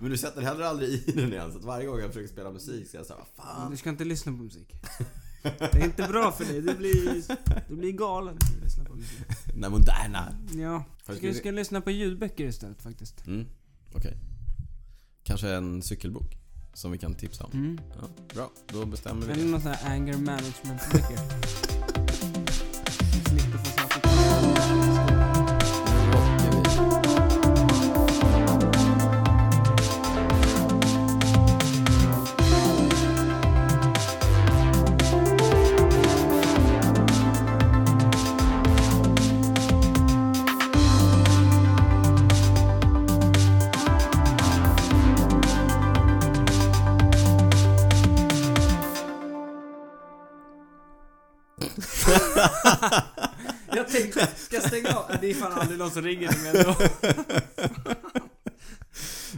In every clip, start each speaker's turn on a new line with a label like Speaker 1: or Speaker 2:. Speaker 1: Men du sätter heller aldrig i den igen. Så att varje gång jag försöker spela musik så är jag såhär, vad
Speaker 2: Men
Speaker 1: fan.
Speaker 2: Du ska inte lyssna på musik. Det är inte bra för dig. Du blir, du blir galen när du lyssnar på musik.
Speaker 1: Den där moderna.
Speaker 2: Ja.
Speaker 1: Får jag
Speaker 2: Ska,
Speaker 1: skriva-
Speaker 2: ska lyssna på ljudböcker istället faktiskt.
Speaker 1: Mm, okej. Kanske en cykelbok som vi kan tipsa om.
Speaker 2: Mm.
Speaker 1: Ja, bra, då bestämmer vi
Speaker 2: Eller
Speaker 1: det.
Speaker 2: någon sån här anger management-böcker. Slipper få svarta Jag tänkte, ska jag stänga av? Det är fan aldrig någon som ringer mig ändå.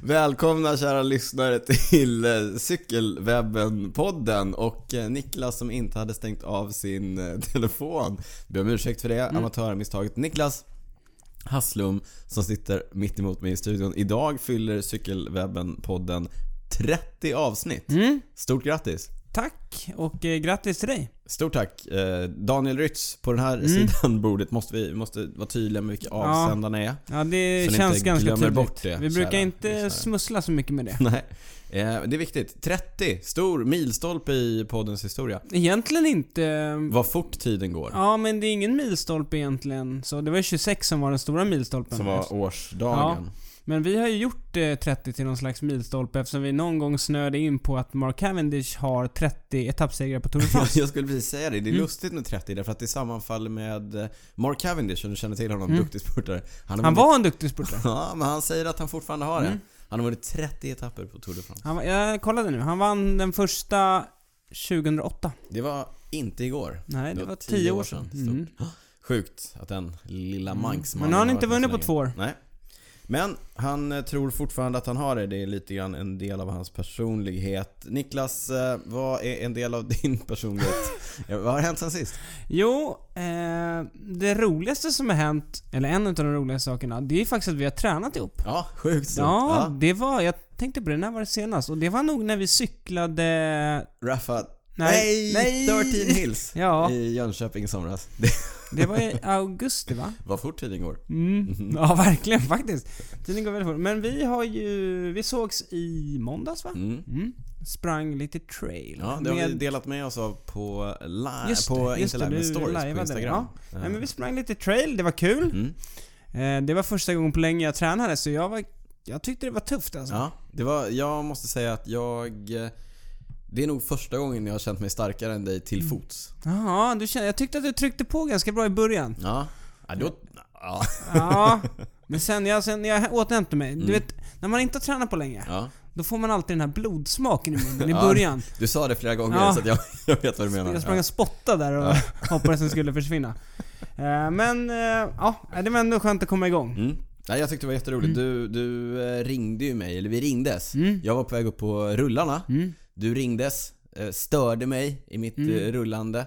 Speaker 1: Välkomna kära lyssnare till eh, Cykelwebben-podden och eh, Niklas som inte hade stängt av sin eh, telefon. Ber om ursäkt för det, amatörmisstaget. Niklas Hasslum som sitter mitt emot mig i studion. Idag fyller Cykelwebben-podden 30 avsnitt.
Speaker 2: Mm.
Speaker 1: Stort grattis!
Speaker 2: Tack och eh, grattis till dig.
Speaker 1: Stort tack. Eh, Daniel Rytz, på den här
Speaker 2: Mm.
Speaker 1: sidan bordet måste vi måste vara tydliga med vilka
Speaker 2: Ja.
Speaker 1: avsändarna är.
Speaker 2: Ja, det
Speaker 1: Så ni
Speaker 2: känns
Speaker 1: inte
Speaker 2: ganska
Speaker 1: glömmer
Speaker 2: tydligt.
Speaker 1: bort det,
Speaker 2: Vi
Speaker 1: kära
Speaker 2: brukar inte
Speaker 1: lyssnare.
Speaker 2: smussla så mycket med det.
Speaker 1: Nej. Eh, det är viktigt. 30, stor milstolpe i poddens historia.
Speaker 2: Egentligen inte.
Speaker 1: Vad fort tiden går.
Speaker 2: Ja, men det är ingen milstolpe egentligen. Så det var 26 som var den stora milstolpen.
Speaker 1: Som var årsdagen.
Speaker 2: Men vi har ju gjort eh, 30 till någon slags milstolpe eftersom vi någon gång snöade in på att Mark Cavendish har 30 etappsegrar på Tour de
Speaker 1: Ja.
Speaker 2: France.
Speaker 1: Jag skulle precis säga det. Det är
Speaker 2: Mm.
Speaker 1: lustigt med 30 därför att det sammanfaller med eh, Mark Cavendish, om du känner till honom,
Speaker 2: Mm.
Speaker 1: duktig spurtare. har
Speaker 2: Han
Speaker 1: vunnit-
Speaker 2: var en duktig spurtare.
Speaker 1: Ja, men han säger att han fortfarande har det.
Speaker 2: Mm.
Speaker 1: Han har vunnit 30 etapper på Tour de France.
Speaker 2: Han var, jag kollade nu. Han vann den första 2008.
Speaker 1: Det var inte igår.
Speaker 2: Nej, det, var 10 år sedan.
Speaker 1: Stort.
Speaker 2: Mm.
Speaker 1: Sjukt att den lilla
Speaker 2: Mm.
Speaker 1: manksmannen
Speaker 2: Men nu har han
Speaker 1: har
Speaker 2: inte
Speaker 1: varit
Speaker 2: vunnit
Speaker 1: med
Speaker 2: på
Speaker 1: så
Speaker 2: två år.
Speaker 1: länge. Nej. Men han eh, tror fortfarande att han har det. Det är lite grann en del av hans personlighet. Niklas, eh, vad är en del av din personlighet? Eh, vad har hänt sen sist?
Speaker 2: Jo, eh, det roligaste som har hänt, eller en av de roligaste sakerna, det är faktiskt att vi har tränat ihop.
Speaker 1: Ja, sjukt stort.
Speaker 2: Ja, det var, jag tänkte på det, när var det senast? Och det var nog när vi cyklade...
Speaker 1: Raffa...
Speaker 2: Nej,
Speaker 1: Nej!
Speaker 2: nej.
Speaker 1: 13 Hills!
Speaker 2: Ja,
Speaker 1: I Jönköping i somras. Det
Speaker 2: det var i augusti va?
Speaker 1: var fort tiden går. Mhm.
Speaker 2: Mm. Ja, verkligen faktiskt. Tiden går väldigt fort. Men vi har ju, vi sågs i måndags va?
Speaker 1: Mm.
Speaker 2: Mm. Sprang lite trail.
Speaker 1: Ja, det har vi
Speaker 2: med-
Speaker 1: delat med oss av på, li-
Speaker 2: Just det,
Speaker 1: på
Speaker 2: just
Speaker 1: inte
Speaker 2: det,
Speaker 1: live, men
Speaker 2: du
Speaker 1: stories
Speaker 2: lajvade
Speaker 1: på
Speaker 2: det.
Speaker 1: Instagram.
Speaker 2: Nej, men vi sprang lite trail, det var kul.
Speaker 1: Mm.
Speaker 2: Eh, det var första gången på länge jag tränade så jag var, jag tyckte det var tufft alltså.
Speaker 1: Ja, det var, jag måste säga att jag... eh, Det är nog första gången jag har känt mig starkare än dig
Speaker 2: Mm.
Speaker 1: till fots.
Speaker 2: Jaha, du kände, jag tyckte att du tryckte på ganska bra i början.
Speaker 1: Ja. Ja, då, ja.
Speaker 2: Ja, men sen jag, sen jag återhämtade mig. Du
Speaker 1: Mm.
Speaker 2: vet, när man inte har tränat på länge,
Speaker 1: ja.
Speaker 2: då får man alltid den här blodsmaken i munnen i
Speaker 1: Ja.
Speaker 2: början.
Speaker 1: Du sa det flera gånger
Speaker 2: Ja.
Speaker 1: så att jag, jag vet vad du menar.
Speaker 2: Jag sprang och spottade där och hoppades den skulle försvinna. Eh, Men eh, ja, det var ändå skönt att komma igång.
Speaker 1: Ja. Mm. Nej, jag tyckte det var jätteroligt. Du, du eh, ringde ju mig, eller vi ringdes.
Speaker 2: Mm.
Speaker 1: Jag var på väg upp på rullarna.
Speaker 2: Mm.
Speaker 1: Du ringdes, eh, störde mig i mitt
Speaker 2: Mm.
Speaker 1: eh, rullande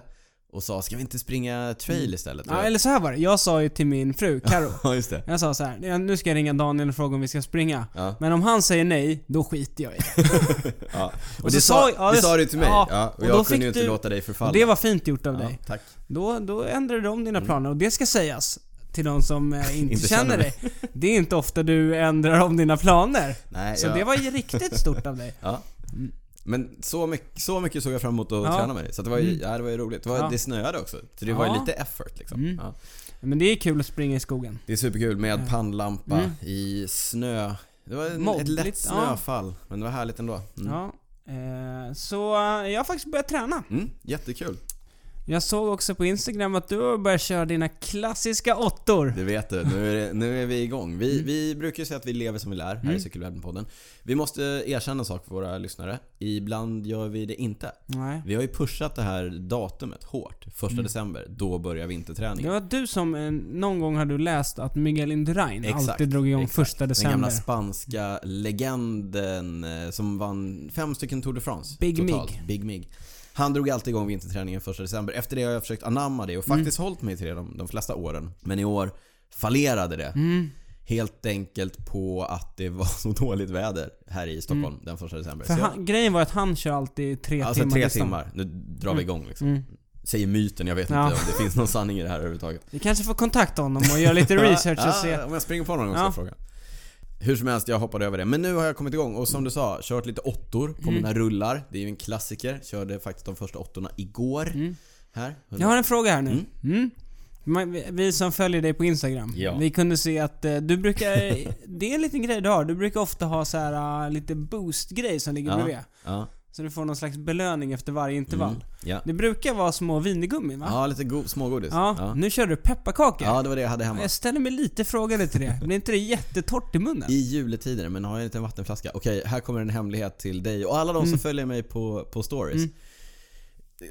Speaker 1: och sa ska vi inte springa trail istället?
Speaker 2: Ja, eller så här var det. Jag sa ju till min fru, Karo.
Speaker 1: ja just det.
Speaker 2: Jag sa så här, nu ska jag ringa Daniel och fråga om vi ska springa.
Speaker 1: Ja.
Speaker 2: Men om han säger nej, då skiter jag i det.
Speaker 1: Ja. Och,
Speaker 2: Och så
Speaker 1: det, sa,
Speaker 2: sa- ja,
Speaker 1: det
Speaker 2: det-
Speaker 1: sa du till mig.
Speaker 2: ja,
Speaker 1: Ja.
Speaker 2: och
Speaker 1: Och
Speaker 2: då
Speaker 1: jag kunde
Speaker 2: fick
Speaker 1: ju inte
Speaker 2: du-
Speaker 1: låta dig förfalla.
Speaker 2: Och det var fint gjort av dig.
Speaker 1: ja, tack.
Speaker 2: Då, då ändrade du om dina planer och det ska sägas till de som eh, inte,
Speaker 1: Inte
Speaker 2: känner
Speaker 1: känner
Speaker 2: dig. Det är inte ofta du ändrar om dina planer.
Speaker 1: Nej,
Speaker 2: Så
Speaker 1: jag-
Speaker 2: det var ju riktigt stort av dig.
Speaker 1: Ja. Men så mycket, så mycket såg jag fram emot att
Speaker 2: Ja. Mm.
Speaker 1: träna med dig. Så att det var ju, ja, det var ju roligt. Det, var,
Speaker 2: Ja.
Speaker 1: det snöade också. Så det var
Speaker 2: Ja.
Speaker 1: ju lite effort liksom.
Speaker 2: Mm.
Speaker 1: Ja.
Speaker 2: Men det är kul att springa i skogen.
Speaker 1: Det är superkul med pannlampa
Speaker 2: Mm.
Speaker 1: i snö. Det var en, ett
Speaker 2: Moddligt,
Speaker 1: lätt
Speaker 2: ja.
Speaker 1: snöfall. Men det var härligt ändå. Mm.
Speaker 2: Ja. Eh, Så eh, jag har faktiskt börjat träna.
Speaker 1: Mm, jättekul.
Speaker 2: Jag såg också på Instagram att du har börjat köra dina klassiska åttor.
Speaker 1: Det vet du. Nu är, det, nu är vi igång. Vi,
Speaker 2: Mm.
Speaker 1: vi brukar ju säga att vi lever som vi lär här i Cykelwebben-podden. Vi måste erkänna en sak för våra lyssnare. Ibland gör vi det inte.
Speaker 2: Nej.
Speaker 1: Vi har ju pushat det här datumet hårt. Första
Speaker 2: Mm.
Speaker 1: december, då börjar vinterträningen.
Speaker 2: Det var du som, eh, någon gång har du läst att Miguel Indurain
Speaker 1: Exakt,
Speaker 2: alltid drog igång
Speaker 1: exakt.
Speaker 2: första
Speaker 1: Den
Speaker 2: december.
Speaker 1: gamla spanska legenden eh, som vann fem stycken Tour de France.
Speaker 2: Big
Speaker 1: totalt.
Speaker 2: Mig.
Speaker 1: Big Mig. Han drog alltid igång vinterträningen första december. Efter det har
Speaker 2: Mm.
Speaker 1: jag försökt anamma det och faktiskt hållit mig till det de, de flesta åren. Men i år fallerade det.
Speaker 2: Mm.
Speaker 1: Helt enkelt på att det var så dåligt väder här i Stockholm den första december.
Speaker 2: Mm. För
Speaker 1: Så jag-
Speaker 2: han, grejen var att han kör alltid tre
Speaker 1: alltså
Speaker 2: timmar liksom.
Speaker 1: tre
Speaker 2: distan-
Speaker 1: timmar. Nu drar vi igång liksom.
Speaker 2: Mm.
Speaker 1: Säger myten, jag vet
Speaker 2: Ja.
Speaker 1: inte om det finns någon sanning i det här överhuvudtaget.
Speaker 2: Vi kanske får kontakta honom och göra lite research och se.
Speaker 1: Ja, Ah, om jag springer på någon gång ska
Speaker 2: Ja.
Speaker 1: jag fråga. Hur som helst, jag hoppade över det. Men nu har jag kommit igång och som du sa, kört lite åttor på
Speaker 2: Mm.
Speaker 1: mina rullar. Det är ju en klassiker. Körde faktiskt de första åttorna igår.
Speaker 2: Mm.
Speaker 1: Här.
Speaker 2: Jag har en fråga här nu. Mm. Man- vi- Vi som följer dig på Instagram.
Speaker 1: Ja.
Speaker 2: Vi kunde se att eh, du brukar... det är en liten grej du har. Du brukar ofta ha så här eh, lite boost-grej som ligger
Speaker 1: Ja.
Speaker 2: bredvid.
Speaker 1: Ja. Mm.
Speaker 2: Så du får någon slags belöning efter varje intervall.
Speaker 1: Ja.
Speaker 2: Det brukar vara små vinigummin va?
Speaker 1: ja, lite go- smågodis.
Speaker 2: Ja,
Speaker 1: Ja.
Speaker 2: Nu kör du pepparkakor.
Speaker 1: ja, det var det jag hade hemma.
Speaker 2: Jag ställer mig lite frågande till det. Blir inte det jättetort i munnen?
Speaker 1: I juletider, men har jag en liten vattenflaska? Okej, här kommer en hemlighet till dig och alla de som
Speaker 2: Mm.
Speaker 1: följer mig på, på stories.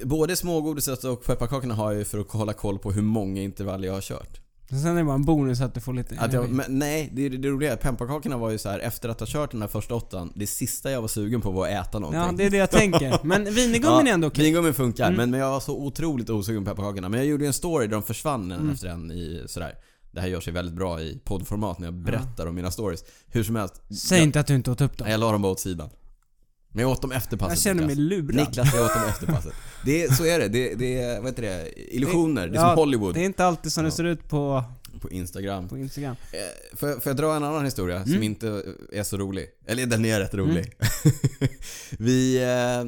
Speaker 1: Både smågodiset och pepparkakorna har jag ju för att hålla koll på hur många intervall jag har kört.
Speaker 2: Sen är det bara en bonus att du får lite
Speaker 1: Att jag,
Speaker 2: energi.
Speaker 1: men, nej, det, det roliga är att pepparkakorna var ju så här efter att ha kört den här första åttan, det sista jag var sugen på var att äta någonting.
Speaker 2: Ja, det är det jag tänker. Men vinigummin är ändå okej. Mm.
Speaker 1: Vingummin funkar, men, men jag var så otroligt osugen på pepparkakorna. Men jag gjorde ju en story där de försvann en
Speaker 2: Mm.
Speaker 1: efter en i sådär. Det här gör sig väldigt bra i poddformat när jag berättar om mina stories. Hur som helst.
Speaker 2: Säg
Speaker 1: jag,
Speaker 2: inte att du inte åt upp dem.
Speaker 1: Nej, jag la dem bara åt sidan. Men jag åt dem efter passet
Speaker 2: Jag känner mig
Speaker 1: Niklas.
Speaker 2: lurad.
Speaker 1: Niklas, jag åt dem efter passet. Det är, så är det. Det, det är, vad heter det? Illusioner. Det är
Speaker 2: Ja,
Speaker 1: som Hollywood
Speaker 2: Det är inte alltid som det
Speaker 1: Ja.
Speaker 2: ser ut på,
Speaker 1: på Instagram.
Speaker 2: på Instagram.
Speaker 1: Eh, Får jag, får jag dra en annan historia
Speaker 2: Mm.
Speaker 1: som inte är så rolig? Eller den är rätt rolig.
Speaker 2: Mm.
Speaker 1: vi, eh,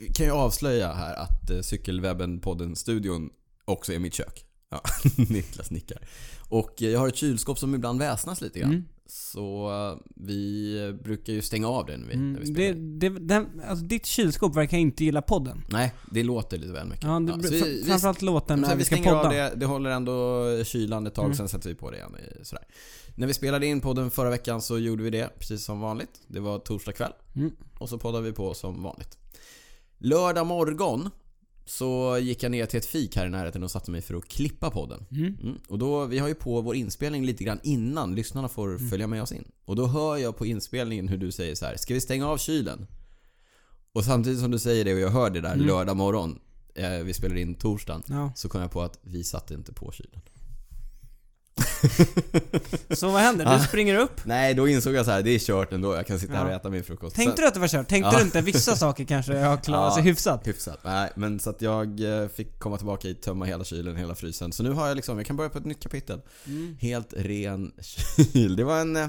Speaker 1: vi kan ju avslöja här att eh, Cykelwebben-podden-studion också är mitt kök. Ja, Niklas nickar. Och eh, jag har ett kylskåp som ibland väsnas lite
Speaker 2: Mm.
Speaker 1: grann. Så eh, vi brukar ju stänga av det när vi, när vi
Speaker 2: Mm,
Speaker 1: spelar.
Speaker 2: det, det, den, alltså ditt kylskåp verkar inte gilla podden.
Speaker 1: Nej, det låter lite väl mycket.
Speaker 2: Ja, det,
Speaker 1: så
Speaker 2: fr-
Speaker 1: vi- vi-
Speaker 2: framförallt
Speaker 1: Men
Speaker 2: låten när
Speaker 1: sen
Speaker 2: vi
Speaker 1: vi
Speaker 2: ska
Speaker 1: stänger
Speaker 2: podda. Mm.
Speaker 1: av det, det håller ändå kylan ett tag, sen sätter vi på det igen. i- Sådär. När vi spelade in podden förra veckan så gjorde vi det precis som vanligt. Det var torsdag kväll.
Speaker 2: Mm.
Speaker 1: Och så poddade vi på som vanligt. Lördag morgon så gick jag ner till ett fik här i närheten och satte mig för att klippa podden. Mm. Och då, vi har ju på vår inspelning lite grann innan lyssnarna får
Speaker 2: Mm.
Speaker 1: följa med oss in. Och då hör jag på inspelningen hur du säger så här: ska vi stänga av kylen? Och samtidigt som du säger det och jag hör det
Speaker 2: Mm.
Speaker 1: där lördag morgon, eh, vi spelar in torsdagen,
Speaker 2: Ja.
Speaker 1: så kom jag på att vi satte inte på kylen.
Speaker 2: Så vad händer? Du springer upp.
Speaker 1: Nej, då insåg jag så här, det är kört ändå. Jag kan sitta här och
Speaker 2: Ja.
Speaker 1: äta min frukost.
Speaker 2: Tänkte du att det var kört? Tänkte
Speaker 1: Ja.
Speaker 2: du inte vissa saker kanske jag har klarat
Speaker 1: Ja.
Speaker 2: sig hyfsat?
Speaker 1: Hyfsat. Nej, men så att jag eh, fick komma tillbaka hit, tömma hela kylen, hela frysen. Så nu har jag liksom, jag kan börja på ett nytt kapitel. Helt ren kyl. Det var en eh,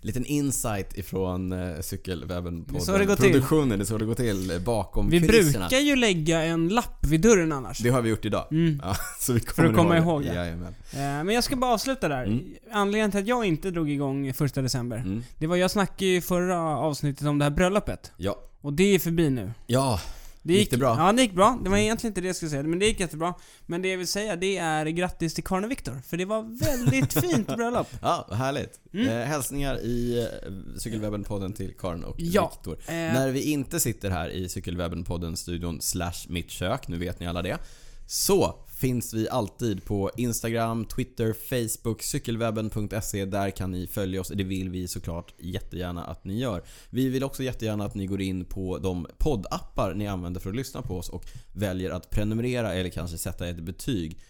Speaker 1: liten insight ifrån eh, cykelwebben
Speaker 2: Det är så det går till.
Speaker 1: produktionen. Det är så det går till eh, bakom
Speaker 2: Vi
Speaker 1: kulisserna.
Speaker 2: brukar ju lägga en lapp vid dörren annars.
Speaker 1: Det har vi gjort idag. Ja, så vi kommer
Speaker 2: att komma ihåg
Speaker 1: det.
Speaker 2: det.
Speaker 1: Jajamän.
Speaker 2: Eh, Men jag ska bara avsluta där. Anledningen till att jag inte drog igång första december.
Speaker 1: Mm.
Speaker 2: Det var, jag snackade ju i förra avsnittet om det här bröllopet.
Speaker 1: Ja.
Speaker 2: Och det är förbi nu.
Speaker 1: Ja. Gick det bra? Mm.
Speaker 2: Ja, det gick bra. Det var egentligen inte det jag skulle säga, men det gick jättebra. Men det jag vill säga, det är grattis till Karin och Viktor. För det var väldigt fint bröllop.
Speaker 1: Ja, vad härligt.
Speaker 2: Mm.
Speaker 1: Eh, hälsningar i eh, Cykelwebben-podden till Karin och
Speaker 2: Ja,
Speaker 1: Viktor.
Speaker 2: eh.
Speaker 1: När vi inte sitter här i Cykelwebben-podden-studion slash mitt kök, nu vet ni alla det. Så finns vi alltid på Instagram, Twitter, Facebook, cykelwebben.se. Där kan ni följa oss. Det vill vi såklart jättegärna att ni gör. Vi vill också jättegärna att ni går in på de poddappar ni använder för att lyssna på oss och väljer att prenumerera eller kanske sätta ett betyg.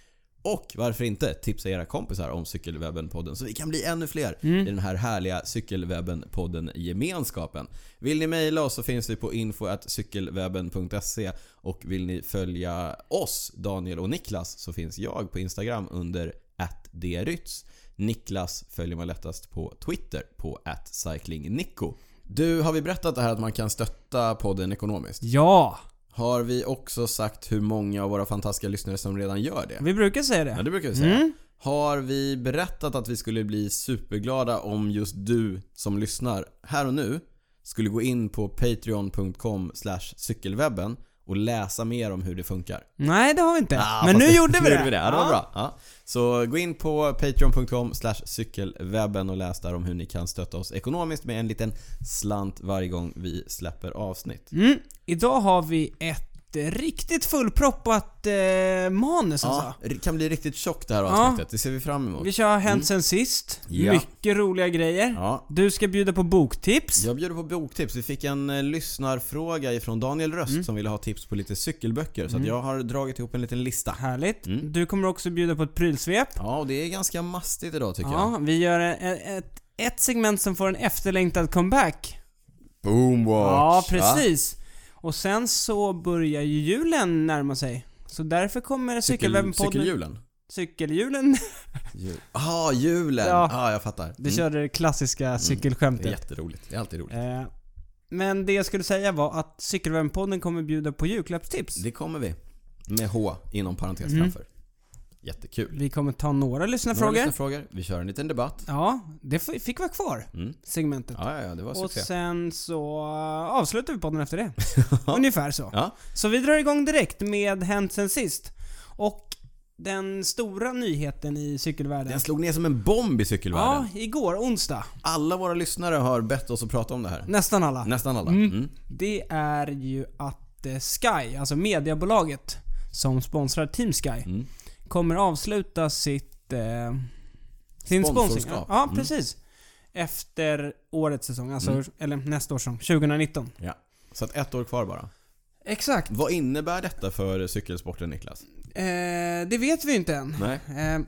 Speaker 1: Och varför inte tipsa era kompisar om Cykelwebben-podden så vi kan bli ännu fler i den här härliga Cykelwebben-podden-gemenskapen. Vill ni mejla oss så finns vi på info.cykelwebben.se och vill ni följa oss, Daniel och Niklas, så finns jag på Instagram under @drytz. Niklas följer man lättast på Twitter på @cyclingnico. Du, har vi berättat det här att man kan stötta podden ekonomiskt?
Speaker 2: Ja!
Speaker 1: Har vi också sagt hur många av våra fantastiska lyssnare som redan gör det?
Speaker 2: Vi brukar säga
Speaker 1: Ja,
Speaker 2: det.
Speaker 1: det brukar vi säga.
Speaker 2: Mm.
Speaker 1: Har vi berättat att vi skulle bli superglada om just du som lyssnar här och nu skulle gå in på patreon.com slash cykelwebben och läsa mer om hur det funkar?
Speaker 2: Nej, det har vi inte.
Speaker 1: Ah,
Speaker 2: men
Speaker 1: fast
Speaker 2: nu gjorde vi det.
Speaker 1: Ja, det var bra. Ja. Så gå in på patreon.com slash cykelwebben och läs där om hur ni kan stötta oss ekonomiskt med en liten slant varje gång vi släpper avsnitt.
Speaker 2: Mm. Idag har vi ett eh, riktigt fullproppat eh, manus
Speaker 1: Ja,
Speaker 2: alltså.
Speaker 1: det kan bli riktigt tjockt det här
Speaker 2: Ja.
Speaker 1: avsnittet. Det ser vi fram emot.
Speaker 2: Vi kör Hänt sen sist.
Speaker 1: Mm. Ja.
Speaker 2: Mycket roliga grejer.
Speaker 1: Ja.
Speaker 2: Du ska bjuda på boktips.
Speaker 1: Jag bjuder på boktips. Vi fick en eh, lyssnarfråga ifrån Daniel Röst
Speaker 2: Mm.
Speaker 1: som ville ha tips på lite cykelböcker. Så att jag har dragit ihop en liten lista.
Speaker 2: Härligt.
Speaker 1: Mm.
Speaker 2: Du kommer också bjuda på ett prylsvep.
Speaker 1: Ja, och det är ganska mastigt idag tycker jag.
Speaker 2: Ja, vi gör en- en- ett, ett segment som får en efterlängtad comeback.
Speaker 1: Boomwatch!
Speaker 2: ja,
Speaker 1: va?
Speaker 2: precis. Och sen så börjar ju julen närma sig. Så därför kommer
Speaker 1: Cykel,
Speaker 2: cykelwebben-podden...
Speaker 1: cykelhjulen?
Speaker 2: Cykeljulen.
Speaker 1: Jul. Ah, julen!
Speaker 2: Ja.
Speaker 1: Ja, jag fattar.
Speaker 2: Du
Speaker 1: Mm.
Speaker 2: körde det klassiska
Speaker 1: Det är
Speaker 2: cykelskämtet.
Speaker 1: jätteroligt. Det är alltid roligt.
Speaker 2: Eh, men det jag skulle säga var att Cykelwebben-podden kommer bjuda på julklappstips.
Speaker 1: Det kommer vi. Med H inom parentes
Speaker 2: Mm.
Speaker 1: framför. Jättekul.
Speaker 2: Vi kommer ta några
Speaker 1: Några
Speaker 2: lyssnarfrågor.
Speaker 1: lyssnarfrågor. Vi kör en liten debatt.
Speaker 2: Ja, det f- fick vara kvar.
Speaker 1: Mm.
Speaker 2: Segmentet.
Speaker 1: Ja, ja, ja, det var
Speaker 2: Och
Speaker 1: succé.
Speaker 2: sen så avslutar vi podden efter det. Ungefär så.
Speaker 1: Ja.
Speaker 2: Så vi drar igång direkt med Hänt sen sist. Och den stora nyheten i cykelvärlden.
Speaker 1: Den slog ner som en bomb i cykelvärlden.
Speaker 2: Ja, igår onsdag.
Speaker 1: Alla våra lyssnare har bett oss att prata om det här.
Speaker 2: Nästan alla.
Speaker 1: Nästan alla. Mm.
Speaker 2: Det är ju att eh, Sky, alltså mediabolaget som sponsrar Team Sky,
Speaker 1: Mm.
Speaker 2: kommer avsluta sitt... Eh, sin sponsring.
Speaker 1: Sponsorskap. Mm.
Speaker 2: Ja, precis. Efter årets säsong, alltså, eller nästa års säsong, 2019.
Speaker 1: Ja. Så att ett år kvar bara.
Speaker 2: Exakt.
Speaker 1: Vad innebär detta för cykelsporten Niklas?
Speaker 2: Eh, det vet vi inte än.
Speaker 1: Nej.
Speaker 2: Eh,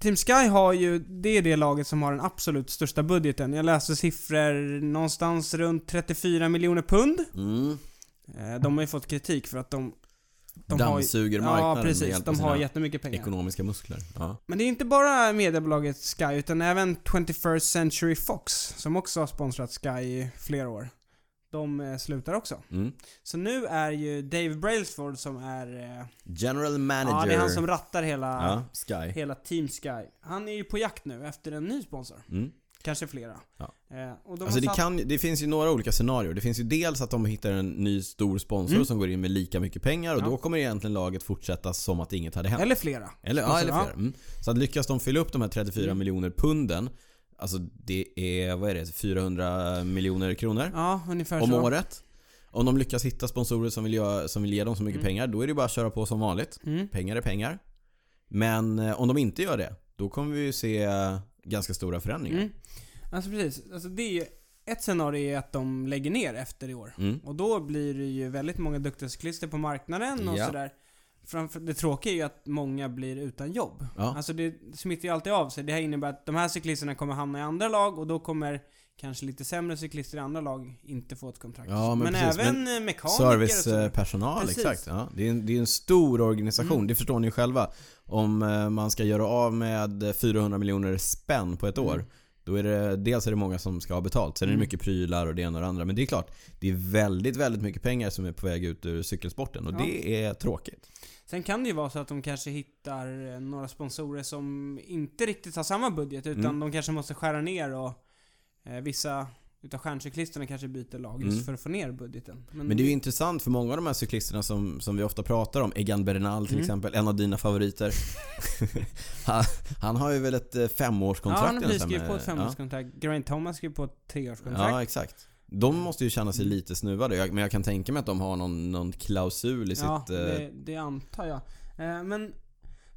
Speaker 2: Team Sky har ju, det är det laget som har den absolut största budgeten. Jag läste siffror någonstans runt 34 miljoner pund.
Speaker 1: Mm.
Speaker 2: Eh, de har ju fått kritik för att de... de har ju-
Speaker 1: Dammsuger marknaden
Speaker 2: Ja,
Speaker 1: med
Speaker 2: precis.
Speaker 1: hjälp
Speaker 2: De
Speaker 1: av
Speaker 2: har
Speaker 1: sina
Speaker 2: jättemycket pengar.
Speaker 1: ekonomiska muskler. Ja.
Speaker 2: Men det är inte bara mediebolaget Sky, utan även 21st Century Fox, som också har sponsrat Sky i flera år. De eh, slutar också.
Speaker 1: Mm.
Speaker 2: Så nu är ju Dave Brailsford som är... Eh,
Speaker 1: General manager.
Speaker 2: ja, det är han som rattar hela,
Speaker 1: Ja, Sky.
Speaker 2: hela Team Sky. Han är ju på jakt nu efter en ny sponsor.
Speaker 1: Mm.
Speaker 2: Kanske flera.
Speaker 1: Ja.
Speaker 2: Eh, och de
Speaker 1: Alltså det,
Speaker 2: har satt,
Speaker 1: kan, det finns ju några olika scenarier. Det finns ju dels att de hittar en ny stor sponsor som går in med lika mycket pengar och
Speaker 2: Mm. Ja.
Speaker 1: då kommer egentligen laget fortsätta som att inget hade hänt.
Speaker 2: Eller Mm. flera.
Speaker 1: Eller, ja,
Speaker 2: Sponsorer,
Speaker 1: eller fler. Mm. Så att lyckas de fylla upp de här 34 miljoner punden, alltså det är, vad är det, 400 miljoner kronor
Speaker 2: Ja, ungefär
Speaker 1: om
Speaker 2: så.
Speaker 1: året. Om de lyckas hitta sponsorer som vill, göra, som vill ge dem så mycket pengar, då är det bara att köra på som vanligt.
Speaker 2: Mm.
Speaker 1: Pengar är pengar. Men eh, om de inte gör det, då kommer vi ju se eh, ganska stora förändringar.
Speaker 2: Mm. Alltså precis. Alltså det är ju, ett scenario är att de lägger ner efter i år.
Speaker 1: Mm.
Speaker 2: Och då blir det ju väldigt många duktiga cyklister på marknaden och
Speaker 1: Ja.
Speaker 2: sådär. Framför, det tråkiga är ju att många blir utan jobb.
Speaker 1: Ja.
Speaker 2: Alltså det smittar ju alltid av sig. Det här innebär att de här cyklisterna kommer hamna i andra lag och då kommer kanske lite sämre cyklister i andra lag inte få ett kontrakt.
Speaker 1: Ja, men precis.
Speaker 2: även eh, mekaniker och sådär.
Speaker 1: Servicepersonal,
Speaker 2: Precis. Mm.
Speaker 1: exakt. Ja, det, är en, det är en stor organisation, det förstår ni ju själva. Om eh, man ska göra av med 400 miljoner spänn på ett
Speaker 2: Mm.
Speaker 1: år, då är det dels är det många som ska ha betalt, sen är det mycket prylar och det ena och det andra. Men det är klart, det är väldigt, väldigt mycket pengar som är på väg ut ur cykelsporten och
Speaker 2: Ja.
Speaker 1: det är tråkigt.
Speaker 2: Sen kan det ju vara så att de kanske hittar eh, några sponsorer som inte riktigt har samma budget utan
Speaker 1: Mm.
Speaker 2: de kanske måste skära ner och eh, vissa utav stjärncyklisterna kanske byter lag just
Speaker 1: Mm.
Speaker 2: för att få ner budgeten.
Speaker 1: Men det är ju intressant för många av de här cyklisterna som, som vi ofta pratar om, Egan Bernal till
Speaker 2: Mm.
Speaker 1: exempel, en av dina favoriter. han, han har ju väl ett eh, femårskontrakt
Speaker 2: Ja, han
Speaker 1: nästan
Speaker 2: skriver
Speaker 1: med-
Speaker 2: på ett
Speaker 1: ja.
Speaker 2: femårskontrakt. Geraint Thomas skriver på ett treårskontrakt.
Speaker 1: Ja, exakt. De måste ju känna sig
Speaker 2: Mm.
Speaker 1: lite snuvade. Jag- Men jag kan tänka mig att de har någon, någon klausul i
Speaker 2: Ja,
Speaker 1: sitt... eh,
Speaker 2: det, det antar jag. Eh, Men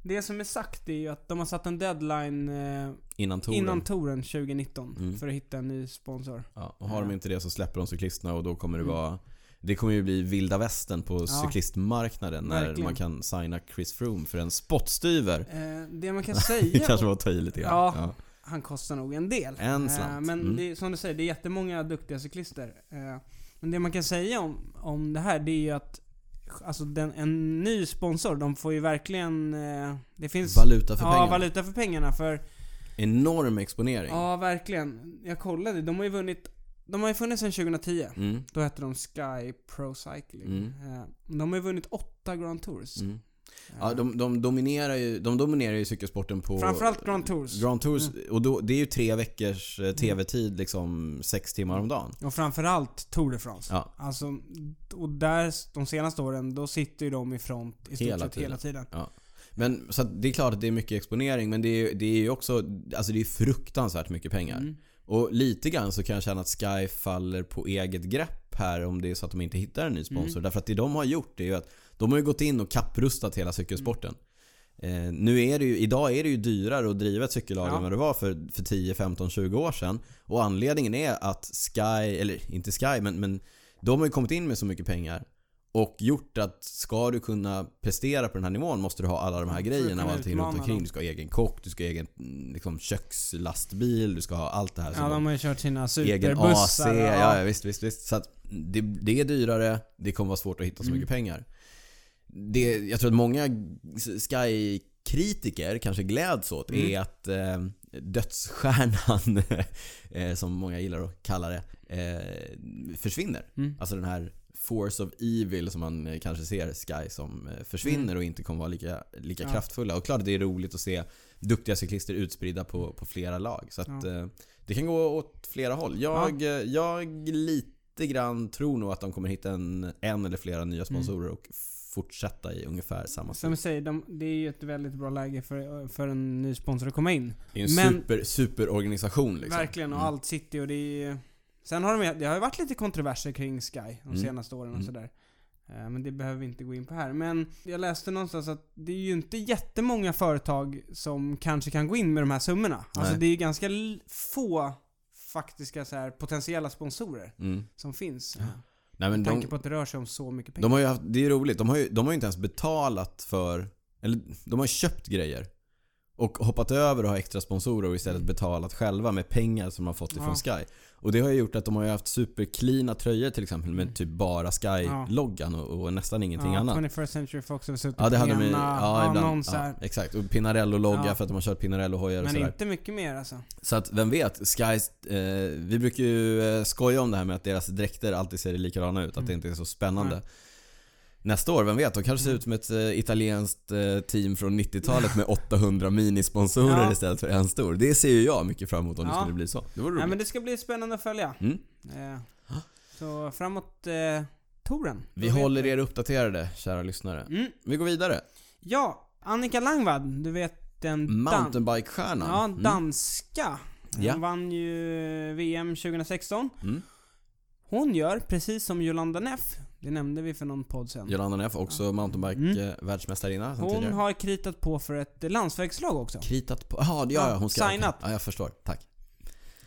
Speaker 2: det som är sagt är ju att de har satt en deadline eh,
Speaker 1: innan touren.
Speaker 2: innan touren 2019
Speaker 1: Mm.
Speaker 2: för att hitta en ny sponsor.
Speaker 1: Ja, och har de inte det så släpper de cyklisterna och då kommer det
Speaker 2: Mm.
Speaker 1: vara... Det kommer ju bli vilda västern på cyklistmarknaden när
Speaker 2: verkligen.
Speaker 1: man kan signa Chris Froome för en spottstyver.
Speaker 2: Eh, Det man kan
Speaker 1: Det
Speaker 2: säga
Speaker 1: kanske var att ta i lite grann.
Speaker 2: Ja.
Speaker 1: Ja.
Speaker 2: Han kostar nog en del.
Speaker 1: En slant.
Speaker 2: Eh, men
Speaker 1: Mm.
Speaker 2: det, är- som du säger, det är jättemånga duktiga cyklister. Eh, men det man kan säga om, om det här, det är ju att Alltså den, en ny sponsor, de får ju verkligen... Eh, det finns...
Speaker 1: Valuta för
Speaker 2: ja,
Speaker 1: pengarna.
Speaker 2: valuta för pengarna. För,
Speaker 1: Enorm exponering.
Speaker 2: ja, verkligen. Jag kollade, de har ju vunnit... De har ju funnits sedan 2010.
Speaker 1: Mm.
Speaker 2: Då hette de Sky Pro Cycling.
Speaker 1: Mm.
Speaker 2: Eh, de har ju vunnit åtta Grand Tours. Eh,
Speaker 1: Mm. Ja, de, de, dominerar ju, de dominerar ju cykelsporten på...
Speaker 2: Framförallt Grand Tours.
Speaker 1: Grand Tours. Och då, det är ju tre veckors eh, TV-tid liksom sex timmar om dagen.
Speaker 2: Och framförallt Tour de France.
Speaker 1: Ja.
Speaker 2: Alltså, och där, de senaste åren, då sitter ju de i front i stort
Speaker 1: Hela
Speaker 2: sett
Speaker 1: tiden.
Speaker 2: hela tiden.
Speaker 1: Ja. Men så att det är klart att det är mycket exponering men det är, det är ju också alltså det är
Speaker 2: Mm.
Speaker 1: fruktansvärt mycket pengar. Och lite grann så kan jag känna att Sky faller på eget grepp här om det är så att de inte hittar en ny sponsor.
Speaker 2: Mm.
Speaker 1: Därför att det de har gjort det är ju att de har ju gått in och kapprustat hela cykelsporten. Eh, nu är det ju, idag är det ju dyrare att driva ett cykellag
Speaker 2: Mm. Ja.
Speaker 1: än vad det var för, för 10, 15, 20 år sedan. Och anledningen är att Sky, eller inte Sky, men, men de har ju kommit in med så mycket pengar. Och gjort att ska du kunna prestera på den här nivån måste du ha alla de här
Speaker 2: Mm. För att
Speaker 1: grejerna och
Speaker 2: kunna
Speaker 1: allting
Speaker 2: utmana
Speaker 1: runt omkring.
Speaker 2: dem.
Speaker 1: Du ska ha egen kock, du ska ha egen mm, liksom, kökslastbil, du ska ha allt det här. som
Speaker 2: Ja, de har ju kört sina
Speaker 1: alltså, egen AC.
Speaker 2: superbussar.
Speaker 1: Ja, ja visst, visst, visst. Så att det, det är dyrare, det kommer vara svårt att hitta så
Speaker 2: Mm.
Speaker 1: mycket pengar. Det, jag tror att många Sky-kritiker kanske gläds åt
Speaker 2: Mm.
Speaker 1: är att eh, dödsstjärnan, eh, som många gillar att kalla det, eh, försvinner.
Speaker 2: Mm.
Speaker 1: Alltså den här Force of Evil som man eh, kanske ser Sky som eh, försvinner och inte kommer vara lika, lika
Speaker 2: Mm. Ja.
Speaker 1: kraftfulla. Och klart det är roligt att se duktiga cyklister utspridda på, på flera lag. Så att,
Speaker 2: Ja.
Speaker 1: eh, det kan gå åt flera håll. Jag, eh, jag lite grann tror nog att de kommer hitta en, en eller flera nya sponsorer och fortsätta i ungefär samma
Speaker 2: Mm. Som
Speaker 1: stil.
Speaker 2: jag säger, de, det är ju ett väldigt bra läge för, för en ny sponsor att komma in.
Speaker 1: Det är ju en
Speaker 2: men-
Speaker 1: super, superorganisation liksom.
Speaker 2: Verkligen, och
Speaker 1: Mm.
Speaker 2: allt sitter ju och det är ju- Sen har de, ju- det har ju varit lite kontroverser kring Sky de
Speaker 1: Mm.
Speaker 2: senaste åren och
Speaker 1: Mm.
Speaker 2: sådär. Eh, Men det behöver vi inte gå in på här. Men jag läste någonstans att det är ju inte jättemånga företag som kanske kan gå in med de här summorna. Alltså
Speaker 1: Nej.
Speaker 2: det är ju ganska l- få faktiska så här, potentiella sponsorer
Speaker 1: Mm.
Speaker 2: som finns.
Speaker 1: Nej, men
Speaker 2: Med
Speaker 1: de,
Speaker 2: tanke på att det rör sig om så mycket pengar.
Speaker 1: de har ju haft, det är ju roligt. De har ju, de har ju inte ens betalat för... Eller de har ju köpt grejer. Och hoppat över och ha extra sponsorer och
Speaker 2: Mm.
Speaker 1: istället betalat själva med pengar som de har fått ifrån Sky. Och det har ju gjort att de har ju haft supercleana tröjor till exempel med typ bara Sky-loggan och, och nästan ingenting
Speaker 2: Mm. ja,
Speaker 1: annat.
Speaker 2: 21st Century Fox har väl suttit
Speaker 1: Ja det hade
Speaker 2: på
Speaker 1: de ju.
Speaker 2: ena
Speaker 1: Ja, ibland.
Speaker 2: annons
Speaker 1: Ja,
Speaker 2: här.
Speaker 1: exakt. Och Pinarello-logga
Speaker 2: Ja.
Speaker 1: för att de har kört Pinarello-hojar och
Speaker 2: Men
Speaker 1: sådär.
Speaker 2: inte mycket mer alltså.
Speaker 1: Så att vem vet, Skys... Eh, vi brukar ju eh, skoja om det här med att deras dräkter alltid ser likadana ut. Att det inte är så spännande.
Speaker 2: Mm. Nej. Mm.
Speaker 1: Nästa år, vem vet? De kanske ser ut som ett eh, italienskt eh, team från 90-talet med 800 minisponsorer
Speaker 2: Ja.
Speaker 1: istället för en stor. Det ser ju jag mycket fram emot om det
Speaker 2: Ja.
Speaker 1: skulle bli så. Det vore
Speaker 2: Nej
Speaker 1: roligt.
Speaker 2: men det ska bli spännande att följa.
Speaker 1: Mm.
Speaker 2: Eh, Så framåt eh, touren.
Speaker 1: Vi
Speaker 2: Då vet
Speaker 1: håller
Speaker 2: vi.
Speaker 1: er uppdaterade, kära lyssnare.
Speaker 2: Mm.
Speaker 1: Vi går vidare.
Speaker 2: Ja, Annika Langvad, du vet den dan-
Speaker 1: Mountainbike-stjärnan.
Speaker 2: ja, danska. Hon
Speaker 1: Mm. Ja.
Speaker 2: vann ju VM 2016.
Speaker 1: Mm.
Speaker 2: Hon gör precis som Jolanda Neff. Det nämnde vi för någon podd sen.
Speaker 1: Jolanda Neff, också mountainbike-världsmästarinna sen
Speaker 2: Mm. Hon
Speaker 1: tidigare.
Speaker 2: har kritat på för ett landsvägslag också.
Speaker 1: Kritat på... Jaha, ja, ja, hon ska...
Speaker 2: Ja,
Speaker 1: okej.
Speaker 2: signat.
Speaker 1: Ja, jag förstår. Tack.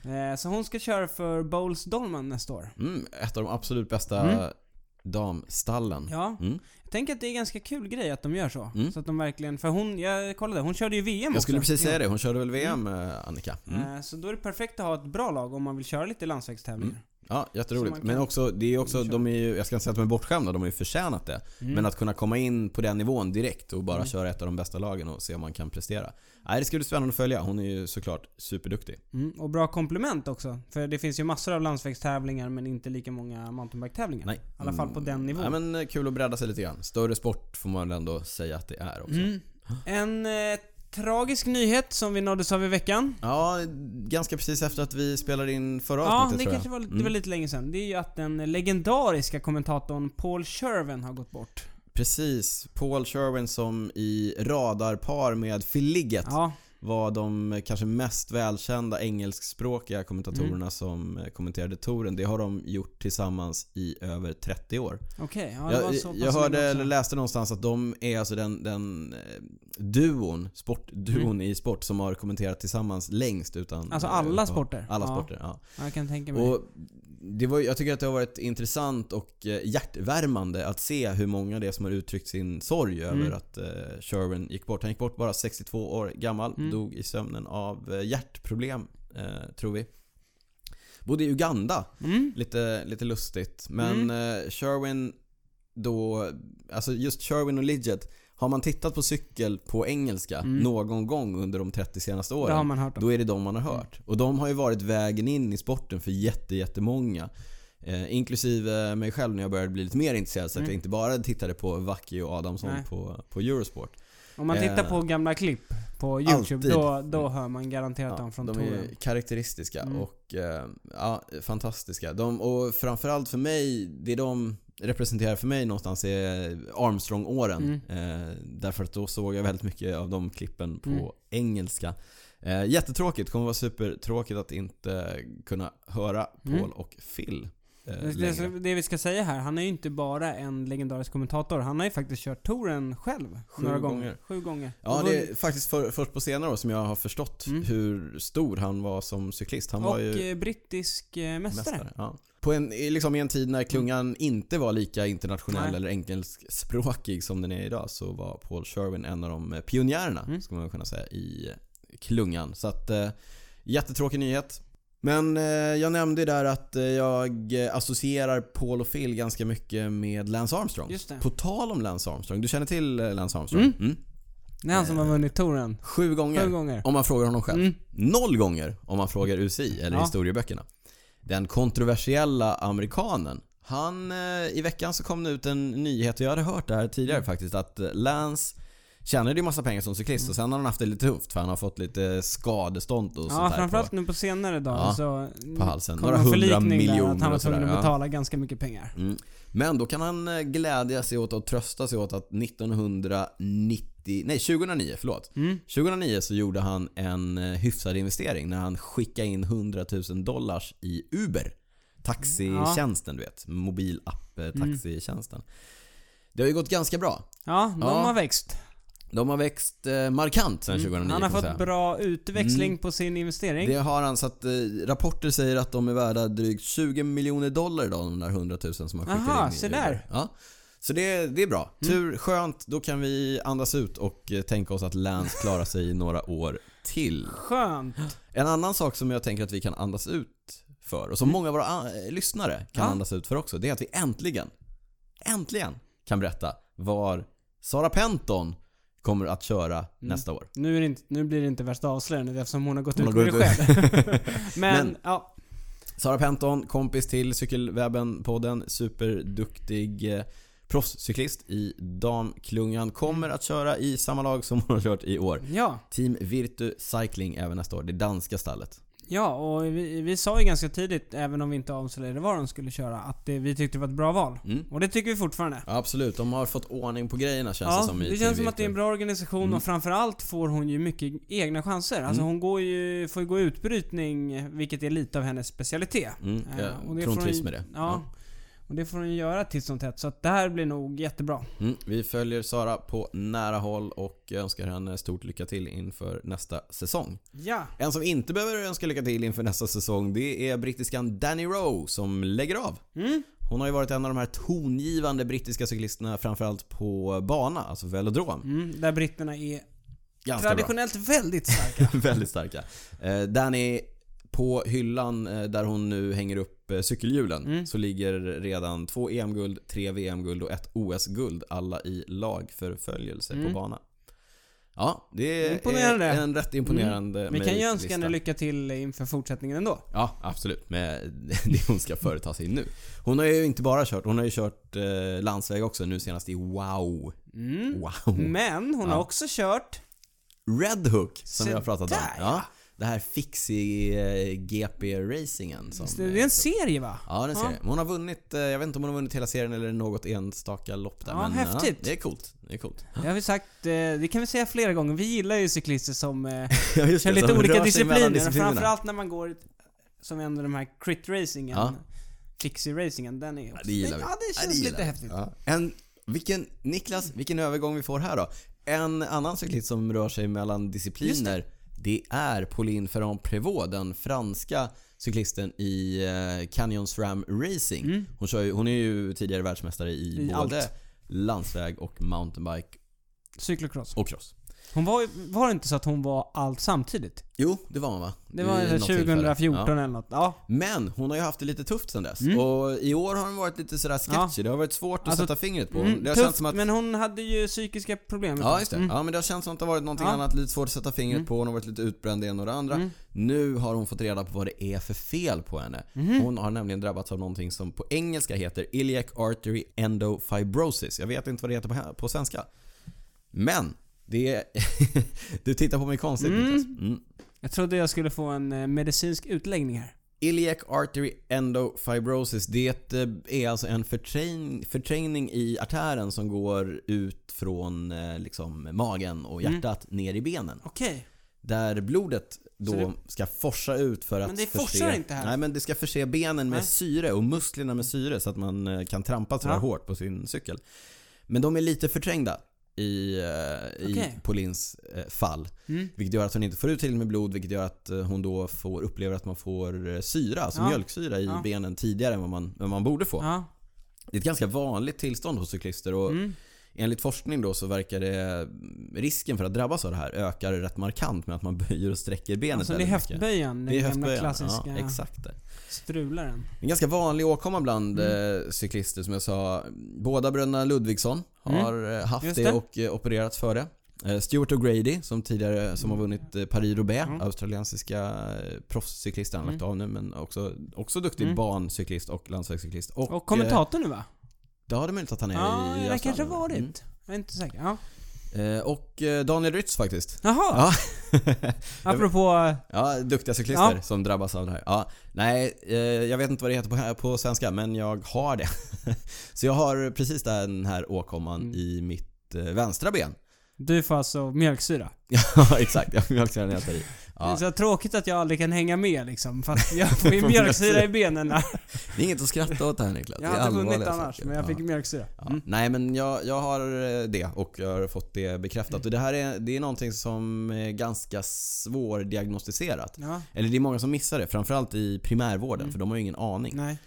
Speaker 2: Eh, Så hon ska köra för Bowles Dolman nästa år.
Speaker 1: Mm, ett av de absolut bästa damstallen.
Speaker 2: Mm. Ja.
Speaker 1: Mm.
Speaker 2: Jag tänker att det är en ganska kul grej att de gör så.
Speaker 1: Mm.
Speaker 2: Så att de verkligen, för hon, jag kollade, hon körde ju VM
Speaker 1: Jag skulle
Speaker 2: också.
Speaker 1: precis säga det, hon körde väl VM, eh, Annika? Mm.
Speaker 2: Eh, Så då är det perfekt att ha ett bra lag om man vill köra lite landsvägstävlingar.
Speaker 1: Ja,
Speaker 2: Så
Speaker 1: jätteroligt.
Speaker 2: man kan-
Speaker 1: Men också, det är också,
Speaker 2: Kör.
Speaker 1: de är ju, jag ska inte säga att de är bortskämda, de har ju förtjänat det.
Speaker 2: Mm.
Speaker 1: Men att kunna komma in på den nivån direkt och bara köra ett av de bästa lagen och se om man kan prestera. Nej, det ska bli spännande att följa. Hon är ju såklart superduktig.
Speaker 2: Mm. Och bra komplement också. För det finns ju massor av landsvägstävlingar men inte lika många mountainbike-tävlingar.
Speaker 1: Nej.
Speaker 2: I alla fall på den nivån.
Speaker 1: Ja, men eh, kul att bredda sig lite grann. Större sport får man väl ändå säga att det är också.
Speaker 2: Mm. En eh, tragisk nyhet som vi nåddes av i veckan.
Speaker 1: Ja, ganska precis efter att vi spelade in förra
Speaker 2: Ja,
Speaker 1: avsnittet
Speaker 2: det
Speaker 1: tror jag. Mm.
Speaker 2: kanske var, lite- det var lite länge sedan. Det är ju att den legendariska kommentatorn Paul Sherven har gått bort.
Speaker 1: Precis. Paul Sherwin som i radarpar med Phil Liggett
Speaker 2: Ja,
Speaker 1: var de kanske mest välkända engelskspråkiga kommentatorerna
Speaker 2: Mm.
Speaker 1: som eh, kommenterade touren. Det har de gjort tillsammans i över 30 år.
Speaker 2: okej. Ja, det var
Speaker 1: jag
Speaker 2: så pass
Speaker 1: jag hörde
Speaker 2: länge
Speaker 1: eller
Speaker 2: också.
Speaker 1: läste någonstans att de är alltså den, den eh, duon, sportduon i sport som har kommenterat tillsammans längst utan...
Speaker 2: Mm. Alltså
Speaker 1: eh,
Speaker 2: alla
Speaker 1: uppehåll.
Speaker 2: sporter?
Speaker 1: Alla
Speaker 2: Ja.
Speaker 1: sporter, ja.
Speaker 2: Ja, Jag kan tänka mig.
Speaker 1: Och det var, jag tycker att det har varit intressant och eh, hjärtvärmande att se hur många det är som har uttryckt sin sorg
Speaker 2: Mm.
Speaker 1: över att eh, Sherwin gick bort. Han gick bort bara 62 år gammal,
Speaker 2: Mm.
Speaker 1: dog i sömnen av eh, hjärtproblem, eh, tror vi. Bodde i Uganda,
Speaker 2: Mm.
Speaker 1: lite, lite lustigt. Men eh, Sherwin då, alltså just Sherwin och Lidget, har man tittat på cykel på engelska
Speaker 2: Mm.
Speaker 1: någon gång under de 30 senaste
Speaker 2: Det
Speaker 1: åren
Speaker 2: har man hört Mm. om.
Speaker 1: då är det de man har hört. Och de har ju varit vägen in i sporten för jätte, jättemånga. Eh, inklusive mig själv när jag började bli lite mer intresserad så att
Speaker 2: Mm.
Speaker 1: jag inte bara tittade på Vacki och Adamsson
Speaker 2: Nej.
Speaker 1: på, på Eurosport.
Speaker 2: Om man tittar
Speaker 1: Eh,
Speaker 2: på gamla klipp på YouTube,
Speaker 1: alltid.
Speaker 2: då, då hör man garanterat dem från
Speaker 1: de
Speaker 2: touren.
Speaker 1: är karaktäristiska
Speaker 2: Mm.
Speaker 1: och eh, ja, fantastiska. De, och framförallt för mig, det de representerar för mig någonstans är Armstrong-åren. Eh, därför att då såg jag väldigt mycket av de klippen på
Speaker 2: Mm.
Speaker 1: engelska. Eh, jättetråkigt, kommer vara supertråkigt att inte kunna höra Paul
Speaker 2: Mm.
Speaker 1: och Phil. eh,
Speaker 2: Det, det,
Speaker 1: längre.
Speaker 2: det vi ska säga här, han är ju inte bara en legendarisk kommentator. Han har ju faktiskt kört touren själv.
Speaker 1: Sju
Speaker 2: några gånger.
Speaker 1: gånger.
Speaker 2: Sju gånger.
Speaker 1: Ja,
Speaker 2: Och
Speaker 1: det
Speaker 2: vunnit.
Speaker 1: är faktiskt för, först på senare år som jag har förstått
Speaker 2: Mm.
Speaker 1: hur stor han var som cyklist. Han var
Speaker 2: och
Speaker 1: ju
Speaker 2: eh, brittisk eh, mästare.
Speaker 1: mästare. Ja. På en, i- liksom I en tid när klungan inte var lika internationell
Speaker 2: Mm. Nej.
Speaker 1: eller engelskspråkig som den är idag så var Paul Sherwin en av de eh, pionjärerna,
Speaker 2: Mm.
Speaker 1: skulle man kunna säga, i klungan. Så att, eh, jättetråkig nyhet. Men eh, jag nämnde ju där att eh, jag eh, associerar Paul och Phil ganska mycket med Lance Armstrong.
Speaker 2: Just det.
Speaker 1: På tal om Lance Armstrong, du känner till eh, Lance Armstrong?
Speaker 2: Mm.
Speaker 1: Mm.
Speaker 2: Det är han som har vunnit touren.
Speaker 1: Eh, Sju gånger.
Speaker 2: Sju gånger.
Speaker 1: Om man frågar honom själv.
Speaker 2: Mm.
Speaker 1: Noll gånger om man frågar UCI eller
Speaker 2: Ja.
Speaker 1: historieböckerna. Den kontroversiella amerikanen. Han, eh, i veckan så kom det ut en nyhet och jag hade hört det här tidigare faktiskt att eh, Lance tjänade ju massa pengar som cyklist och sen har han haft det lite tufft för han har fått lite skadestånd och sånt
Speaker 2: Ja,
Speaker 1: här
Speaker 2: framförallt
Speaker 1: på,
Speaker 2: nu på senare dagar
Speaker 1: Ja,
Speaker 2: så...
Speaker 1: på halsen.
Speaker 2: kom
Speaker 1: Några
Speaker 2: en
Speaker 1: hundra
Speaker 2: förlikning där
Speaker 1: miljoner
Speaker 2: att han var
Speaker 1: och sådär.
Speaker 2: tvungen att
Speaker 1: ja.
Speaker 2: betala ganska mycket pengar.
Speaker 1: Mm. Men då kan han eh, glädja sig åt och trösta sig åt att 1990, nej 2009, förlåt.
Speaker 2: Mm.
Speaker 1: 2009 så gjorde han en eh, hyfsad investering när han skickade in 100 000 dollars i Uber. Taxitjänsten du vet. Mobilapp eh,
Speaker 2: Mm.
Speaker 1: taxitjänsten. Det har ju gått ganska bra.
Speaker 2: Ja, de
Speaker 1: Ja.
Speaker 2: har växt. Mm.
Speaker 1: De har växt eh, markant sedan 2009
Speaker 2: Han har
Speaker 1: kan man säga. Mm.
Speaker 2: fått bra utväxling på sin investering.
Speaker 1: Det har han så att eh, rapporter säger att de är värda drygt 20 miljoner dollar idag de där 100 000 som han skickar
Speaker 2: Aha,
Speaker 1: in. i
Speaker 2: se
Speaker 1: Uber.
Speaker 2: där. Mm.
Speaker 1: Ja. Så det, det är bra. Tur, skönt. Då kan vi andas ut och eh, tänka oss att Lance klarar sig i några år till.
Speaker 2: Skönt.
Speaker 1: En annan sak som jag tänker att vi kan andas ut för och som många av våra eh, lyssnare kan
Speaker 2: Mm. Ja.
Speaker 1: andas ut för också. Det är att vi äntligen, äntligen kan berätta var Sara Penton kommer att köra
Speaker 2: Mm.
Speaker 1: nästa år.
Speaker 2: Nu, är det inte, nu blir det inte värsta avslöjandet eftersom hon har gått
Speaker 1: Hon
Speaker 2: ut
Speaker 1: har
Speaker 2: med det
Speaker 1: gått ut.
Speaker 2: själv. Men,
Speaker 1: Men-
Speaker 2: ja.
Speaker 1: Sara Penton, kompis till Cykelwebben-podden, superduktig eh, proffscyklist i damklungan. Kommer
Speaker 2: Mm.
Speaker 1: att köra i samma lag som hon har kört i år.
Speaker 2: Ja.
Speaker 1: Team Virtu Cycling även nästa år, det danska stallet.
Speaker 2: Ja, och vi, vi sa ju ganska tidigt, även om vi inte avslöjade vad de skulle köra, att det, vi tyckte det var ett bra val.
Speaker 1: Mm.
Speaker 2: Och det tycker vi fortfarande.
Speaker 1: Ja, absolut, de har fått ordning på grejerna känns det
Speaker 2: Ja,
Speaker 1: som i Mm.
Speaker 2: det
Speaker 1: Team
Speaker 2: känns som att det är en
Speaker 1: Virtu.
Speaker 2: bra organisation och framförallt får hon ju mycket egna chanser.
Speaker 1: Mm.
Speaker 2: Alltså hon går ju, får ju gå utbrytning, vilket är lite av hennes specialitet.
Speaker 1: Mm,
Speaker 2: Eh,
Speaker 1: jag tror hon
Speaker 2: får
Speaker 1: trivs
Speaker 2: ju-
Speaker 1: med det.
Speaker 2: Ja,
Speaker 1: Ja.
Speaker 2: Och det får hon ju göra titt som tätt, så att det här blir nog jättebra.
Speaker 1: Mm, vi följer Sara på nära håll och önskar henne stort lycka till inför nästa säsong.
Speaker 2: Ja.
Speaker 1: En som inte behöver önska lycka till inför nästa säsong det är brittiskan Danny Rowe som lägger av.
Speaker 2: Mm.
Speaker 1: Hon har ju varit en av de här tongivande brittiska cyklisterna framförallt på bana, alltså velodrom.
Speaker 2: Mm, där britterna är
Speaker 1: Ganska bra.
Speaker 2: traditionellt väldigt starka.
Speaker 1: Väldigt starka. Eh, Danny på hyllan eh, där hon nu hänger upp eh, cykelhjulen
Speaker 2: Mm.
Speaker 1: så ligger redan två EM-guld, tre VM-guld och ett OS-guld alla i lagförföljelse på bana. Ja, det är
Speaker 2: Mm. Imponerande. Mm.
Speaker 1: en rätt imponerande
Speaker 2: vi kan ju önska
Speaker 1: meritlista.
Speaker 2: henne lycka till inför fortsättningen ändå.
Speaker 1: Ja, absolut. Med det hon ska företa sig nu. Hon har ju inte bara kört, hon har ju kört eh, landsväg också nu senast i Wow.
Speaker 2: Mm.
Speaker 1: Wow.
Speaker 2: Men hon har
Speaker 1: Ja.
Speaker 2: också kört
Speaker 1: Red Hook som
Speaker 2: Se
Speaker 1: vi har pratat om.
Speaker 2: där,
Speaker 1: Ja, det här fixie eh, GP-racingen som...
Speaker 2: Det är en serie va?
Speaker 1: Ja, den ser jag. Men Hon har vunnit, eh, jag vet inte om hon har vunnit hela serien eller något enstaka lopp där.
Speaker 2: Ja,
Speaker 1: men,
Speaker 2: häftigt.
Speaker 1: Ja, det är coolt. Det är coolt.
Speaker 2: Det har vi sagt, eh, det kan vi säga flera gånger. Vi gillar ju cyklister som eh,
Speaker 1: Ja, just
Speaker 2: kör lite
Speaker 1: som rör sig
Speaker 2: olika
Speaker 1: mellan
Speaker 2: discipliner.
Speaker 1: disciplinerna.
Speaker 2: Framförallt när man går, som en av de här crit-racingen.
Speaker 1: Ja.
Speaker 2: Fixie-racingen, den är också...
Speaker 1: Det gillar vi.
Speaker 2: Ja, det känns
Speaker 1: gillar
Speaker 2: lite
Speaker 1: vi.
Speaker 2: häftigt.
Speaker 1: Ja. En, vilken, Niklas, vilken övergång vi får här då. En annan cyklist som rör sig mellan discipliner det. är Pauline Ferrand Prévot, den franska cyklisten i eh, Canyon SRAM Racing.
Speaker 2: Mm.
Speaker 1: Hon, kör ju, hon är ju tidigare världsmästare i,
Speaker 2: I
Speaker 1: både
Speaker 2: allt.
Speaker 1: landsväg och mountainbike
Speaker 2: Cyklocross.
Speaker 1: och cross.
Speaker 2: Hon var, ju- var det inte så att hon var allt samtidigt?
Speaker 1: Jo, det var hon va?
Speaker 2: Det
Speaker 1: I
Speaker 2: var
Speaker 1: något tillfälle.
Speaker 2: 2014
Speaker 1: Ja.
Speaker 2: eller något. Ja.
Speaker 1: Men hon har ju haft det lite tufft sen dess. Och i år har hon varit lite sådär sketchy. Det har varit svårt att
Speaker 2: Alltså,
Speaker 1: sätta fingret på.
Speaker 2: Mm,
Speaker 1: det har
Speaker 2: tufft,
Speaker 1: känts som att
Speaker 2: men hon hade ju psykiska problem. Mm.
Speaker 1: Ja, just det. Ja, men det har känts som att det har varit någonting
Speaker 2: Ja. Mm.
Speaker 1: annat. Lite svårt att sätta fingret på. Hon har varit lite utbränd i en och det andra. Nu har hon fått reda på vad det är för fel på henne.
Speaker 2: Mm.
Speaker 1: Hon har nämligen drabbats av någonting som på engelska heter Iliac Artery Endofibrosis. Jag vet inte vad det heter på, här- på svenska. Men det är... du tittar på mig konstigt Niklas. Mm.
Speaker 2: Jag trodde jag skulle få en eh, medicinsk utläggning här.
Speaker 1: Iliac Artery Endofibrosis, det eh, är alltså en förträng, förträngning i artären som går ut från eh, liksom, magen och hjärtat ner i benen.
Speaker 2: Okej.
Speaker 1: Där blodet då
Speaker 2: Så det-
Speaker 1: ska forsa ut för att
Speaker 2: Men det forsar inte här.
Speaker 1: Nej men det ska förse benen med
Speaker 2: Nej.
Speaker 1: syre och musklerna med syre så att man eh, kan trampa sådär
Speaker 2: Ja.
Speaker 1: hårt på sin cykel. Men de är lite förträngda i, eh, i
Speaker 2: Okej.
Speaker 1: Paulins eh, fall.
Speaker 2: Mm.
Speaker 1: Vilket gör att hon inte får ut tillräckligt med blod vilket gör att eh, hon då får, upplever att man får eh, syra, alltså
Speaker 2: Ja.
Speaker 1: mjölksyra i
Speaker 2: Ja.
Speaker 1: benen tidigare än vad man, vad man borde få.
Speaker 2: Ja.
Speaker 1: Det är ett ganska vanligt tillstånd hos cyklister och
Speaker 2: Mm.
Speaker 1: enligt forskning då så verkar det risken för att drabbas av det här ökar rätt markant med att man böjer och sträcker benet
Speaker 2: Alltså det är
Speaker 1: väldigt mycket.
Speaker 2: höftböjan,
Speaker 1: Det är
Speaker 2: den gamla
Speaker 1: höftböjan.
Speaker 2: klassiska
Speaker 1: Ja, exakt det.
Speaker 2: strularen.
Speaker 1: En ganska vanlig åkomma bland
Speaker 2: Mm.
Speaker 1: eh, cyklister som jag sa. Båda bröderna Ludvigsson har eh, haft det.
Speaker 2: Mm. Just det.
Speaker 1: och eh, opererats för det. Eh, Stuart O'Grady som tidigare som har vunnit eh, Paris-Roubaix,
Speaker 2: Mm.
Speaker 1: australiensiska eh, proffscyklist, han har lagt
Speaker 2: Mm.
Speaker 1: av nu men också, också duktig
Speaker 2: Mm.
Speaker 1: bancyklist och landsvägscyklist. Och,
Speaker 2: Och
Speaker 1: eh,
Speaker 2: kommentator nu va?
Speaker 1: Ja, det är möjligt att han är
Speaker 2: Ja,
Speaker 1: i
Speaker 2: det
Speaker 1: Australien.
Speaker 2: kanske har varit. Jag är inte säker. Ja.
Speaker 1: Mm. Eh, Och eh, Daniel Rytz faktiskt.
Speaker 2: Jaha! Apropå... eh,
Speaker 1: Ja, duktiga cyklister
Speaker 2: Ja.
Speaker 1: som drabbas av det här. Ja, nej, eh, jag vet inte vad det heter på, på svenska, men jag har det. Så jag har precis den här åkomman
Speaker 2: Mm.
Speaker 1: i mitt eh, vänstra ben.
Speaker 2: Du får alltså mjölksyra.
Speaker 1: Ja, exakt. Jag mjölksyran äter i.
Speaker 2: Det
Speaker 1: Ja,
Speaker 2: är så tråkigt att jag aldrig kan hänga med liksom. För att jag får ju
Speaker 1: Får
Speaker 2: mjölksyra
Speaker 1: mjölksyra.
Speaker 2: i benen.
Speaker 1: det är inget att skratta åt här Niklas.
Speaker 2: Jag
Speaker 1: Det är
Speaker 2: har inte hunnit
Speaker 1: allvarliga
Speaker 2: annars,
Speaker 1: saker.
Speaker 2: men jag fick
Speaker 1: ja.
Speaker 2: mjölksyra.
Speaker 1: Ja.
Speaker 2: Mm.
Speaker 1: Nej men jag, jag har eh, det och jag har fått det bekräftat. Och det här är, det är någonting som är ganska svårdiagnostiserat.
Speaker 2: Ja,
Speaker 1: Eller det är många som missar det, framförallt i primärvården för de har ju ingen aning.
Speaker 2: Mm. nej.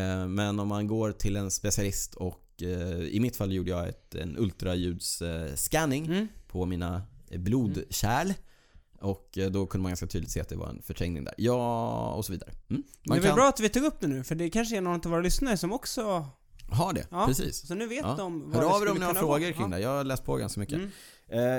Speaker 1: Eh, Men om man går till en specialist och eh, i mitt fall gjorde jag ett, en ultraljudsscanning
Speaker 2: Mm.
Speaker 1: på mina eh, blodkärl. Och eh, då kunde man ganska tydligt se att det var en förträngning där. Ja, och så vidare. Mm.
Speaker 2: Men
Speaker 1: Man
Speaker 2: det är
Speaker 1: kan
Speaker 2: väl bra att vi tog upp det nu, för det kanske är någon av våra lyssnare som också...
Speaker 1: ha det,
Speaker 2: Ja.
Speaker 1: precis.
Speaker 2: Så nu vet
Speaker 1: Ja.
Speaker 2: de vad
Speaker 1: Hör
Speaker 2: det
Speaker 1: av er
Speaker 2: skulle
Speaker 1: om ni har
Speaker 2: kunna vara.
Speaker 1: frågor kring det. Jag har läst på ganska mycket.
Speaker 2: Mm.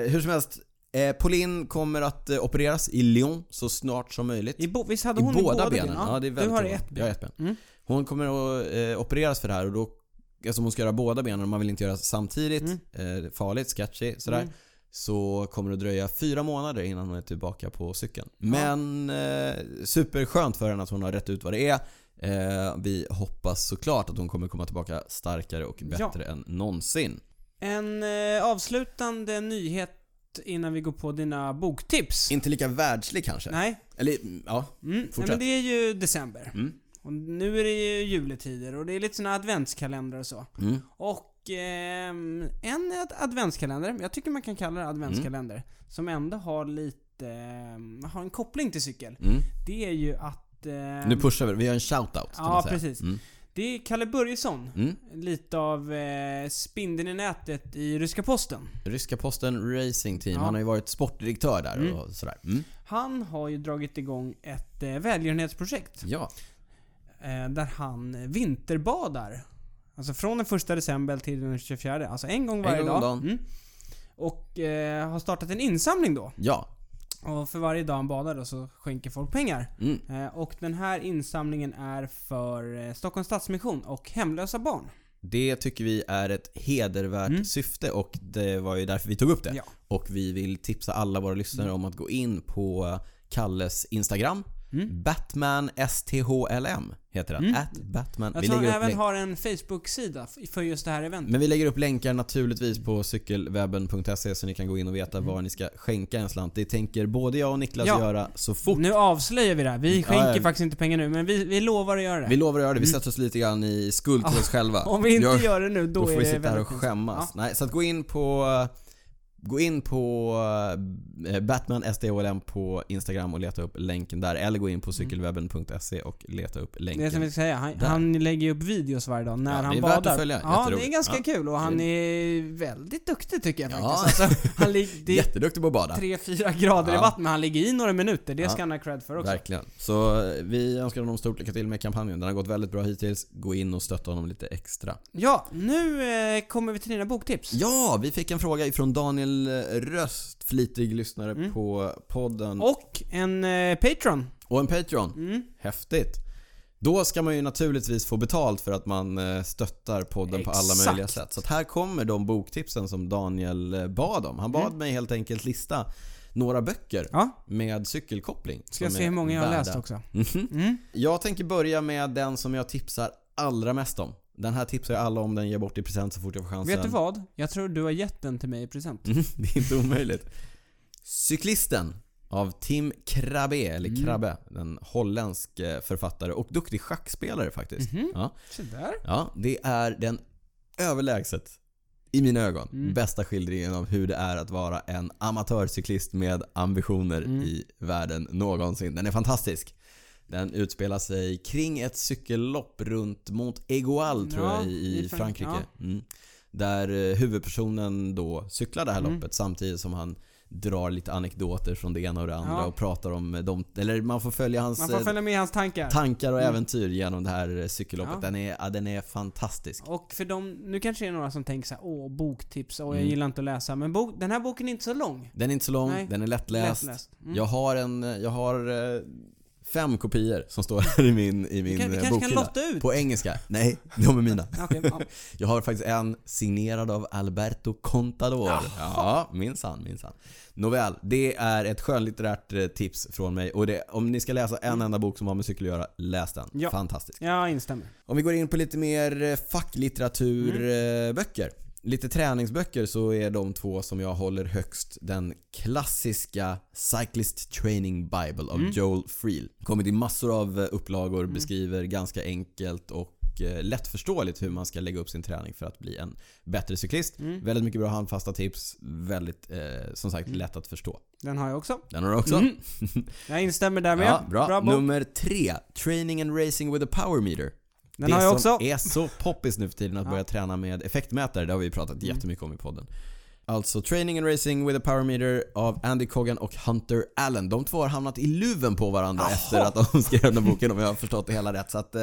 Speaker 1: Eh, hur som helst, eh, Pauline kommer att eh, opereras i Lyon så snart som möjligt.
Speaker 2: I bo, visst hade
Speaker 1: I
Speaker 2: hon
Speaker 1: båda, benen?
Speaker 2: Ja,
Speaker 1: Ja, det är väldigt
Speaker 2: Du har
Speaker 1: ovanligt.
Speaker 2: ett
Speaker 1: Jag har
Speaker 2: ben.
Speaker 1: ett ben.
Speaker 2: Mm.
Speaker 1: Hon kommer att eh, opereras för det här och då, eftersom hon ska göra båda benen och man vill inte göra samtidigt,
Speaker 2: Mm.
Speaker 1: eh, farligt, sketchy, sådär.
Speaker 2: Mm.
Speaker 1: Så kommer det att dröja fyra månader innan hon är tillbaka på cykeln. Men eh, superskönt för henne att hon har rätt ut vad det är. Eh, vi hoppas såklart att hon kommer komma tillbaka starkare och
Speaker 2: Ja.
Speaker 1: bättre än någonsin.
Speaker 2: En eh, avslutande nyhet innan vi går på dina boktips.
Speaker 1: Inte lika världslig kanske.
Speaker 2: Nej.
Speaker 1: Eller mm, ja,
Speaker 2: Mm. Nej,
Speaker 1: Fortsätt.
Speaker 2: men det är ju december.
Speaker 1: Mm.
Speaker 2: Och nu är det ju juletider och det är lite såna adventskalendrar och så.
Speaker 1: mm.
Speaker 2: Och ehm, en ad- adventskalender, jag tycker man kan kalla det adventskalender,
Speaker 1: Mm.
Speaker 2: som ändå har lite, ehm, har en koppling till cykel.
Speaker 1: Mm.
Speaker 2: Det är ju att... ehm,
Speaker 1: Nu pushar vi, vi gör en shout-out kan
Speaker 2: Ja,
Speaker 1: man säga.
Speaker 2: precis.
Speaker 1: Mm.
Speaker 2: det är Kalle Börjesson,
Speaker 1: Mm.
Speaker 2: lite av eh, spindeln i nätet i Ryska Posten.
Speaker 1: Ryska posten Racing Team,
Speaker 2: Ja.
Speaker 1: han har ju varit sportdirektör där
Speaker 2: Mm.
Speaker 1: och sådär. Mm.
Speaker 2: Han har ju dragit igång ett eh, välgörenhetsprojekt
Speaker 1: Ja.
Speaker 2: eh, där han vinterbadar. Alltså från den 1 december till den 24, alltså en gång varje
Speaker 1: gång om
Speaker 2: dag.
Speaker 1: dagen.
Speaker 2: Mm. Och eh, har startat en insamling då.
Speaker 1: Ja.
Speaker 2: Och för varje dag han badar då så skänker folk pengar.
Speaker 1: Mm.
Speaker 2: Eh, och den här insamlingen är för eh, Stockholms Stadsmission och hemlösa barn.
Speaker 1: Det tycker vi är ett hedervärt
Speaker 2: Mm.
Speaker 1: syfte och det var ju därför vi tog upp det.
Speaker 2: Ja.
Speaker 1: Och vi vill tipsa alla våra lyssnare om att gå in på Kalles Instagram.
Speaker 2: Mm.
Speaker 1: Batman STHLM heter den.
Speaker 2: Mm.
Speaker 1: At Batman.
Speaker 2: Jag
Speaker 1: vi
Speaker 2: tror han
Speaker 1: lägger upp
Speaker 2: även
Speaker 1: länk-
Speaker 2: har en Facebook-sida f- för just det här eventet.
Speaker 1: Men vi lägger upp länkar naturligtvis på cykelwebben.se så ni kan gå in och veta var ni ska skänka en slant. Det tänker både jag och Niklas
Speaker 2: Mm. Ja.
Speaker 1: göra så fort
Speaker 2: Nu avslöjar vi det här. Vi
Speaker 1: Ja,
Speaker 2: skänker
Speaker 1: ja.
Speaker 2: faktiskt inte pengar nu, men vi, vi lovar att göra det.
Speaker 1: Vi lovar att göra det. Vi sätter oss lite grann i skuld till oss själva.
Speaker 2: Mm. Om vi inte
Speaker 1: Gör-
Speaker 2: gör det nu, då,
Speaker 1: då
Speaker 2: är
Speaker 1: får vi
Speaker 2: det
Speaker 1: sitta här och
Speaker 2: väldigt pinsamt.
Speaker 1: skämmas. Nej, så att gå in på Gå in på eh, Batman SDHLM på Instagram och leta upp länken där. Eller gå in på cykelwebben.se E och leta upp
Speaker 2: Ja, Mm. det är
Speaker 1: länken.
Speaker 2: som vi ska säga. Han,
Speaker 1: Där.
Speaker 2: han lägger ju upp videos varje dag när
Speaker 1: Ja, det
Speaker 2: han
Speaker 1: är värt
Speaker 2: badar.
Speaker 1: att följa.
Speaker 2: Ja, det är
Speaker 1: Jätteroligt.
Speaker 2: ganska
Speaker 1: Ja.
Speaker 2: kul och han är väldigt duktig tycker jag
Speaker 1: Ja.
Speaker 2: faktiskt. Alltså, han lig- det är
Speaker 1: Jätteduktig på att bada.
Speaker 2: 3-4 grader i
Speaker 1: Ja.
Speaker 2: vatten, men han ligger i några minuter. Det
Speaker 1: Ja.
Speaker 2: ska han ha cred för också.
Speaker 1: Verkligen. Så eh, vi önskar honom stort lycka till med kampanjen. Den har gått väldigt bra hittills. Gå in och stötta honom lite extra.
Speaker 2: Ja, nu eh, kommer vi till dina boktips.
Speaker 1: Ja, vi fick en fråga ifrån Daniel eh, Röst, flitig lyssnare
Speaker 2: Mm.
Speaker 1: på podden.
Speaker 2: Och en eh, Patreon.
Speaker 1: Och en Patreon.
Speaker 2: Mm.
Speaker 1: Häftigt. Då ska man ju naturligtvis få betalt för att man eh, stöttar podden på alla
Speaker 2: Exakt.
Speaker 1: möjliga sätt. Så att här kommer de boktipsen som Daniel eh, bad om. Han bad
Speaker 2: Mm.
Speaker 1: mig helt enkelt lista några böcker
Speaker 2: Ja,
Speaker 1: med cykelkoppling.
Speaker 2: ska
Speaker 1: som
Speaker 2: jag se
Speaker 1: är
Speaker 2: hur många jag har
Speaker 1: värda-
Speaker 2: läst också.
Speaker 1: Mhm.
Speaker 2: Mm.
Speaker 1: Jag tänker börja med den som jag tipsar allra mest om. Den här tipsar jag alla om, den ger jag bort i present så fort jag får chansen.
Speaker 2: Vet du vad? Jag tror du har gett den till mig i present.
Speaker 1: Mm, Det är inte omöjligt. Cyklisten Av Tim Krabbe, eller Krabbe. En holländsk eh, författare och duktig schackspelare faktiskt. Mm. Ja.
Speaker 2: Mm. Se där.
Speaker 1: Ja, det är den överlägset, i mina ögon,
Speaker 2: Mm.
Speaker 1: bästa skildringen av hur det är att vara en amatörcyklist med ambitioner
Speaker 2: Mm.
Speaker 1: i världen någonsin. Den är fantastisk. Den utspelar sig kring ett cykellopp runt Mont Egoal tror
Speaker 2: Mm, Ja,
Speaker 1: jag i,
Speaker 2: i
Speaker 1: i
Speaker 2: Frank-
Speaker 1: Frankrike. Mm. Där eh, huvudpersonen då cyklar det här
Speaker 2: Mm.
Speaker 1: loppet samtidigt som han drar lite anekdoter från det ena och det andra
Speaker 2: Ja.
Speaker 1: och pratar om eh, de, eller man får följa hans
Speaker 2: Man får
Speaker 1: eh,
Speaker 2: följa med i hans tankar.
Speaker 1: tankar och äventyr genom det här eh, cykelloppet.
Speaker 2: Mm. Ja.
Speaker 1: Den, är, ja, den är fantastisk.
Speaker 2: Och för dem, nu kanske det är några som tänker så här, åh boktips, åh
Speaker 1: Mm.
Speaker 2: jag gillar inte att läsa. Men bok, den här boken är inte så lång. Mm.
Speaker 1: Den är inte så lång,
Speaker 2: Nej.
Speaker 1: den är lättläst.
Speaker 2: Lättläst.
Speaker 1: Jag har en, eh, jag har eh, fem kopior som står här i min, i min
Speaker 2: kan- vi
Speaker 1: eh,
Speaker 2: kanske kan
Speaker 1: bokhylla.
Speaker 2: lotta ut?
Speaker 1: På engelska. Nej, de är mina.
Speaker 2: Okej, ja.
Speaker 1: Jag har faktiskt en signerad av Alberto Contador. Ja, minsann, minsann. Nåväl, det är ett skönlitterärt eh, tips från mig. Och det, om ni ska läsa en enda bok som har med cykel att göra, läs den.
Speaker 2: Mm. Ja.
Speaker 1: Fantastisk.
Speaker 2: Jag instämmer.
Speaker 1: Om vi går in på lite mer eh, facklitteraturböcker. Lite träningsböcker så är de två som jag håller högst den klassiska Cyclist Training Bible av Joel Friel. Kommit i massor av eh, upplagor, beskriver ganska enkelt och eh, lättförståeligt hur man ska lägga upp sin träning för att bli en bättre cyklist.
Speaker 2: Mm.
Speaker 1: Väldigt mycket bra handfasta tips. Väldigt, eh, som sagt, lätt att förstå.
Speaker 2: Den har jag också.
Speaker 1: Den har du också.
Speaker 2: Mm. Jag instämmer där med.
Speaker 1: Ja, bra.
Speaker 2: bra bok.
Speaker 1: Nummer tre. Training and racing with a power meter.
Speaker 2: Den
Speaker 1: det
Speaker 2: har jag
Speaker 1: som
Speaker 2: också.
Speaker 1: är så poppis nu för tiden att börja träna med effektmätare, det har vi pratat
Speaker 2: Mm.
Speaker 1: jättemycket om i podden. Alltså Training and Racing with a Power Meter av Andy Coggan och Hunter Allen. De två har hamnat i luven på
Speaker 2: Ah.
Speaker 1: varandra efter att de skrev den här boken om jag har förstått det hela rätt. Så att, eh,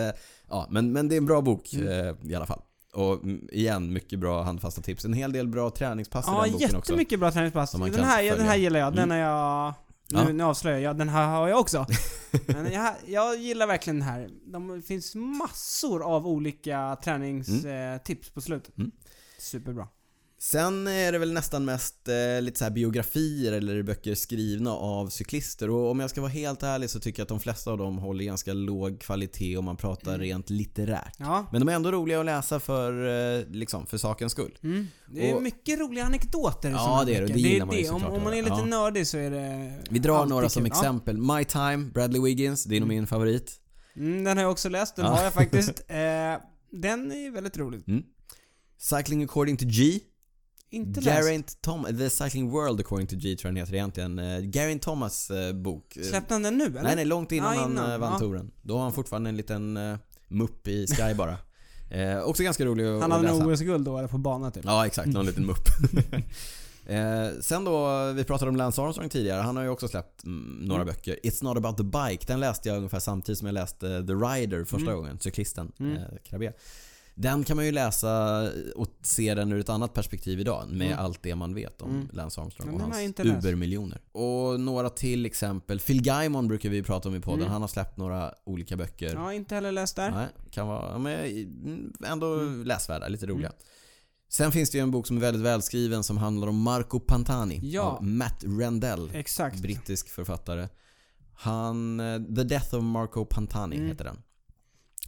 Speaker 1: ja, men, men det är en bra bok
Speaker 2: Mm.
Speaker 1: eh, i alla fall. Och mm, igen, mycket bra handfasta tips. En hel del bra träningspass i
Speaker 2: Ja,
Speaker 1: den boken också.
Speaker 2: jättemycket bra träningspass.
Speaker 1: Som man
Speaker 2: Den
Speaker 1: kan
Speaker 2: här, den här
Speaker 1: följa. Mm.
Speaker 2: gillar jag. Den har jag... Nu,
Speaker 1: Ja.
Speaker 2: nu avslöjar jag, den här har jag också. Men jag, jag gillar verkligen den här. De, det finns massor av olika träningstips på slutet.
Speaker 1: Mm.
Speaker 2: Superbra.
Speaker 1: Sen är det väl nästan mest eh, lite så här biografier eller böcker skrivna av cyklister och om jag ska vara helt ärlig så tycker jag att de flesta av dem håller ganska låg kvalitet om man pratar
Speaker 2: Mm.
Speaker 1: rent litterärt.
Speaker 2: Ja.
Speaker 1: Men de är ändå roliga att läsa för, eh, liksom, för sakens skull.
Speaker 2: Mm. Det är
Speaker 1: Och-
Speaker 2: mycket roliga anekdoter
Speaker 1: Ja,
Speaker 2: som man
Speaker 1: det är det.
Speaker 2: skickar.
Speaker 1: Det gillar man ju
Speaker 2: om,
Speaker 1: såklart
Speaker 2: om man är
Speaker 1: att höra.
Speaker 2: lite
Speaker 1: Ja.
Speaker 2: nördig så är det
Speaker 1: Vi drar
Speaker 2: alltid
Speaker 1: några som
Speaker 2: kul. Ja.
Speaker 1: exempel. My Time, Bradley Wiggins, det är nog min favorit.
Speaker 2: Mm, den har jag också läst, den
Speaker 1: Ja.
Speaker 2: har jag faktiskt. Eh, den är väldigt rolig.
Speaker 1: Cycling according to G.
Speaker 2: Inte läst.
Speaker 1: Geraint Thomas, The Cycling World according to G tror jag den heter egentligen. Eh, Geraint Thomas eh, bok. Eh,
Speaker 2: Släppte han den nu eller?
Speaker 1: Nej, nej, långt innan
Speaker 2: Ja,
Speaker 1: han
Speaker 2: innan.
Speaker 1: eh, vann
Speaker 2: Ja.
Speaker 1: touren. Då var han fortfarande en liten eh, mupp i Sky bara. Eh, också ganska rolig att,
Speaker 2: han
Speaker 1: att
Speaker 2: hade
Speaker 1: läsa.
Speaker 2: en OS-guld då, eller på bana typ.
Speaker 1: Ja, exakt. Någon liten mupp. eh, sen då, vi pratade om Lance Armstrong tidigare. Han har ju också släppt mm, några böcker. It's not about the bike. Den läste jag ungefär samtidigt som jag läste The Rider
Speaker 2: Mm.
Speaker 1: första gången. Cyklisten, eh, Krabbe. Den kan man ju läsa och se den ur ett annat perspektiv idag med allt det man vet om Lance Armstrong
Speaker 2: Mm. Men
Speaker 1: och
Speaker 2: den har
Speaker 1: hans
Speaker 2: jag inte läst.
Speaker 1: ubermiljoner. Och några till exempel. Phil Gaimon brukar vi prata om i podden.
Speaker 2: Mm.
Speaker 1: Han har släppt några olika böcker.
Speaker 2: Ja, inte heller läst där.
Speaker 1: Nej, kan vara, ja, men ändå
Speaker 2: Mm.
Speaker 1: läsvärda, lite roliga. Sen finns det ju en bok som är väldigt välskriven som handlar om Marco Pantani.
Speaker 2: Ja.
Speaker 1: Av Matt Rendell.
Speaker 2: Exakt.
Speaker 1: Brittisk författare. Han, eh, The Death of Marco Pantani
Speaker 2: Mm.
Speaker 1: heter den.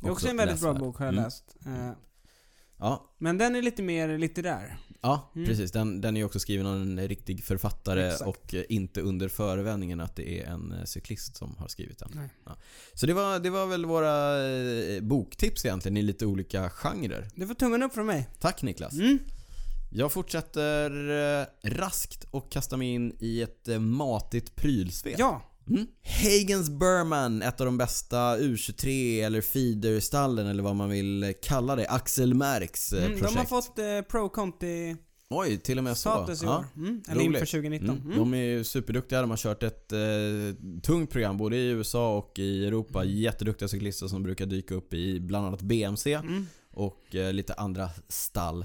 Speaker 2: Det är också en väldigt bra
Speaker 1: läsvärd.
Speaker 2: bok har jag
Speaker 1: Mm.
Speaker 2: läst. Eh,
Speaker 1: Ja,
Speaker 2: Men den är lite mer litterär.
Speaker 1: ja
Speaker 2: Mm.
Speaker 1: precis. Den, den är ju också skriven av en riktig författare
Speaker 2: Exakt.
Speaker 1: och eh, inte under förevändningen att det är en eh, cyklist som har skrivit den.
Speaker 2: Nej.
Speaker 1: Ja. Så det var, det var väl våra eh, boktips egentligen i lite olika genrer.
Speaker 2: Du får tummen upp från mig.
Speaker 1: Tack Niklas.
Speaker 2: Mm.
Speaker 1: Jag fortsätter eh, raskt och kastar mig in i ett eh, matigt prylsvep.
Speaker 2: Ja.
Speaker 1: Mm. Hagens Burman, ett av de bästa U23 eller feederstallen eller vad man vill eh, kalla det. Axel Märks eh,
Speaker 2: Mm, de
Speaker 1: projekt.
Speaker 2: har fått eh, pro conti
Speaker 1: Oj, till och med så.
Speaker 2: status i
Speaker 1: Ja.
Speaker 2: år. Mm. Eller
Speaker 1: Roligt.
Speaker 2: inför 2019.
Speaker 1: Mm.
Speaker 2: Mm.
Speaker 1: De är ju superduktiga. De har kört ett eh, tungt program både i USA och i Europa.
Speaker 2: Mm.
Speaker 1: Jätteduktiga cyklister som brukar dyka upp i bland annat BMC
Speaker 2: Mm.
Speaker 1: och eh, lite andra stall.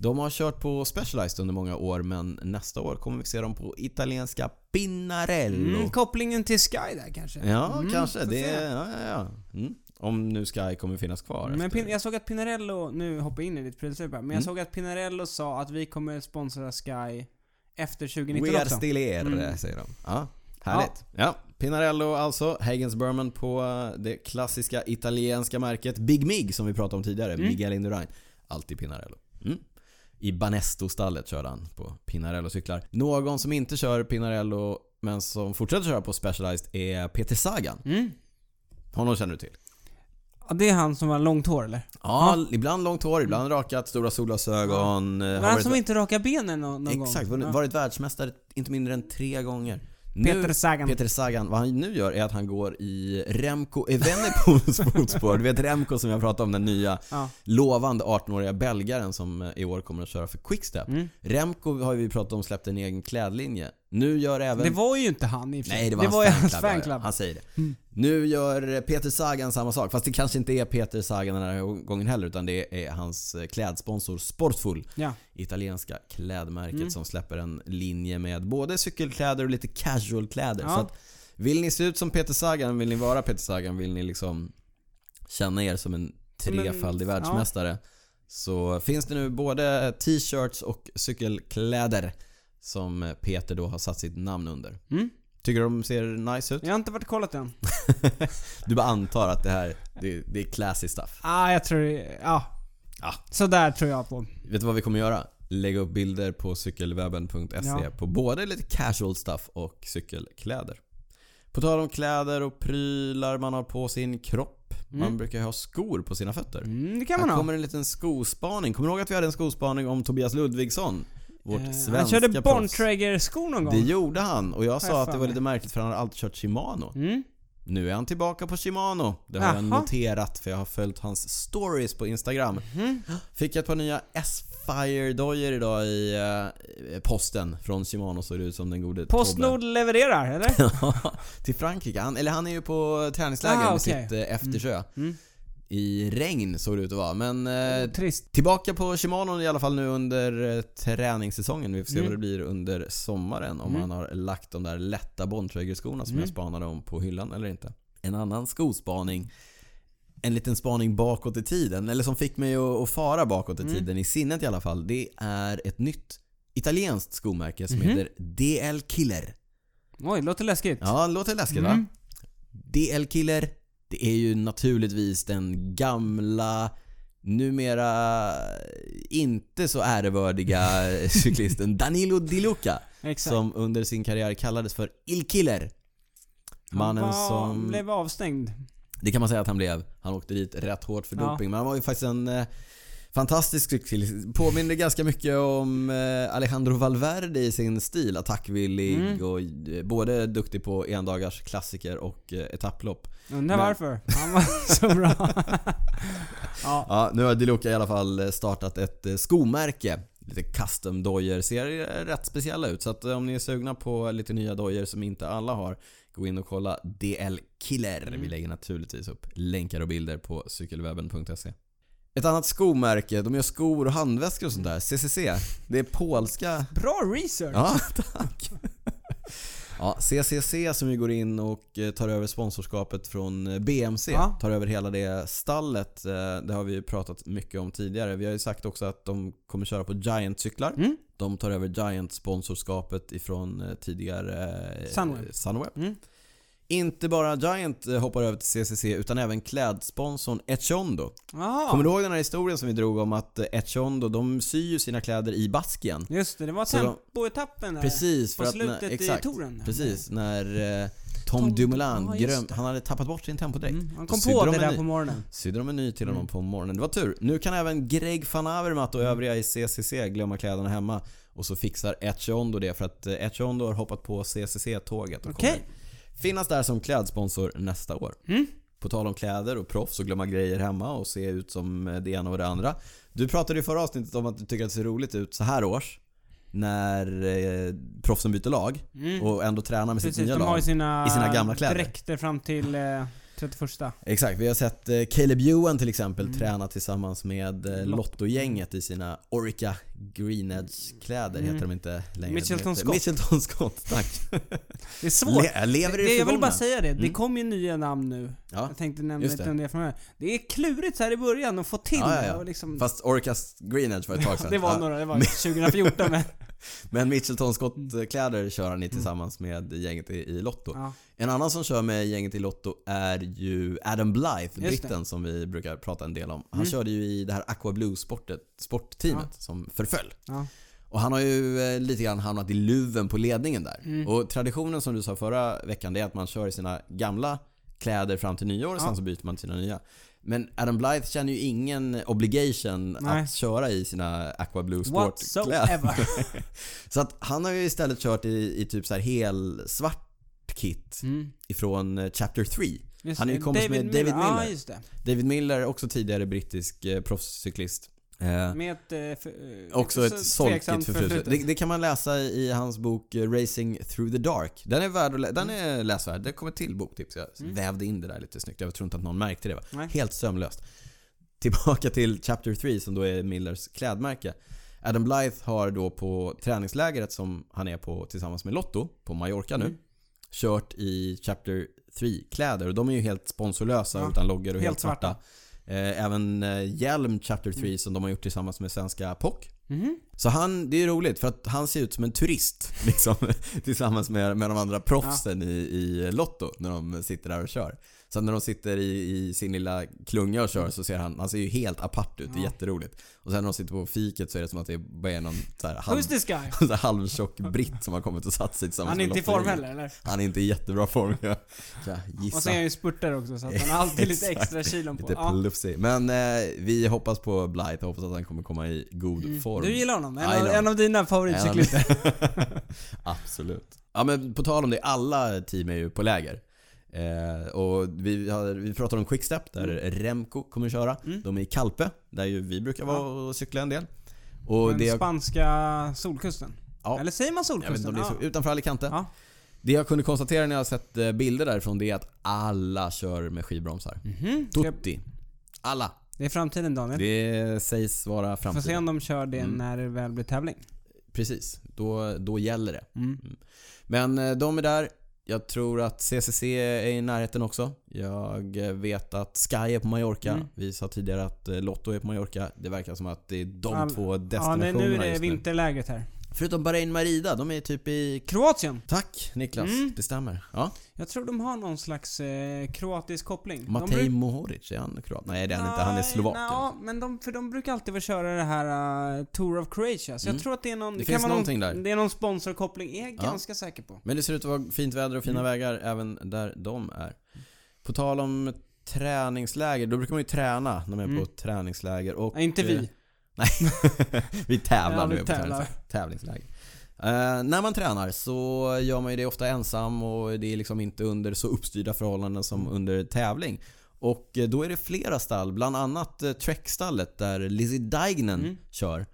Speaker 1: De har kört på Specialized under många år men nästa år kommer vi se dem på italienska Pinarello.
Speaker 2: Mm, kopplingen till Sky där kanske.
Speaker 1: Ja, kanske.
Speaker 2: får
Speaker 1: Det,
Speaker 2: se.
Speaker 1: ja, ja, ja. Mm. Om nu Sky kommer finnas kvar.
Speaker 2: Men
Speaker 1: efter- Mm.
Speaker 2: Pin- jag såg att Pinarello, nu hoppar jag in i ditt prylsvep här, men jag såg att Pinarello sa att vi kommer sponsra Sky efter 2019
Speaker 1: We are
Speaker 2: också.
Speaker 1: still here, eh, säger de. Ja, härligt. Ja. Pinarello alltså, Hagens Berman på eh, det klassiska italienska märket Big Mig som vi pratade om tidigare,
Speaker 2: Mm.
Speaker 1: Miguel Indurain. Alltid Pinarello. Mm. I Banesto-stallet körde han på Pinarello-cyklar. Någon som inte kör Pinarello men som fortsätter köra på Specialized är Peter Sagan.
Speaker 2: Mm.
Speaker 1: Honom känner du till?
Speaker 2: Ja, det är han som har långt hår eller?
Speaker 1: Ja, ibland långt hår, ibland rakat, stora solglasögon. eh,
Speaker 2: Det
Speaker 1: har
Speaker 2: var han
Speaker 1: varit-
Speaker 2: som inte rakar benen någon, någon gång?
Speaker 1: Exakt, varit,
Speaker 2: Ja.
Speaker 1: varit världsmästare inte mindre än tre gånger.
Speaker 2: Peter
Speaker 1: nu,
Speaker 2: Sagan.
Speaker 1: Peter Sagan, vad han nu gör är att han går i Remco Evenepoels fotspår. Du vet Remco som jag pratade om, den nya
Speaker 2: Ja.
Speaker 1: lovande 18-åriga belgaren som eh, i år kommer att köra för Quickstep.
Speaker 2: Mm.
Speaker 1: Remco har ju vi pratat om släppt en egen klädlinje. Nu gör även...
Speaker 2: Det var ju inte han i och för sig.
Speaker 1: Nej, det var,
Speaker 2: ju
Speaker 1: hans
Speaker 2: hans
Speaker 1: fanclub. ja, ja.
Speaker 2: fanclub. Mm.
Speaker 1: Han säger det. Nu gör Peter Sagan samma sak. Fast det kanske inte är Peter Sagan den här gången heller utan det är hans eh, klädsponsor Sportful
Speaker 2: Ja.
Speaker 1: italienska klädmärket
Speaker 2: Mm.
Speaker 1: som släpper en linje med både cykelkläder och lite casualkläder.
Speaker 2: Ja.
Speaker 1: Så att, vill ni se ut som Peter Sagan? Vill ni vara Peter Sagan? Vill ni liksom känna er som en
Speaker 2: Som en-
Speaker 1: trefaldig
Speaker 2: ja.
Speaker 1: världsmästare? Så finns det nu både t-shirts och cykelkläder som Peter då har satt sitt namn under.
Speaker 2: Mm.
Speaker 1: Tycker du de ser nice ut?
Speaker 2: Jag har inte varit och kollat än.
Speaker 1: Du bara antar att det här, det, det är classy stuff.
Speaker 2: Ah, jag tror det... Ja.
Speaker 1: Ja.
Speaker 2: Sådär tror jag på.
Speaker 1: Vet du vad vi kommer göra? Lägga upp bilder på cykelwebben.se
Speaker 2: Ja.
Speaker 1: på både lite casual stuff och cykelkläder. På tal om kläder och prylar man har på sin kropp. Man brukar ju ha skor på sina fötter.
Speaker 2: Mm, det kan man
Speaker 1: Här
Speaker 2: ha.
Speaker 1: kommer en liten skospaning. Kommer du ihåg att vi hade en skospaning om Tobias Ludvigsson? Vårt
Speaker 2: Eh,
Speaker 1: svenska
Speaker 2: han körde
Speaker 1: proffs.
Speaker 2: Bontrager-skor någon gång.
Speaker 1: Det gjorde han och jag
Speaker 2: Har jag
Speaker 1: sa att det
Speaker 2: för
Speaker 1: var
Speaker 2: mig.
Speaker 1: lite märkligt för han har alltid kört Shimano.
Speaker 2: Mm.
Speaker 1: Nu är han tillbaka på Shimano. Det har jag
Speaker 2: Jaha.
Speaker 1: noterat för jag har följt hans stories på Instagram.
Speaker 2: Mhm.
Speaker 1: Fick jag ett par nya S-Fire dojor idag i eh, posten från Shimano såg det ut som den gode
Speaker 2: Postnord levererar, eller?
Speaker 1: Tobbe. Till Frankrike. Han, eller han är ju på träningsläger
Speaker 2: Ah,
Speaker 1: med
Speaker 2: okej.
Speaker 1: sitt eh, eftersjö.
Speaker 2: Mm.
Speaker 1: I regn såg det ut att vara. Men eh,
Speaker 2: Trist.
Speaker 1: tillbaka på Shimano i alla fall nu under eh, träningssäsongen. Vi får se vad det blir under sommaren. Om han har lagt de där lätta Bontrager-skorna som jag spanade om på hyllan eller inte. En annan skospaning. En liten spaning bakåt i tiden. Eller som fick mig att, att fara bakåt i tiden i sinnet i alla fall. Det är ett nytt italienskt skomärke som heter DL Killer.
Speaker 2: Oj, låter läskigt.
Speaker 1: Ja, det låter läskigt
Speaker 2: Mm.
Speaker 1: va? DL Killer, det är ju naturligtvis den gamla, numera inte så ärevördiga cyklisten Danilo Di Luca.
Speaker 2: Exakt.
Speaker 1: Som under sin karriär kallades för Il Killer. Mannen
Speaker 2: han var-
Speaker 1: som...
Speaker 2: blev avstängd.
Speaker 1: Det kan man säga att han blev. Han åkte dit rätt hårt för
Speaker 2: Ja.
Speaker 1: doping. Men han var ju faktiskt en eh, fantastisk cyklist. Påminner ganska mycket om eh, Alejandro Valverde i sin stil. Attackvillig
Speaker 2: Mm.
Speaker 1: och eh, både duktig på endagars klassiker och eh, etapplopp.
Speaker 2: Undrar
Speaker 1: Men-
Speaker 2: varför. Han var så bra. ja.
Speaker 1: Ja, nu har Diluca i alla fall eh, startat ett eh, skomärke. Lite custom dojor ser eh, rätt speciella ut. Så att eh, om ni är sugna på lite nya dojor som inte alla har, gå in och kolla DL Killer. Vi lägger naturligtvis upp länkar och bilder på cykelwebben.se. Ett annat skomärke, de gör skor och handväskor och sånt där. CCC. Det är polska
Speaker 2: Bra research.
Speaker 1: Ja, tack. Ja, CCC som ju går in och eh, tar över sponsorskapet från eh, BMC.
Speaker 2: Ja.
Speaker 1: Tar över hela det stallet. Eh, Det har vi ju pratat mycket om tidigare. Vi har ju sagt också att de kommer köra på Giant-cyklar.
Speaker 2: Mm.
Speaker 1: De tar över Giant-sponsorskapet ifrån eh, tidigare eh,
Speaker 2: Sunweb.
Speaker 1: Sunweb.
Speaker 2: Mm.
Speaker 1: Inte bara Giant eh, hoppar över till CCC utan även klädsponsorn Echondo.
Speaker 2: Ja.
Speaker 1: Kommer du ihåg den här historien som vi drog om att eh, Echondo, de syr ju sina kläder i Baskien?
Speaker 2: Just det, det var
Speaker 1: Så de-
Speaker 2: tempoetappen där.
Speaker 1: Precis,
Speaker 2: På
Speaker 1: för att
Speaker 2: slutet
Speaker 1: när,
Speaker 2: i
Speaker 1: exakt,
Speaker 2: touren.
Speaker 1: Precis, när eh, Tom,
Speaker 2: Tom
Speaker 1: Dumoulin
Speaker 2: Dumoulin, ja, just
Speaker 1: gröm, han hade tappat bort sin tempodräkt.
Speaker 2: Mm, han
Speaker 1: Då
Speaker 2: kom
Speaker 1: sydde
Speaker 2: på
Speaker 1: de
Speaker 2: det
Speaker 1: en
Speaker 2: där
Speaker 1: ny-
Speaker 2: på morgonen.
Speaker 1: Sydde de en ny till
Speaker 2: Mm.
Speaker 1: honom på morgonen. Det var tur. Nu kan även Greg van Avermaet och övriga i CCC glömma kläderna hemma. Och så fixar Etchondo det för att eh, Etchondo har hoppat på CCC-tåget och
Speaker 2: Okej. Mm.
Speaker 1: kommer finnas där som klädsponsor nästa år. På tal om kläder och proffs och glömma grejer hemma och se ut som eh, det ena och det andra. Du pratade i förra avsnittet om att du tycker att det ser roligt ut så här års. När eh, proffsen byter lag
Speaker 2: Mm.
Speaker 1: och ändå tränar med sitt
Speaker 2: Precis,
Speaker 1: nya
Speaker 2: de har
Speaker 1: lag.
Speaker 2: ju sina,
Speaker 1: i sina gamla kläder.
Speaker 2: dräkter fram till eh, 31.
Speaker 1: Exakt, vi har sett eh, Caleb Ewan till exempel
Speaker 2: Mm.
Speaker 1: träna tillsammans med eh, Lotto-gänget i sina Orica Green Edge-kläder heter de inte längre.
Speaker 2: Mm. Mitchelton
Speaker 1: De heter-
Speaker 2: Scott.
Speaker 1: Mitchelton Scott, tack.
Speaker 2: Det är svårt.
Speaker 1: Le- lever i
Speaker 2: det, jag vill
Speaker 1: förgångna.
Speaker 2: bara säga det, det kommer ju nya namn nu.
Speaker 1: Ja,
Speaker 2: Jag tänkte nämna
Speaker 1: just
Speaker 2: lite
Speaker 1: det.
Speaker 2: om det framöver. Det är klurigt så här i början att få till
Speaker 1: Ja, ja,
Speaker 2: det
Speaker 1: ja.
Speaker 2: och liksom,
Speaker 1: Fast Oricas Green Edge var ett tag sedan.
Speaker 2: Det var
Speaker 1: Ja.
Speaker 2: några, det var 2014 men...
Speaker 1: Men Mitchelton Scott-kläder kör
Speaker 2: Mm.
Speaker 1: han i tillsammans med gänget i, i Lotto.
Speaker 2: Ja.
Speaker 1: En annan som kör med gänget i Lotto är ju Adam Blythe,
Speaker 2: det. Mm.
Speaker 1: britten som vi brukar prata en del om. Han körde ju i det här Aqua Blue-sportteamet som förföll.
Speaker 2: Ja.
Speaker 1: Och han har ju eh, lite grann hamnat i luven på ledningen där.
Speaker 2: Mm.
Speaker 1: Och traditionen som du sa förra veckan, det är att man kör i sina gamla kläder fram till nyår och sen så byter man till sina nya. Men Adam Blythe känner ju ingen obligation
Speaker 2: Nej.
Speaker 1: att köra i sina Aqua Blue Sport-kläder.
Speaker 2: Whatsoever.
Speaker 1: Så att han har ju istället kört i, i typ så här helsvart kit
Speaker 2: Mm.
Speaker 1: ifrån eh, Chapter 3.
Speaker 2: Just
Speaker 1: Han är ju
Speaker 2: det,
Speaker 1: kompis med David
Speaker 2: eh, Ja,
Speaker 1: Miller.
Speaker 2: just det.
Speaker 1: David Miller, också tidigare brittisk eh, proffscyklist. Eh,
Speaker 2: Med ett... eh, för- eh,
Speaker 1: Också
Speaker 2: lite
Speaker 1: ett
Speaker 2: så
Speaker 1: solkigt
Speaker 2: tveksamt
Speaker 1: förflutet. Det, det kan man läsa i hans bok eh, Racing Through the Dark. Den är, värd att lä- den
Speaker 2: Mm.
Speaker 1: är läsvärd. Det kommer ett till boktips. Jag vävde in det där lite snyggt. Jag tror inte att någon märkte det. Va?
Speaker 2: Nej.
Speaker 1: Helt sömlöst. Tillbaka till Chapter 3 som då är Millers klädmärke. Adam Blythe har då på träningslägret som han är på tillsammans med Lotto på Mallorca
Speaker 2: Mm.
Speaker 1: nu. Kört i Chapter 3-kläder och de är ju helt sponsorlösa
Speaker 2: Ja.
Speaker 1: utan loggor och helt,
Speaker 2: Helt
Speaker 1: svarta.
Speaker 2: svarta. Mm.
Speaker 1: Eh, även eh, hjälm Chapter 3 som de har gjort tillsammans med svenska POC.
Speaker 2: Mhm.
Speaker 1: Så han, det är ju roligt för att han ser ut som en turist liksom, tillsammans med, med de andra proffsen i, i Lotto när de sitter där och kör. Så när de sitter i, i sin lilla klunga och kör så ser han, han ser ju helt apart ut. Det är jätteroligt. Och sen när de sitter på fiket så är det som att det bara är någon så här halv,
Speaker 2: Who's this guy?
Speaker 1: så här halvtjock britt som har kommit och satt sig tillsammans
Speaker 2: Han är
Speaker 1: med
Speaker 2: inte i
Speaker 1: Lotto.
Speaker 2: form heller, eller?
Speaker 1: Han är inte i jättebra form. Jag, jag
Speaker 2: Och
Speaker 1: gissar.
Speaker 2: sen är han ju spurtare också, så att han har alltid lite extra kilon på.
Speaker 1: Lite plufsig. Men eh, vi hoppas på Blythe. Hoppas att han kommer komma i god form.
Speaker 2: Du gillar honom?
Speaker 1: I
Speaker 2: En, av,
Speaker 1: know.
Speaker 2: en av dina favoritcyklister?
Speaker 1: Absolut. Ja men på tal om det, alla team är ju på läger. Eh, och vi, har, vi pratar om Quickstep där
Speaker 2: Mm.
Speaker 1: Remco kommer köra. De är i Kalpe, där ju vi brukar vara och cykla en del. Och
Speaker 2: Den
Speaker 1: det, jag-
Speaker 2: spanska solkusten?
Speaker 1: Ja.
Speaker 2: Eller säger man
Speaker 1: jag vet inte
Speaker 2: solkusten?
Speaker 1: om det är så,
Speaker 2: ja.
Speaker 1: utanför Alicante.
Speaker 2: Ja.
Speaker 1: Det jag kunde konstatera när jag har sett eh, bilder därifrån det är att alla kör med skivbromsar.
Speaker 2: Mhm. Ska-
Speaker 1: Tutti. Alla.
Speaker 2: Det är framtiden Daniel.
Speaker 1: Det sägs vara
Speaker 2: Får se
Speaker 1: framtiden. Mm.
Speaker 2: om de kör det när det väl blir tävling.
Speaker 1: Precis, då, då gäller det.
Speaker 2: Mm.
Speaker 1: Mm. Men eh, de är där. Jag tror att CCC är i närheten också. Jag eh, vet att Sky är på Mallorca.
Speaker 2: Mm.
Speaker 1: Vi sa tidigare att eh, Lotto är på Mallorca. Det verkar som att det är de
Speaker 2: All-
Speaker 1: två
Speaker 2: Ja,
Speaker 1: destinationerna
Speaker 2: nej, nu är det
Speaker 1: just
Speaker 2: vinterläget här.
Speaker 1: nu. Förutom Bahrain Merida, de är typ i...
Speaker 2: Kroatien?
Speaker 1: Tack Niklas,
Speaker 2: Mm.
Speaker 1: det stämmer. Ja.
Speaker 2: Jag tror de har någon slags eh, kroatisk koppling. De
Speaker 1: Matej
Speaker 2: bruk-
Speaker 1: Mohoric, är han kroat? Nej det är han inte, han är slovak.
Speaker 2: Ja, men de, för de brukar alltid få köra det här eh, Tour of Croatia. Så
Speaker 1: Mm.
Speaker 2: jag tror att det är någon...
Speaker 1: Det finns
Speaker 2: vara
Speaker 1: någonting där.
Speaker 2: någon, Det är någon sponsorkoppling, är jag
Speaker 1: Ja.
Speaker 2: ganska säker på.
Speaker 1: Men det ser ut att vara fint väder och fina
Speaker 2: Mm.
Speaker 1: vägar även där de är. På tal om träningsläger, då brukar man ju träna när man är
Speaker 2: Mm.
Speaker 1: på träningsläger. Och,
Speaker 2: Nej, inte
Speaker 1: eh,
Speaker 2: vi.
Speaker 1: Nej, vi tävlar
Speaker 2: Ja,
Speaker 1: nu
Speaker 2: vi
Speaker 1: på
Speaker 2: tävlar.
Speaker 1: tävlingsläger. tävlingsläger. Eh, när man tränar så gör man ju det ofta ensam och det är liksom inte under så uppstyrda förhållanden
Speaker 2: Mm.
Speaker 1: som under tävling. Och eh, då är det flera stall, bland annat eh, Trek-stallet där Lizzie Deignen
Speaker 2: Mm.
Speaker 1: kör.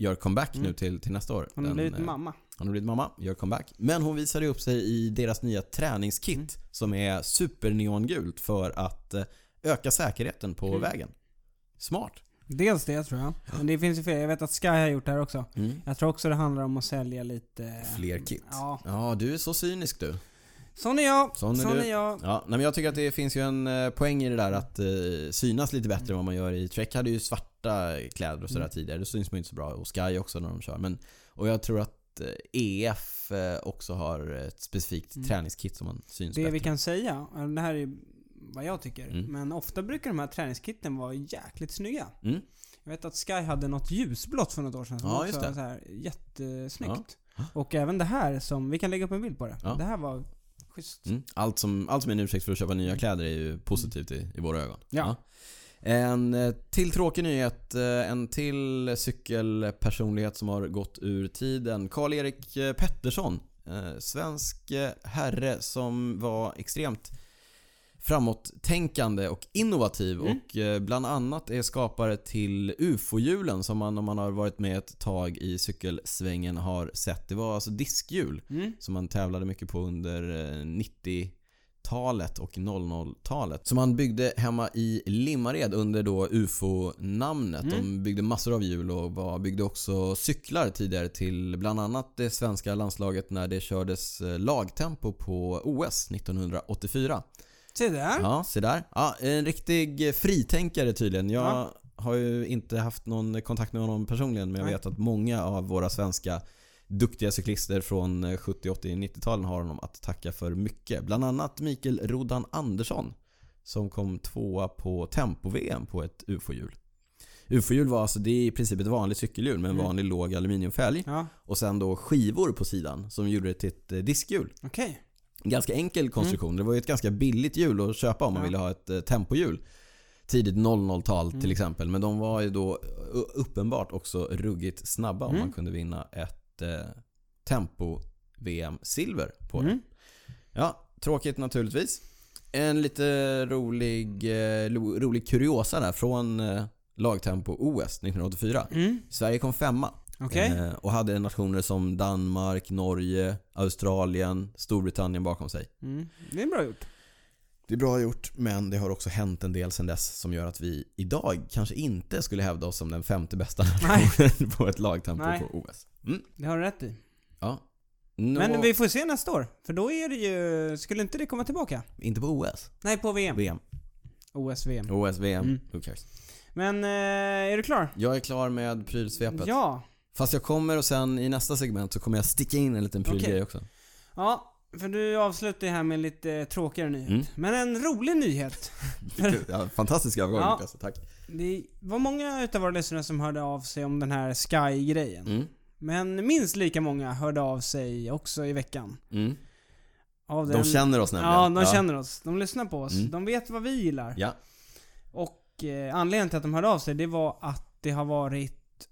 Speaker 1: Gör comeback nu till, till nästa år.
Speaker 2: Hon har
Speaker 1: Den,
Speaker 2: blivit
Speaker 1: eh,
Speaker 2: mamma.
Speaker 1: hon har blivit mamma, gör comeback. Men hon visade upp sig i deras nya träningskit
Speaker 2: Mm.
Speaker 1: som är superneongult för att eh, öka säkerheten på
Speaker 2: Mm.
Speaker 1: vägen. Smart.
Speaker 2: Dels det tror jag. Men det finns ju fler. Jag vet att Sky har gjort det här också.
Speaker 1: Mm.
Speaker 2: Jag tror också det handlar om att sälja lite...
Speaker 1: Fler kit.
Speaker 2: Ja.
Speaker 1: Ja, du är så cynisk du.
Speaker 2: Sån är jag.
Speaker 1: Sån är
Speaker 2: Sån
Speaker 1: du.
Speaker 2: är jag.
Speaker 1: Ja, nej, men jag tycker att det finns ju en eh, poäng i det där att eh, synas lite bättre än vad man gör i Trek hade ju svarta kläder och sådär
Speaker 2: Mm.
Speaker 1: tidigare. Det syns man ju inte så bra. Och Sky också när de kör. Men, och jag tror att eh, EF eh, också har ett specifikt
Speaker 2: Mm.
Speaker 1: träningskit som man syns
Speaker 2: Det
Speaker 1: bättre.
Speaker 2: vi kan säga, det här är vad jag tycker.
Speaker 1: Mm.
Speaker 2: Men ofta brukar de här träningskitten vara jäkligt snygga.
Speaker 1: Mm.
Speaker 2: Jag vet att Sky hade något ljusblått för något år sedan som
Speaker 1: Ja,
Speaker 2: också
Speaker 1: just det.
Speaker 2: var så här jättesnyggt. Och även det här som, vi kan lägga upp en bild på det.
Speaker 1: Ja.
Speaker 2: Det här var schysst.
Speaker 1: Mm. Allt, som, allt som är en ursäkt för att köpa nya kläder är ju positivt i, i våra ögon.
Speaker 2: Mm. Ja.
Speaker 1: En eh, till tråkig nyhet. eh, En till cykelpersonlighet som har gått ur tiden. Karl-Erik eh, Pettersson. eh, Svensk eh, herre som var extremt framåttänkande och innovativ
Speaker 2: Mm.
Speaker 1: och eh, bland annat är skapare till UFO-hjulen som man om man har varit med ett tag i cykelsvängen har sett. Det var alltså diskhjul
Speaker 2: Mm.
Speaker 1: som han tävlade mycket på under eh, 90-talet och 00-talet. Som han byggde hemma i Limmared under då UFO-namnet. De byggde massor av hjul och var, byggde också cyklar tidigare till bland annat det svenska landslaget när det kördes eh, lagtempo på OS 1984.
Speaker 2: Se där.
Speaker 1: Ja, se där. Ja, en riktig fritänkare tydligen. Jag
Speaker 2: Ja.
Speaker 1: har ju inte haft någon kontakt med honom personligen men jag
Speaker 2: Nej.
Speaker 1: vet att många av våra svenska duktiga cyklister från eh, 70, 80, 90-talen har honom att tacka för mycket. Bland annat Mikael Rodan Andersson som kom tvåa på Tempo-VM på ett UFO-hjul. UFO-hjul var alltså, det är i princip ett vanligt cykelhjul med en
Speaker 2: Mm.
Speaker 1: vanlig låg aluminiumfälg.
Speaker 2: Ja,
Speaker 1: Och sen då skivor på sidan som gjorde det till ett eh, diskhjul.
Speaker 2: okej.
Speaker 1: En ganska enkel konstruktion. Det var ju ett ganska billigt hjul att köpa om man
Speaker 2: Mm. Ja.
Speaker 1: ville ha ett eh, tempohjul. Tidigt 00-tal till
Speaker 2: Mm.
Speaker 1: exempel. Men de var ju då eh, u- uppenbart också ruggigt snabba om
Speaker 2: Mm.
Speaker 1: man kunde vinna ett eh, tempo-VM-silver på det.
Speaker 2: Mm.
Speaker 1: Ja, tråkigt naturligtvis. En lite rolig, eh, lo- rolig kuriosa där från eh, lagtempo-OS 1984.
Speaker 2: Mm.
Speaker 1: Sverige kom femma.
Speaker 2: Okej.
Speaker 1: Eh, och hade nationer som Danmark, Norge, Australien, Storbritannien bakom sig.
Speaker 2: Mm. Det är bra gjort.
Speaker 1: Det är bra gjort, men det har också hänt en del sedan dess som gör att vi idag kanske inte skulle hävda oss som den femte bästa
Speaker 2: Nej.
Speaker 1: nationen på ett lagtempo
Speaker 2: Nej.
Speaker 1: på OS. Mm,
Speaker 2: Det har du rätt i.
Speaker 1: ja. Nå,
Speaker 2: Men vi får se nästa år. För då är det ju... Skulle inte det komma tillbaka?
Speaker 1: Inte på OS.
Speaker 2: Nej, på VM.
Speaker 1: VM.
Speaker 2: OS, VM.
Speaker 1: OS, VM.
Speaker 2: Mm.
Speaker 1: Who cares?
Speaker 2: Men eh, är du klar?
Speaker 1: Jag är klar med prylsvepet.
Speaker 2: Ja.
Speaker 1: Fast jag kommer och sen i nästa segment så kommer jag sticka in en liten prylgrej
Speaker 2: Okej.
Speaker 1: också.
Speaker 2: Ja, för du avslutar ju här med lite tråkigare nyhet.
Speaker 1: Mm.
Speaker 2: Men en rolig nyhet.
Speaker 1: Ja, fantastisk övergång
Speaker 2: Ja.
Speaker 1: Niklas, tack.
Speaker 2: Det var många utav våra lyssnare som hörde av sig om den här Sky-grejen.
Speaker 1: Mm.
Speaker 2: Men minst lika många hörde av sig också i veckan.
Speaker 1: Mm.
Speaker 2: Av
Speaker 1: De känner oss nämligen.
Speaker 2: Ja, de känner oss. De lyssnar på oss.
Speaker 1: Mm.
Speaker 2: De vet vad vi gillar.
Speaker 1: Ja.
Speaker 2: Och eh, anledningen till att de hörde av sig, det var att det har varit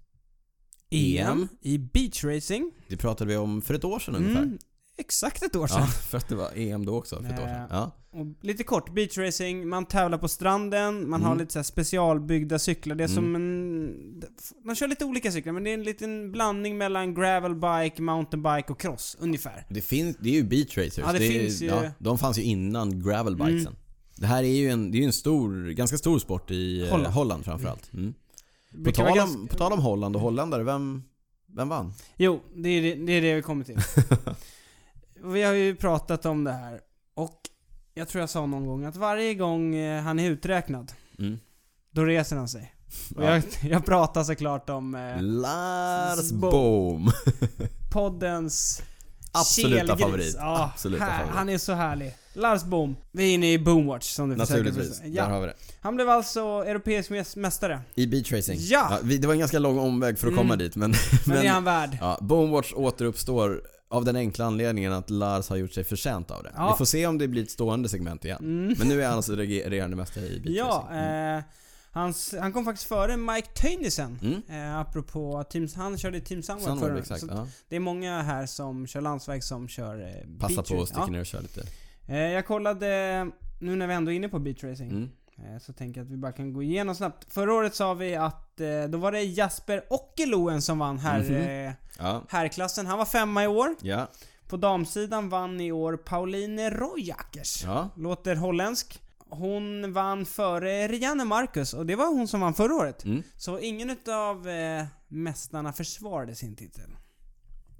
Speaker 2: EM,
Speaker 1: EM.
Speaker 2: i beachracing.
Speaker 1: Det pratade vi om för ett år sedan
Speaker 2: Mm,
Speaker 1: ungefär.
Speaker 2: exakt ett år sedan.
Speaker 1: Ja, för att det var EM då också för ett år sedan. Ja.
Speaker 2: Och lite kort, beachracing, man tävlar på stranden, man har
Speaker 1: Mm.
Speaker 2: lite så här specialbyggda cyklar. Det är
Speaker 1: Mm.
Speaker 2: som en... Man kör lite olika cyklar, men det är en liten blandning mellan gravelbike, mountainbike och cross, ungefär.
Speaker 1: Det, finns, det är ju beach racers.
Speaker 2: Ja, det
Speaker 1: är,
Speaker 2: finns ju-
Speaker 1: de fanns ju innan gravelbikesen.
Speaker 2: Mm.
Speaker 1: Det här är ju en, det är ju en stor, ganska stor sport i eh,
Speaker 2: Holland.
Speaker 1: Holland framförallt. Mm. På,
Speaker 2: Brukar
Speaker 1: tal
Speaker 2: vara
Speaker 1: om,
Speaker 2: ganska-
Speaker 1: på tal om Holland och holländare, vem, vem vann?
Speaker 2: Jo, det är det, det är det vi kommer till. vi har ju pratat om det här och jag tror jag sa någon gång att varje gång eh, han är uträknad,
Speaker 1: Mm.
Speaker 2: då reser han sig. Och
Speaker 1: Ja.
Speaker 2: jag, jag pratar såklart om eh,
Speaker 1: Lars
Speaker 2: Bo-
Speaker 1: Boom.
Speaker 2: poddens
Speaker 1: Absoluta
Speaker 2: kelgris.
Speaker 1: favorit.
Speaker 2: Ja,
Speaker 1: Absoluta
Speaker 2: här,
Speaker 1: favorit.
Speaker 2: Han är så härlig. Lars Boom. Vi är inne i Boomwatch som du
Speaker 1: Naturligtvis,
Speaker 2: försöker
Speaker 1: där
Speaker 2: ja.
Speaker 1: har vi det.
Speaker 2: Han blev alltså europeisk mäs- mästare.
Speaker 1: I beach racing.
Speaker 2: Ja!
Speaker 1: vi, det var en ganska lång omväg för att komma
Speaker 2: Mm.
Speaker 1: dit men...
Speaker 2: Men,
Speaker 1: men-
Speaker 2: det är han värd.
Speaker 1: Ja, Bonewatch återuppstår av den enkla anledningen att Lars har gjort sig förtjänt av det.
Speaker 2: Ja.
Speaker 1: Vi får se om det blir ett stående segment igen.
Speaker 2: Mm.
Speaker 1: Men nu är han alltså regerande mästare i
Speaker 2: Ja,
Speaker 1: beatracing. Mm.
Speaker 2: eh, hans, han kom faktiskt före Mike Tönnesen.
Speaker 1: Mm.
Speaker 2: Eh, apropå Team, han körde i Team Sunweb
Speaker 1: Sunweb,
Speaker 2: förra
Speaker 1: exakt.
Speaker 2: eh, så
Speaker 1: Ja.
Speaker 2: Det är många här som kör landsväg som kör eh,
Speaker 1: Passa
Speaker 2: beach
Speaker 1: på att
Speaker 2: racing.
Speaker 1: sticka ner och köra lite.
Speaker 2: ja. eh, Jag kollade, nu när vi ändå är inne på beachracing,
Speaker 1: Mm.
Speaker 2: eh, så tänker jag att vi bara kan gå igenom snabbt. Förra året sa vi att eh, då var det Jasper Ockeloen som vann här,
Speaker 1: Mhm.
Speaker 2: eh,
Speaker 1: Ja.
Speaker 2: herrklassen. Han var femma i år.
Speaker 1: Ja.
Speaker 2: På damsidan vann i år Pauline Rojakers.
Speaker 1: ja.
Speaker 2: Låter holländsk. Hon vann före Rianne Marcus och det var hon som vann förra året.
Speaker 1: Mm.
Speaker 2: Så ingen utav eh, mästarna försvarade sin titel.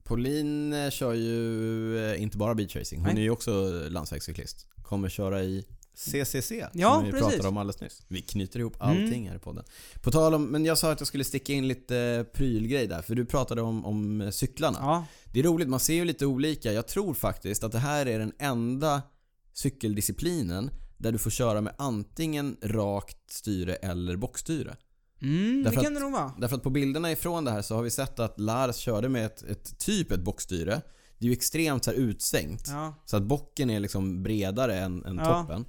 Speaker 1: Pauline eh, kör ju eh, inte bara beachracing. Hon
Speaker 2: Nej.
Speaker 1: är ju också landsvägscyklist. Kommer köra i CCC
Speaker 2: Ja,
Speaker 1: som vi
Speaker 2: precis. Mm.
Speaker 1: pratade om alldeles nyss. Vi knyter ihop allting här i podden. På tal om, men jag sa att jag skulle sticka in lite prylgrej där. För du pratade om, om cyklarna.
Speaker 2: Ja.
Speaker 1: Det är roligt, man ser ju lite olika. Jag tror faktiskt att det här är den enda cykeldisciplinen där du får köra med antingen rakt styre eller bockstyre.
Speaker 2: Mm, det
Speaker 1: Därför
Speaker 2: kan det nog vara.
Speaker 1: Därför att på bilderna ifrån det här så har vi sett att Lars körde med ett, ett typ ett bockstyre. Det är ju extremt så här utsvängt.
Speaker 2: Ja.
Speaker 1: Så att bocken är liksom bredare än, än
Speaker 2: Ja.
Speaker 1: toppen.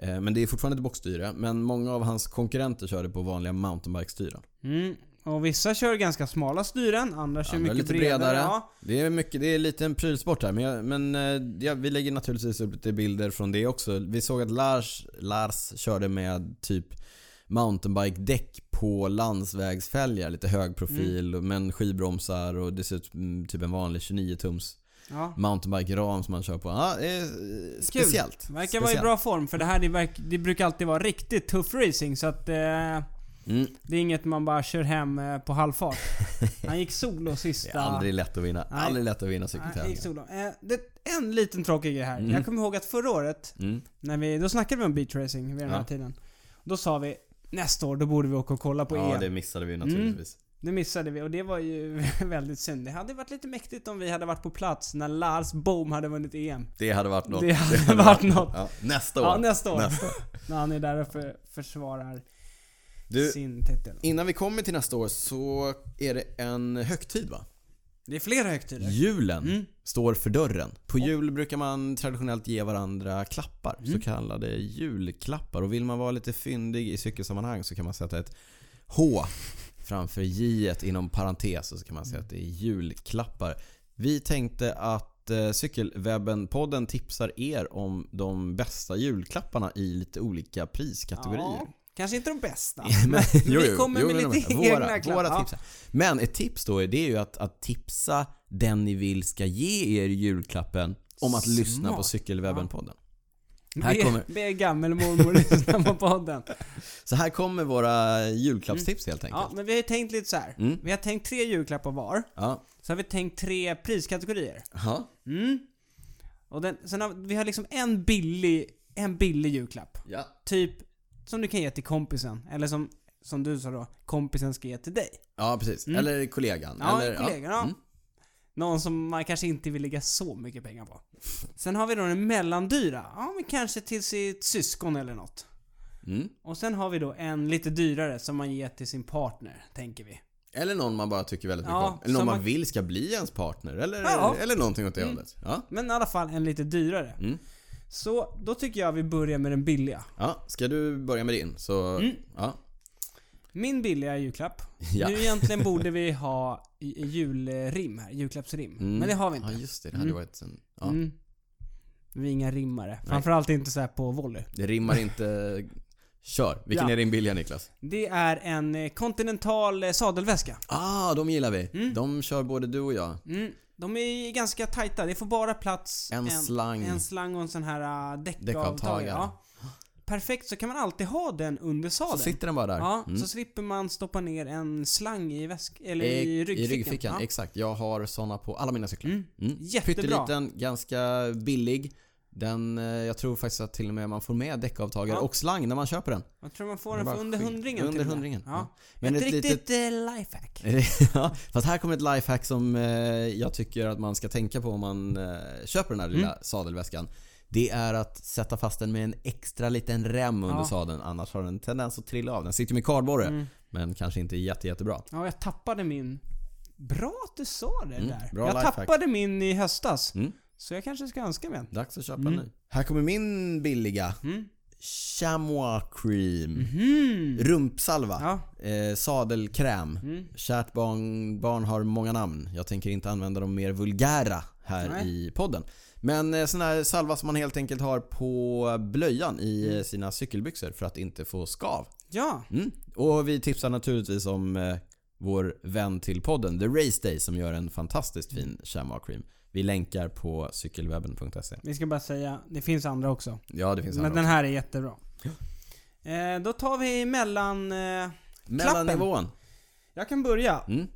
Speaker 1: Eh, Men det är fortfarande ett bockstyre. Men många av hans konkurrenter körde på vanliga mountainbike-styren.
Speaker 2: Mm. Och vissa kör ganska smala styren, andra kör
Speaker 1: Andra
Speaker 2: mycket
Speaker 1: lite
Speaker 2: bredare.
Speaker 1: bredare.
Speaker 2: Ja.
Speaker 1: Det är, mycket, det är lite en prylsport här men, jag, men eh, ja, vi lägger naturligtvis upp lite bilder från det också. Vi såg att Lars, Lars körde med typ mountainbike-däck på landsvägsfälgar. Lite hög profil
Speaker 2: Mm.
Speaker 1: men skivbromsar och det ser ut mm, typ en vanlig 29-tums
Speaker 2: Ja.
Speaker 1: mountainbike-ram som man kör på. Ja, det är, eh, speciellt.
Speaker 2: Verkar vara i bra form för det här det, verk, det brukar alltid vara riktigt tuff racing så att eh,
Speaker 1: Mm,
Speaker 2: det är inget man bara kör hem eh, på halvfart. Han gick solo sista...
Speaker 1: det är aldrig lätt att vinna.
Speaker 2: Nej.
Speaker 1: Aldrig lätt att vinna
Speaker 2: Nej, han gick
Speaker 1: cykeltävlingar.
Speaker 2: solo. Eh, det, en liten tråkig grej här.
Speaker 1: Mm.
Speaker 2: Jag kommer ihåg att förra året,
Speaker 1: Mm.
Speaker 2: när vi, då snackade vi om beachracing vid den här
Speaker 1: Ja.
Speaker 2: tiden. Då sa vi nästa år, då borde vi åka och kolla på E. Mm.
Speaker 1: Ja,
Speaker 2: EM.
Speaker 1: det
Speaker 2: Det...
Speaker 1: missade vi naturligtvis.
Speaker 2: missade vi och det var ju väldigt synd. Det hade varit lite mäktigt om vi hade varit på plats när Lars Boom hade vunnit E EM.
Speaker 1: Det hade varit något.
Speaker 2: Det hade varit något.
Speaker 1: Ja, nästa år.
Speaker 2: Ja, nästa år. När han är där och för, försvarar
Speaker 1: Du,
Speaker 2: sin titel.
Speaker 1: innan vi kommer till nästa år så är det en högtid va?
Speaker 2: Det är flera högtider.
Speaker 1: Julen
Speaker 2: Mm.
Speaker 1: står för dörren. På jul brukar man traditionellt ge varandra klappar, så
Speaker 2: Mm.
Speaker 1: kallade julklappar. Och vill man vara lite fyndig i cykelsammanhang så kan man sätta ett H framför J inom parentes och så kan man säga att det är julklappar. Vi tänkte att eh, Cykelwebben-podden tipsar er om de bästa julklapparna i lite olika priskategorier.
Speaker 2: Ja, kanske inte de bästa.
Speaker 1: Men- jo,
Speaker 2: vi
Speaker 1: jo,
Speaker 2: kommer
Speaker 1: jo,
Speaker 2: med
Speaker 1: men
Speaker 2: lite
Speaker 1: de-
Speaker 2: egna
Speaker 1: våra,
Speaker 2: klappar.
Speaker 1: våra
Speaker 2: Ja.
Speaker 1: tips. här. Men ett tips då är, det är ju att, att tipsa den ni vill ska ge er julklappen om att lyssna på
Speaker 2: Smart.
Speaker 1: Cykelwebben-podden. Här
Speaker 2: Här
Speaker 1: kommer-
Speaker 2: kommer... Be gammelmormor lyssna på podden.
Speaker 1: Så här kommer våra julklappstips helt
Speaker 2: Ja,
Speaker 1: enkelt.
Speaker 2: men vi har ju tänkt lite så här.
Speaker 1: Mm.
Speaker 2: Vi har tänkt tre julklappar var.
Speaker 1: Ja.
Speaker 2: Så har vi tänkt tre priskategorier.
Speaker 1: Ja.
Speaker 2: Mm. Och den, sen har, vi har liksom en billig, en billig julklapp.
Speaker 1: ja.
Speaker 2: Typ som du kan ge till kompisen. Eller som, som du sa då, kompisen ska ge till dig.
Speaker 1: Ja, precis.
Speaker 2: Mm.
Speaker 1: Eller kollegan.
Speaker 2: Ja,
Speaker 1: Eller,
Speaker 2: en kollega. Ja.
Speaker 1: Mm.
Speaker 2: Någon som man kanske inte vill lägga så mycket pengar på. Sen har vi då den mellandyra. Ja, men kanske till sitt syskon eller något.
Speaker 1: Mm.
Speaker 2: Och sen har vi då en lite dyrare som man ger till sin partner, tänker vi.
Speaker 1: Eller någon man bara tycker väldigt mycket
Speaker 2: Ja,
Speaker 1: om. Eller någon
Speaker 2: som
Speaker 1: man...
Speaker 2: man-
Speaker 1: vill ska bli ens partner. Eller,
Speaker 2: Ja. Mm.
Speaker 1: eller någonting åt det hållet. Ja.
Speaker 2: Men i alla fall en lite dyrare.
Speaker 1: Mm.
Speaker 2: Så då tycker jag vi börjar med den billiga.
Speaker 1: ja. Ska du börja med din? Så,
Speaker 2: Mm.
Speaker 1: ja.
Speaker 2: Min billiga julklapp.
Speaker 1: Ja.
Speaker 2: Nu egentligen borde vi ha i- i julrim här, julklappsrim.
Speaker 1: Mm.
Speaker 2: Men det har vi
Speaker 1: Ja,
Speaker 2: inte.
Speaker 1: just det. Det hade varit en... Ja.
Speaker 2: Mm. Vi är inga rimmare. Framförallt inte så här på volley.
Speaker 1: Det rimmar inte... Kör. Vilken
Speaker 2: Ja.
Speaker 1: är din billiga Niklas?
Speaker 2: Det är en eh, kontinental eh, sadelväska.
Speaker 1: Ah, de gillar vi. De kör både du och jag.
Speaker 2: Mm. De är ganska tajta. Det får bara plats
Speaker 1: En slang.
Speaker 2: en slang och en sån här äh,
Speaker 1: Däckavtagare.
Speaker 2: däckavtagare. Ja. Perfekt, så kan man alltid ha den under
Speaker 1: Så
Speaker 2: sadeln.
Speaker 1: sitter den bara där.
Speaker 2: Ja,
Speaker 1: Mm.
Speaker 2: så slipper man stoppa ner en slang i väsk... Eller
Speaker 1: Eh,
Speaker 2: i ryggfickan.
Speaker 1: I ryggfickan,
Speaker 2: Ja.
Speaker 1: exakt. Jag har såna på alla mina cyklar.
Speaker 2: Mm.
Speaker 1: Mm.
Speaker 2: Jättebra.
Speaker 1: Pytteliten, ganska billig. Den, eh, jag tror faktiskt att till och med man får med däckavtagare
Speaker 2: Ja.
Speaker 1: och slang när man köper den.
Speaker 2: Jag tror man får
Speaker 1: Det
Speaker 2: den
Speaker 1: var
Speaker 2: för under
Speaker 1: skit.
Speaker 2: hundringen
Speaker 1: Under
Speaker 2: till och med.
Speaker 1: hundringen,
Speaker 2: Ja.
Speaker 1: ja. Men
Speaker 2: Ett
Speaker 1: ett
Speaker 2: riktigt
Speaker 1: litet-
Speaker 2: eh, lifehack.
Speaker 1: ja, fast här kommer ett lifehack som eh, jag tycker att man ska tänka på om man eh, köper den här lilla
Speaker 2: Mm.
Speaker 1: sadelväskan. Det är att sätta fast den med en extra liten rem under
Speaker 2: Ja. Mm.
Speaker 1: sadeln annars har den en tendens att trilla av. Den sitter ju med kardborre men kanske inte jätte, jättebra.
Speaker 2: Ja, jag tappade min... Bra att du sa det
Speaker 1: Mm,
Speaker 2: där.
Speaker 1: bra
Speaker 2: jag
Speaker 1: lifehack.
Speaker 2: tappade min i höstas.
Speaker 1: Mm.
Speaker 2: Så jag kanske ska önska mig en.
Speaker 1: Dags att köpa en ny. Här kommer min billiga.
Speaker 2: Mm.
Speaker 1: Chamois cream.
Speaker 2: Mm.
Speaker 1: Rumpsalva.
Speaker 2: Ja.
Speaker 1: Eh, sadelkräm.
Speaker 2: Mm.
Speaker 1: Kärt barn, barn har många namn. Jag tänker inte använda de mer vulgära här
Speaker 2: Nej.
Speaker 1: i podden. Men eh, sån här salva som man helt enkelt har på blöjan i
Speaker 2: Mm.
Speaker 1: eh, sina cykelbyxor för att inte få skav.
Speaker 2: Ja.
Speaker 1: Mm. Och vi tipsar naturligtvis om eh, vår vän till podden, The Race Day, som gör en fantastiskt fin chamois cream. Vi länkar på cykelwebben.se.
Speaker 2: Vi ska bara säga, det finns andra också.
Speaker 1: Ja, det finns
Speaker 2: Men
Speaker 1: andra
Speaker 2: den här är jättebra. Eh, då tar vi mellan... Eh,
Speaker 1: också. Mellannivån.
Speaker 2: jag kan börja.
Speaker 1: Mm.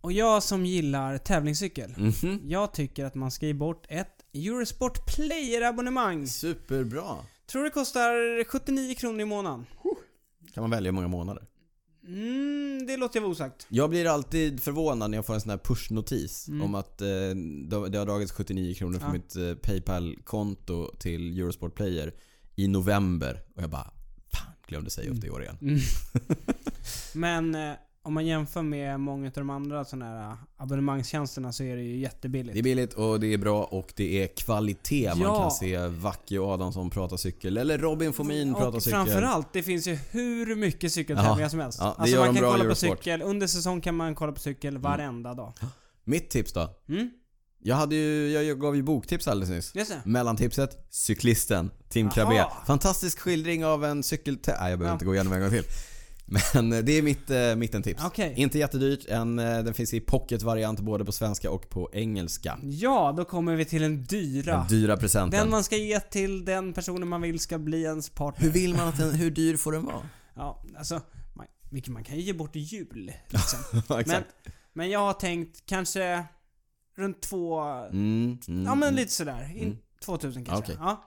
Speaker 2: Och jag som gillar tävlingscykel.
Speaker 1: Mhm.
Speaker 2: Jag tycker att man ska ge bort ett Eurosport Player-abonnemang.
Speaker 1: Superbra.
Speaker 2: Tror det kostar 79 kronor i månaden.
Speaker 1: Kan man välja hur många månader.
Speaker 2: Mm, det låter jag vara osagt.
Speaker 1: Jag blir alltid förvånad när jag får en sån här push-notis
Speaker 2: Mm.
Speaker 1: om att eh, det det har dragits 79 kronor från
Speaker 2: Ja.
Speaker 1: mitt eh, Paypal-konto till Eurosport Player i november. Och jag bara, fan glömde säga
Speaker 2: Mm.
Speaker 1: upp det i år igen.
Speaker 2: Men eh, om man jämför med många av de andra såna här eh, abonnemangstjänsterna så är det ju jättebilligt.
Speaker 1: Det är billigt och det är bra och det är kvalitet. Man
Speaker 2: Ja.
Speaker 1: kan se Vacke och Adamsson prata cykel. Eller Robin Fomin prata
Speaker 2: Mm, och
Speaker 1: cykel.
Speaker 2: framförallt, det finns ju hur mycket cykeltävlingar
Speaker 1: Ja.
Speaker 2: som helst.
Speaker 1: Ja, det
Speaker 2: alltså
Speaker 1: gör
Speaker 2: man
Speaker 1: de
Speaker 2: kan
Speaker 1: bra i
Speaker 2: kolla på
Speaker 1: Eurosport. Mm.
Speaker 2: cykel, under säsong kan man kolla på cykel varenda dag.
Speaker 1: Mitt tips då?
Speaker 2: Mm?
Speaker 1: Jag, hade ju, jag gav ju boktips alldeles nyss.
Speaker 2: Just det.
Speaker 1: Mellantipset, cyklisten, Tim
Speaker 2: Jaha.
Speaker 1: Krabbe. Fantastisk skildring av en cykeltä... Nej, jag behöver
Speaker 2: Ja.
Speaker 1: inte gå igenom en gång till. Men eh, det är mitt eh, mittentips.
Speaker 2: Okej.
Speaker 1: Inte jättedyrt, en, eh, den finns i pocketvariant både på svenska och på engelska.
Speaker 2: Ja, då kommer vi till den dyra.
Speaker 1: Den dyra presenten.
Speaker 2: Den man ska ge till den personen man vill ska bli ens partner.
Speaker 1: Hur vill man att den, hur dyr får den vara?
Speaker 2: Ja, alltså, man, vilket man kan ju ge bort i jul. Liksom.
Speaker 1: Ja,
Speaker 2: men,
Speaker 1: Exakt.
Speaker 2: men jag har tänkt kanske runt två...
Speaker 1: Mm, mm,
Speaker 2: Ja men
Speaker 1: mm.
Speaker 2: lite sådär. In, 2000 kanske.
Speaker 1: Okej.
Speaker 2: Ja.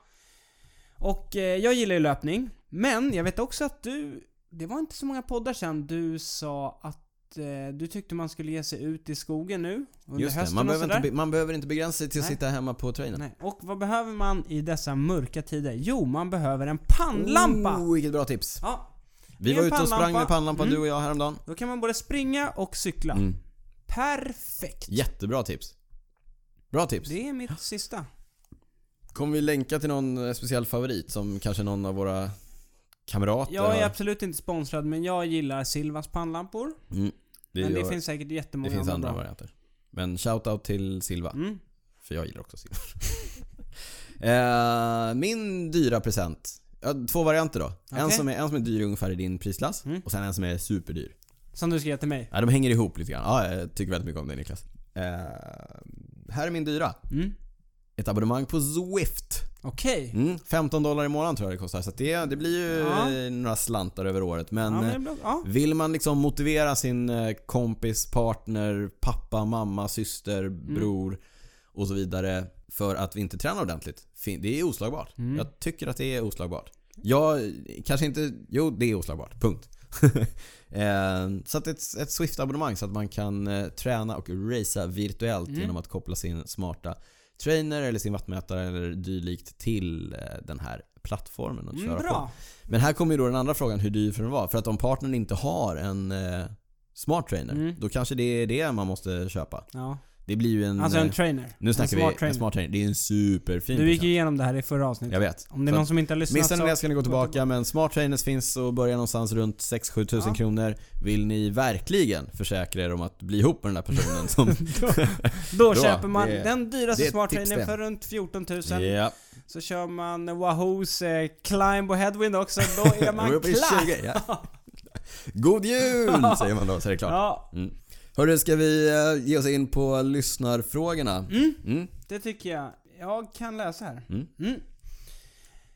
Speaker 2: Och eh, jag gillar ju löpning. Men jag vet också att du, det var inte så många poddar sen du sa att eh, du tyckte man skulle ge sig ut i skogen nu under
Speaker 1: Just det,
Speaker 2: hösten
Speaker 1: man
Speaker 2: och
Speaker 1: behöver,
Speaker 2: sådär.
Speaker 1: inte, be- man behöver inte begränsa sig till att
Speaker 2: Nej.
Speaker 1: sitta hemma på trainen.
Speaker 2: Nej. Och vad behöver man i dessa mörka tider? Jo, man behöver en pannlampa!
Speaker 1: Oh, vilket bra tips.
Speaker 2: Ja.
Speaker 1: Vi
Speaker 2: Med
Speaker 1: var
Speaker 2: en
Speaker 1: ute och sprang
Speaker 2: pannlampa.
Speaker 1: med pannlampa
Speaker 2: Mm.
Speaker 1: du och jag häromdagen.
Speaker 2: Då kan man både springa och cykla.
Speaker 1: Mm.
Speaker 2: Perfekt!
Speaker 1: Jättebra tips. Bra tips.
Speaker 2: Det är mitt sista.
Speaker 1: Kommer vi länka till någon eh, speciell favorit som kanske någon av våra kamrater
Speaker 2: Jag är
Speaker 1: har?
Speaker 2: absolut inte sponsrad men jag gillar Silvas pannlampor.
Speaker 1: Mm. Det,
Speaker 2: Men det
Speaker 1: gör-
Speaker 2: finns säkert
Speaker 1: det
Speaker 2: jättemånga
Speaker 1: finns
Speaker 2: andra
Speaker 1: andra
Speaker 2: bra.
Speaker 1: varianter. Men shoutout till Silva.
Speaker 2: Mm.
Speaker 1: För jag gillar också silver. eh, min dyra present. Ja, två varianter då. En,
Speaker 2: Okej.
Speaker 1: som är, en som är dyr ungefär i din prisklass
Speaker 2: Mm.
Speaker 1: och sen en som är superdyr.
Speaker 2: Som du skrev till mig.
Speaker 1: Ja, de hänger ihop lite grann. Ja, jag tycker väldigt mycket om det Niklas. Eh, här är min dyra.
Speaker 2: Mm.
Speaker 1: Ett abonnemang på Zwift.
Speaker 2: Okej.
Speaker 1: Mm, 15 dollar i månaden tror jag det kostar. Så att det, det blir ju
Speaker 2: Ja.
Speaker 1: eh, några slantar över året.
Speaker 2: Ja,
Speaker 1: Men,
Speaker 2: men det
Speaker 1: eh,
Speaker 2: är bra. ja.
Speaker 1: vill man liksom motivera sin eh, kompis, partner, pappa, mamma, syster,
Speaker 2: Mm.
Speaker 1: bror och så vidare för att vi inte tränar ordentligt. Fin- Det är oslagbart.
Speaker 2: Mm.
Speaker 1: Jag tycker att det är oslagbart. Jag kanske inte... Jo, det är oslagbart. Punkt. eh, så att ett, ett Swift-abonnemang så att man kan eh, träna och racea virtuellt
Speaker 2: Mm.
Speaker 1: genom att koppla sin smarta trainer eller sin vattmätare eller dylikt till eh, den här plattformen och
Speaker 2: Mm,
Speaker 1: köra på.
Speaker 2: bra.
Speaker 1: Men här kommer ju då den andra frågan hur dyr för den var. För att om partnern inte har en eh, smart trainer,
Speaker 2: Mm.
Speaker 1: då kanske det är det man måste köpa.
Speaker 2: Ja.
Speaker 1: Det blir ju en...
Speaker 2: Alltså en
Speaker 1: eh,
Speaker 2: trainer.
Speaker 1: nu snackar
Speaker 2: en smart
Speaker 1: vi
Speaker 2: trainer.
Speaker 1: en smart trainer. Det är en superfin
Speaker 2: Du gick
Speaker 1: present.
Speaker 2: ju igenom det här i förra avsnittet.
Speaker 1: Jag vet.
Speaker 2: Om det
Speaker 1: Så
Speaker 2: är någon
Speaker 1: att-
Speaker 2: som inte har lyssnat
Speaker 1: Missar ni det
Speaker 2: så...
Speaker 1: ska ni gå tillbaka men smart trainers finns och börjar någonstans runt 6-7 tusen
Speaker 2: Ja.
Speaker 1: kronor. Vill ni verkligen försäkra er om att bli ihop med den där personen som...
Speaker 2: Då,
Speaker 1: Då,
Speaker 2: köper man
Speaker 1: det är-
Speaker 2: den
Speaker 1: det är
Speaker 2: dyraste
Speaker 1: ett
Speaker 2: smarttrainern
Speaker 1: tips
Speaker 2: för runt 14 000.
Speaker 1: ja.
Speaker 2: Så kör man Wahoos eh, Climb och Headwind också. Då är
Speaker 1: Då är vi
Speaker 2: man
Speaker 1: uppe i
Speaker 2: klar!
Speaker 1: 20, ja. God jul säger man då så är det klart.
Speaker 2: Ja,
Speaker 1: Mm. Hörru, ska vi eh, ge oss in på lyssnarfrågorna? Mm.
Speaker 2: det tycker jag. Jag kan läsa här.
Speaker 1: Mm.
Speaker 2: Mm.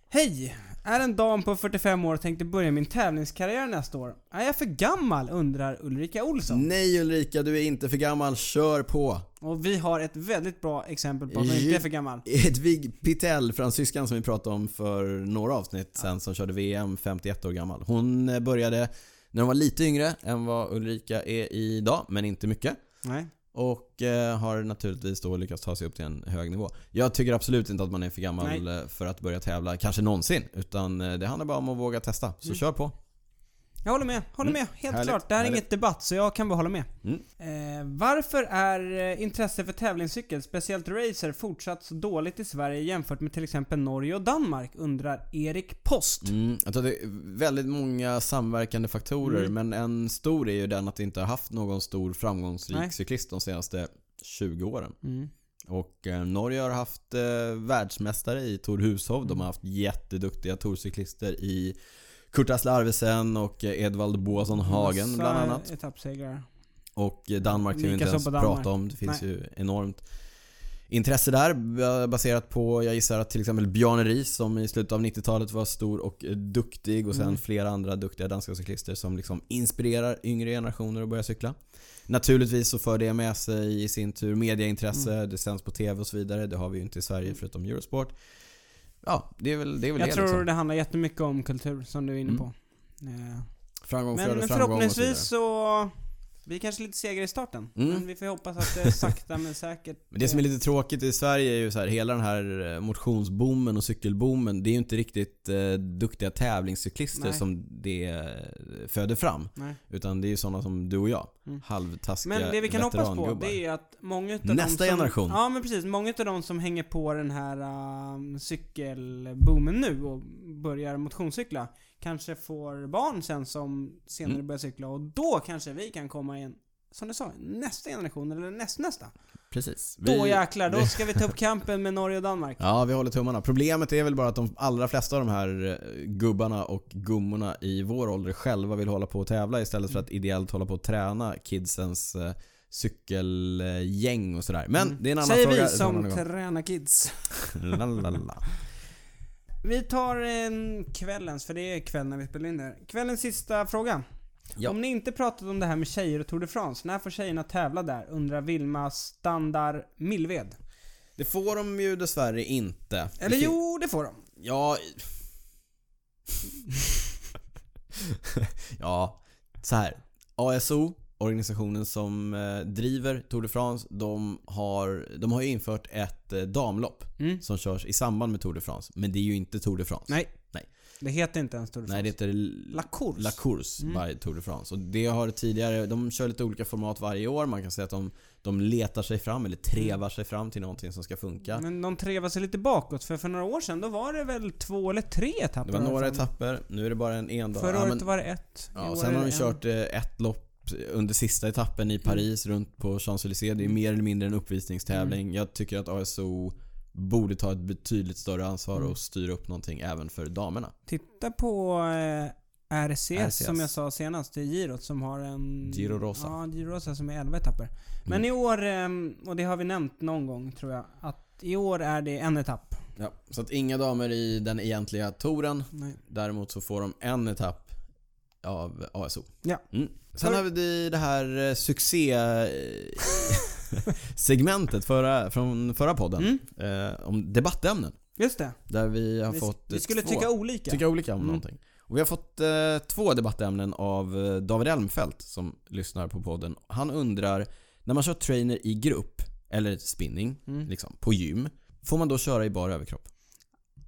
Speaker 2: Hej! Är en dam på 45 år och tänkte börja min tävlingskarriär nästa år. Är jag för gammal? undrar Ulrika Olsson.
Speaker 1: Nej Ulrika, du är inte för gammal. Kör på!
Speaker 2: Och vi har ett väldigt bra exempel på att man inte är för gammal.
Speaker 1: Hedvig Pitell, fransyskan som vi pratade om för några avsnitt sen som körde VM 51 år gammal. Hon eh, började när hon var lite yngre än vad Ulrika är idag, men inte mycket.
Speaker 2: Nej.
Speaker 1: Och eh, har naturligtvis då lyckats ta sig upp till en hög nivå. Jag tycker absolut inte att man är för gammal eh, för att börja tävla, kanske någonsin. Utan eh, det handlar bara om att våga testa. Så kör på.
Speaker 2: Jag håller med, håller med. Helt
Speaker 1: Mm. Härligt,
Speaker 2: klart. Det här är
Speaker 1: härligt.
Speaker 2: inget debatt så jag kan bara hålla med.
Speaker 1: Mm.
Speaker 2: Eh, varför är eh, intresse för tävlingscykel, speciellt racer, fortsatt så dåligt i Sverige jämfört med till exempel Norge och Danmark? Undrar Erik Post.
Speaker 1: Mm, jag tror att det är väldigt många samverkande faktorer
Speaker 2: Mm.
Speaker 1: men en stor är ju den att vi inte har haft någon stor framgångsrik
Speaker 2: Nej.
Speaker 1: cyklist de senaste 20 åren.
Speaker 2: Mm.
Speaker 1: Och eh, Norge har haft eh, världsmästare i Tor Hushov. De har
Speaker 2: Mm.
Speaker 1: haft jätteduktiga Torcyklister i Kurt Asle Arvesen och eh, Edvald Boasson Hagen
Speaker 2: Massa
Speaker 1: bland annat.
Speaker 2: Etappsegrar.
Speaker 1: Och eh, Danmark kan vi inte
Speaker 2: Likaså
Speaker 1: ens
Speaker 2: på Danmark.
Speaker 1: prata om. Det finns
Speaker 2: Nej.
Speaker 1: ju enormt intresse där ba- baserat på, jag gissar att till exempel Bjarne Riis som i slutet av 90-talet var stor och eh, duktig och sen
Speaker 2: Mm.
Speaker 1: flera andra duktiga danska cyklister som liksom inspirerar yngre generationer att börja cykla. Naturligtvis så för det med sig i sin tur mediaintresse,
Speaker 2: Mm.
Speaker 1: det sänds på TV och så vidare. Det har vi ju inte i Sverige förutom Eurosport. Ja, det är väl det. Är väl
Speaker 2: Jag
Speaker 1: det
Speaker 2: tror
Speaker 1: liksom.
Speaker 2: det handlar jättemycket om kultur, som du är inne
Speaker 1: Mm.
Speaker 2: på. Eh,
Speaker 1: Framgång
Speaker 2: Men,
Speaker 1: föder framgång
Speaker 2: men
Speaker 1: och så
Speaker 2: förhoppningsvis
Speaker 1: vidare.
Speaker 2: så... Vi kanske lite segrar i starten.
Speaker 1: Mm.
Speaker 2: Men vi får hoppas att det sakta men säkert... eh,
Speaker 1: Men det som är lite tråkigt i Sverige är ju så här, hela den här eh, motionsboomen och cykelboomen. Det är ju inte riktigt eh, duktiga tävlingscyklister
Speaker 2: Nej.
Speaker 1: som det eh, föder fram.
Speaker 2: Nej.
Speaker 1: Utan det är ju sådana som du och jag.
Speaker 2: Mm.
Speaker 1: Halvtaskiga
Speaker 2: Men det vi kan hoppas på
Speaker 1: veterangubbar.
Speaker 2: det är att många utav de
Speaker 1: Nästa
Speaker 2: som,
Speaker 1: generation.
Speaker 2: Ja men precis, många utav de som hänger på den här ehm, cykelboomen nu och börjar motionscykla kanske får barn sen som senare
Speaker 1: Mm.
Speaker 2: börjar cykla och då kanske vi kan komma in som du sa, nästa generation eller nästnästa.
Speaker 1: Precis.
Speaker 2: Då
Speaker 1: Vi-
Speaker 2: jäklar, då ska vi ta upp kampen med Norge och Danmark.
Speaker 1: Ja, vi håller tummarna. Problemet är väl bara att de allra flesta av de här eh, gubbarna och gummorna i vår ålder själva vill hålla på och tävla istället för att
Speaker 2: Mm.
Speaker 1: ideellt hålla på och träna kidsens eh, cykelgäng och sådär. Men
Speaker 2: Mm.
Speaker 1: det är en annan
Speaker 2: Säger
Speaker 1: fråga.
Speaker 2: vi
Speaker 1: för en annan
Speaker 2: som
Speaker 1: gång.
Speaker 2: tränar kids.
Speaker 1: La, la, la.
Speaker 2: Vi tar en kvällens, för det är kväll när vi spelar in det här. Kvällens sista fråga.
Speaker 1: Ja.
Speaker 2: Om ni inte pratat om det här med tjejer och Tour de France, när får tjejerna tävla där? Undrar Vilma Standard Millved.
Speaker 1: Det får de ju dessvärre inte.
Speaker 2: Eller
Speaker 1: Det fin-
Speaker 2: jo, det får de.
Speaker 1: Ja... ja, så här. ASO, organisationen som eh, driver Tour de France, de har, de har ju infört ett eh, damlopp
Speaker 2: Mm.
Speaker 1: som körs i samband med Tour de France. Men det är ju inte Tour de France.
Speaker 2: Nej.
Speaker 1: Nej.
Speaker 2: Det heter inte ens Tour de
Speaker 1: Nej, det
Speaker 2: France.
Speaker 1: heter
Speaker 2: La Course. Mm.
Speaker 1: La Course by Tour de France. Och det har tidigare, de kör lite olika format varje år. Man kan säga att de, de letar sig fram eller trevar sig fram till någonting som ska funka.
Speaker 2: Men de trevar sig lite bakåt för för några år sedan då var det väl två eller tre
Speaker 1: Det
Speaker 2: etapper?
Speaker 1: var
Speaker 2: har jag
Speaker 1: några
Speaker 2: för mig.
Speaker 1: etapper, nu är det bara en endag.
Speaker 2: Förra
Speaker 1: Ja,
Speaker 2: året
Speaker 1: men-
Speaker 2: var det ett. i
Speaker 1: Ja,
Speaker 2: år
Speaker 1: sen
Speaker 2: är
Speaker 1: har de
Speaker 2: det en. Mm.
Speaker 1: kört eh, ett lopp under sista etappen i Paris runt på Champs-Élysées. Det är mer eller mindre en uppvisningstävling.
Speaker 2: Mm.
Speaker 1: Jag tycker att ASO borde ta ett betydligt större ansvar
Speaker 2: Mm.
Speaker 1: och styra upp någonting även för damerna.
Speaker 2: Titta på eh, RCS,
Speaker 1: RCS.
Speaker 2: som jag sa senast, det är Girot som har en...
Speaker 1: Giro Rosa. Mm.
Speaker 2: Ja, Giro Rosa som är 11 etapper. Men i år, ehm, och det har vi nämnt någon gång tror jag, att i år är det en etapp.
Speaker 1: Ja, så att inga damer i den egentliga touren.
Speaker 2: Nej.
Speaker 1: Däremot så får de en etapp av ASO.
Speaker 2: Ja.
Speaker 1: Mm. Sen har vi det här eh, succé... eh, segmentet förra, från förra podden.
Speaker 2: Mm.
Speaker 1: Eh, om debattämnen.
Speaker 2: Just det.
Speaker 1: Där vi har
Speaker 2: Vi,
Speaker 1: fått
Speaker 2: vi
Speaker 1: eh,
Speaker 2: skulle
Speaker 1: två.
Speaker 2: tycka olika.
Speaker 1: tycka olika om
Speaker 2: Mm.
Speaker 1: någonting. Och vi har fått eh, två debattämnen av eh, David Elmfelt som lyssnar på podden. Han undrar, när man kör trainer i grupp, eller spinning,
Speaker 2: Mm.
Speaker 1: liksom, på gym. Får man då köra i bara överkropp?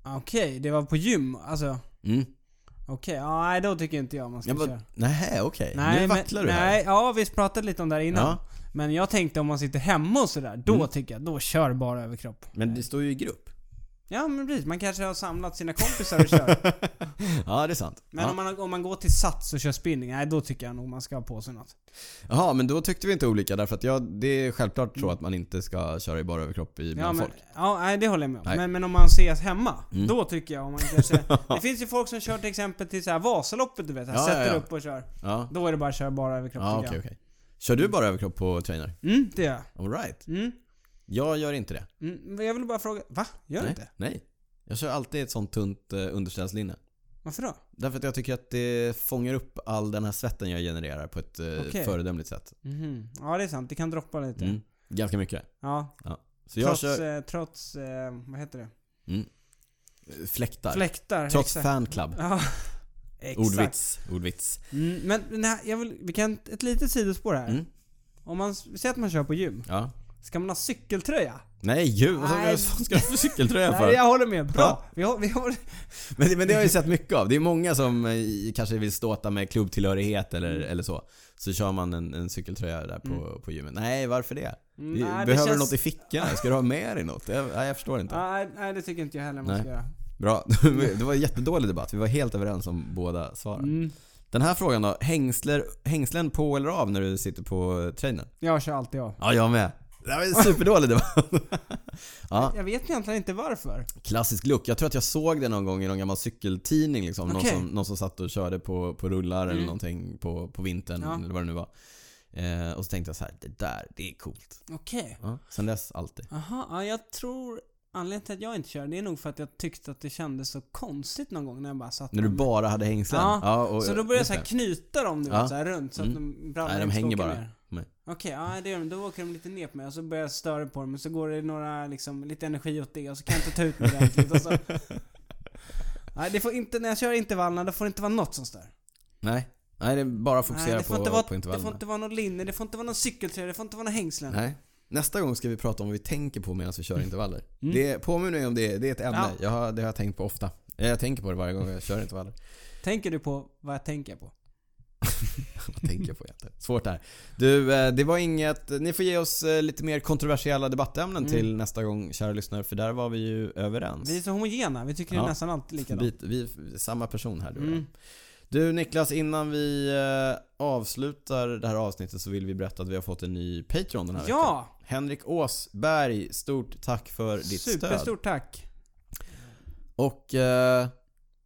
Speaker 2: Ah, Okej, det var på gym alltså.
Speaker 1: Mm.
Speaker 2: Okej, ja, nej då tycker inte jag man ska
Speaker 1: Jag bara,
Speaker 2: köra.
Speaker 1: nähä okej.
Speaker 2: Nej,
Speaker 1: Nu
Speaker 2: men-
Speaker 1: vacklar du här.
Speaker 2: nej, ja vi pratade lite om det här innan.
Speaker 1: Ja,
Speaker 2: Men jag tänkte om man sitter hemma och sådär, då
Speaker 1: Mm.
Speaker 2: tycker jag, då kör bara överkropp.
Speaker 1: men det står ju i grupp.
Speaker 2: Ja men precis, man kanske har samlat sina kompisar och kör.
Speaker 1: ja, det är sant.
Speaker 2: Men
Speaker 1: ja.
Speaker 2: om, man, om man går till sats och kör spinning, nej då tycker jag nog man ska ha på sig något.
Speaker 1: Jaha, men då tyckte vi inte olika därför att jag, det är självklart så att man inte ska köra i bara överkropp i
Speaker 2: Mm. Ja,
Speaker 1: bland
Speaker 2: men,
Speaker 1: folk.
Speaker 2: ja nej, det håller jag med om.
Speaker 1: Nej.
Speaker 2: Men, men om man ses hemma,
Speaker 1: Mm.
Speaker 2: då tycker jag om man kanske... det finns ju folk som kör till exempel till så här Vasaloppet du vet, här,
Speaker 1: Ja, ja,
Speaker 2: sätter
Speaker 1: ja.
Speaker 2: upp och kör.
Speaker 1: Ja,
Speaker 2: Då är det bara att köra bara överkropp
Speaker 1: ja okej
Speaker 2: tycker jag.
Speaker 1: okej. Kör du bara överkropp på trainer?
Speaker 2: Mm, det gör jag.
Speaker 1: Alright.
Speaker 2: Mm.
Speaker 1: Jag gör inte det.
Speaker 2: Mm, men jag vill bara fråga, va? Gör du
Speaker 1: Nej,
Speaker 2: inte?
Speaker 1: nej. Jag kör alltid ett sånt tunt eh, underställslinne.
Speaker 2: Varför då?
Speaker 1: Därför att jag tycker att det fångar upp all den här svetten jag genererar på ett eh,
Speaker 2: Okej.
Speaker 1: föredömligt sätt.
Speaker 2: Mhm. Ja det är sant, det kan droppa lite.
Speaker 1: Mm. Ganska mycket.
Speaker 2: Ja,
Speaker 1: Så jag
Speaker 2: trots,
Speaker 1: kör
Speaker 2: eh, trots eh, vad heter det?
Speaker 1: eh, fläktar.
Speaker 2: Fläktar.
Speaker 1: Trots
Speaker 2: exakt.
Speaker 1: fanclub.
Speaker 2: Ja, exakt.
Speaker 1: Ordvits. Ordvits.
Speaker 2: Mm, men nej, jag vill, vi kan, ett litet sidospår här.
Speaker 1: Mm.
Speaker 2: Om man, s- säger att man kör på gym,
Speaker 1: Ja.
Speaker 2: ska man ha cykeltröja?
Speaker 1: Nej gud, vad
Speaker 2: Nej.
Speaker 1: vad fan ska du ha för cykeltröja
Speaker 2: Nej,
Speaker 1: för?
Speaker 2: jag håller med. Bra!
Speaker 1: Ja.
Speaker 2: Vi har, vi har,
Speaker 1: Men, det- men det har jag ju sett mycket av. Det är många som eh, kanske vill ståta med klubbtillhörighet eller,
Speaker 2: Mm.
Speaker 1: eller så. Så kör man en, en cykeltröja där på, på gymmet. Nej, varför det? Vi-
Speaker 2: Mm, Nej, det
Speaker 1: Behöver du
Speaker 2: känns-
Speaker 1: något i fickan? Ska du ha med dig något? Jag, nej, jag förstår inte.
Speaker 2: nej, nej, det tycker inte jag heller man
Speaker 1: Nej.
Speaker 2: ska göra.
Speaker 1: Bra. Det var en jättedålig debatt. Vi var helt överens om båda svaren.
Speaker 2: Mm,
Speaker 1: Den här frågan då. Hängsler, hängslen på eller av när du sitter på eh, trainen?
Speaker 2: jag kör alltid av.
Speaker 1: Ja, jag med. Det här var en superdålig debatt. Ja,
Speaker 2: Jag vet egentligen inte varför.
Speaker 1: klassisk look. Jag tror att jag såg det någon gång i någon gammal cykeltidning liksom.
Speaker 2: Okej.
Speaker 1: Någon, som, någon som satt och körde på, på rullar eller
Speaker 2: Mm.
Speaker 1: någonting på, på vintern
Speaker 2: Ja.
Speaker 1: eller vad det nu var. Eh, och så tänkte jag så här, det där, det är coolt.
Speaker 2: Okej.
Speaker 1: Ja, sen dess alltid.
Speaker 2: Aha, ja, jag tror... Anledningen till att jag inte kör, det är nog för att jag tyckte att det kändes så konstigt någon gång när jag bara satt
Speaker 1: När du
Speaker 2: med-
Speaker 1: bara hade hängslen.
Speaker 2: Mm. Ja,
Speaker 1: och,
Speaker 2: Så då började jag
Speaker 1: just
Speaker 2: så här
Speaker 1: det.
Speaker 2: knyta dem du
Speaker 1: Ja. Mm.
Speaker 2: vet, så här runt så att de brallorna
Speaker 1: Nej, de
Speaker 2: inte
Speaker 1: hänger
Speaker 2: åker
Speaker 1: bara.
Speaker 2: ner.
Speaker 1: Nej.
Speaker 2: Okej, ja det gör de. Då åker de lite ner på mig och så börjar jag störa på dem och så går det några, liksom, lite energi åt det och så kan jag inte ta ut mig ordentligt och så... Nej, det får inte, när jag kör intervallerna, det får inte vara något som stör.
Speaker 1: Nej. Nej, det är bara att
Speaker 2: Nej,
Speaker 1: fokusera
Speaker 2: det får,
Speaker 1: på,
Speaker 2: inte vara,
Speaker 1: på
Speaker 2: det får
Speaker 1: intervallerna.
Speaker 2: inte vara någon linne, det får inte vara någon cykelträ, det får inte vara några hängslen.
Speaker 1: Nej. Nästa gång ska vi prata om vad vi tänker på medan vi kör intervaller.
Speaker 2: Mm.
Speaker 1: Det, påminn mig om det, det är ett ämne.
Speaker 2: Ja.
Speaker 1: Jag har, det har jag tänkt på ofta. Jag tänker på det varje gång jag kör intervaller.
Speaker 2: Tänker du på vad jag tänker på?
Speaker 1: Vad tänker jag på egentligen? Svårt det här. Du, eh, det var inget... Ni får ge oss eh, lite mer kontroversiella debattämnen
Speaker 2: Mm.
Speaker 1: till nästa gång, kära lyssnare. För där var vi ju överens.
Speaker 2: Vi är så homogena, vi tycker det är
Speaker 1: Ja.
Speaker 2: nästan alltid likadant.
Speaker 1: Vi, vi är samma person här du och jag.
Speaker 2: Mm.
Speaker 1: Du Niklas, innan vi eh, avslutar det här avsnittet så vill vi berätta att vi har fått en ny Patreon den här veckan.
Speaker 2: Ja!
Speaker 1: Henrik Åsberg, stort tack för ditt stöd.
Speaker 2: Superstort tack.
Speaker 1: Och eh,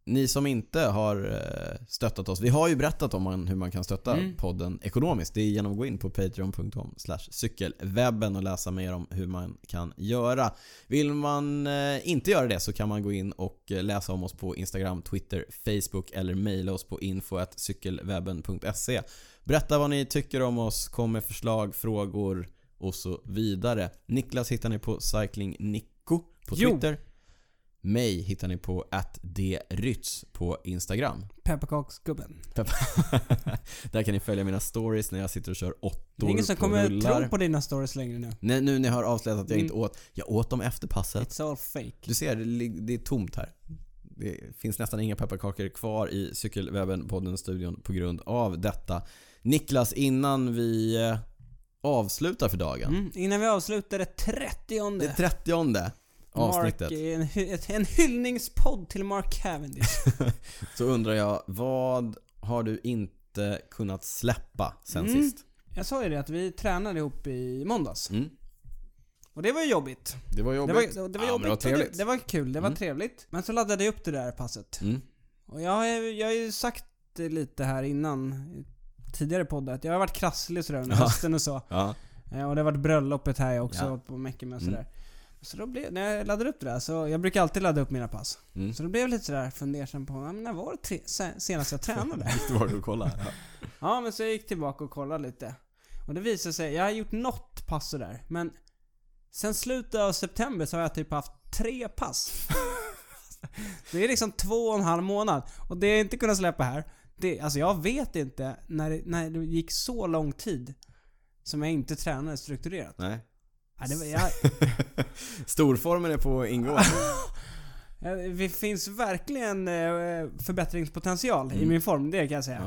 Speaker 1: ni som inte har eh, stöttat oss. Vi har ju berättat om man, hur man kan stötta
Speaker 2: Mm.
Speaker 1: podden ekonomiskt. Det är genom att gå in på patreon.com slash cykelwebben och läsa mer om hur man kan göra. Vill man eh, inte göra det så kan man gå in och eh, läsa om oss på Instagram, Twitter, Facebook eller mejla oss på info.cykelwebben.se. Berätta vad ni tycker om oss, kom med förslag, frågor och så vidare. Niklas hittar ni på Cycling Nico på
Speaker 2: Jo.
Speaker 1: Twitter. Mig hittar ni på attdrytz på Instagram.
Speaker 2: Pepparkaksgubben.
Speaker 1: Där kan ni följa mina stories när jag sitter och kör åttor
Speaker 2: Det är ingen som
Speaker 1: på
Speaker 2: kommer
Speaker 1: rullar.
Speaker 2: tro på dina stories längre nu.
Speaker 1: Nej, nu när jag har avslöjat att jag
Speaker 2: Mm.
Speaker 1: inte åt. Jag åt dem efter passet.
Speaker 2: It's all fake.
Speaker 1: Du ser, det, lig- det är tomt här. Det finns nästan inga pepparkakor kvar i Cykelwebben-podden-studion på grund av detta. Niklas, innan vi eh, avslutar för dagen.
Speaker 2: Mm. Innan vi avslutar det trettionde
Speaker 1: Det trettionde avsnittet.
Speaker 2: Mark, eh, en, hy- ett- en hyllningspodd till Mark Cavendish.
Speaker 1: Så undrar jag, vad har du inte kunnat släppa sen
Speaker 2: Mm.
Speaker 1: sist?
Speaker 2: Jag sa ju det att vi tränade ihop i måndags.
Speaker 1: Mm.
Speaker 2: Och det var ju jobbigt.
Speaker 1: Det var
Speaker 2: Det
Speaker 1: jobbigt.
Speaker 2: var, det var
Speaker 1: Ja, men
Speaker 2: jobbigt.
Speaker 1: det var
Speaker 2: och
Speaker 1: trevligt.
Speaker 2: det, det var kul, det var
Speaker 1: Mm.
Speaker 2: trevligt. Men så laddade jag upp det där passet.
Speaker 1: Mm.
Speaker 2: Och jag, har ju- jag har ju sagt det lite här innan, i tidigare poddar, att jag har varit krasslig sådär under
Speaker 1: Ja.
Speaker 2: hösten och så.
Speaker 1: Ja.
Speaker 2: Eh, Och det har varit bröllopet här jag också,
Speaker 1: Ja.
Speaker 2: ja. på och meckat med och
Speaker 1: Mm.
Speaker 2: sådär. Så då blev, när jag laddade upp det där, så jag brukar alltid ladda upp mina pass.
Speaker 1: Mm.
Speaker 2: Så då blev jag lite sådär fundersam på, ja, men när var det tre, se- senast jag tränade?
Speaker 1: Visst var det att kolla? Ja.
Speaker 2: ja men så jag gick tillbaka och kollade lite. Och det visade sig, jag har gjort något pass sådär, men sen slutet av september så har jag typ haft tre pass. det är liksom två och en halv månad. Och det jag inte kunnat släppa här, det, alltså jag vet inte när, det- när det gick så lång tid som jag inte tränade strukturerat.
Speaker 1: Nej.
Speaker 2: Ja, det var, jag,
Speaker 1: Storformen är på ingång.
Speaker 2: Eh, Det finns verkligen eh, förbättringspotential i
Speaker 1: Mm.
Speaker 2: min form, det kan jag säga.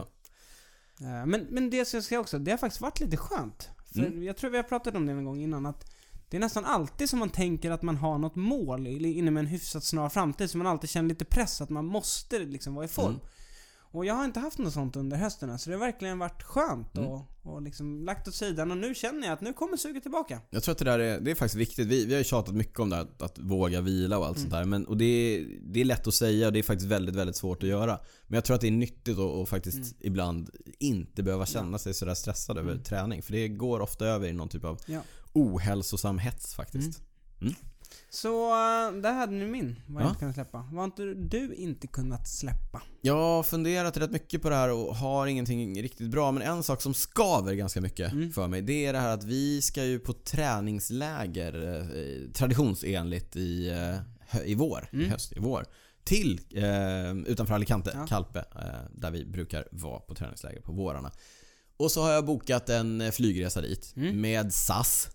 Speaker 2: Eh, Men, men det ska jag säga också, det har faktiskt varit lite skönt. För
Speaker 1: Mm.
Speaker 2: Jag tror vi har pratat om det en gång innan, att det är nästan alltid som man tänker att man har något mål i- inom en hyfsat snar framtid, så man alltid känner lite press att man måste liksom vara i form.
Speaker 1: Mm.
Speaker 2: Och jag har inte haft något sånt under hösten, här, så det har verkligen varit skönt
Speaker 1: Mm.
Speaker 2: och, och liksom lagt åt sidan. Och nu känner jag att nu kommer suget tillbaka.
Speaker 1: Jag tror att det där är, det är faktiskt viktigt. Vi, vi har ju tjatat mycket om det här, att, att våga vila och allt sånt där. Men, och det, är- det är lätt att säga och det är faktiskt väldigt, väldigt svårt att göra. Men jag tror att det är nyttigt att att faktiskt ibland inte behöva känna sig sådär stressad över träning. För det går ofta över i någon typ av
Speaker 2: Ja.
Speaker 1: ohälsosam hets faktiskt.
Speaker 2: Så eh, där hade ni min, vad jag
Speaker 1: Ja.
Speaker 2: inte kunde släppa. Vad har inte du inte kunnat släppa?
Speaker 1: Jag har funderat rätt mycket på det här och har ingenting riktigt bra. Men en sak som skaver ganska mycket för mig. Det är det här att vi ska ju på träningsläger eh, traditionsenligt i, eh, hö- i vår. I höst, i vår. Till eh, utanför Alicante,
Speaker 2: Ja.
Speaker 1: Kalpe. Eh, där vi brukar vara på träningsläger på vårarna. Och så har jag bokat en eh, flygresa dit
Speaker 2: Mm.
Speaker 1: med SAS.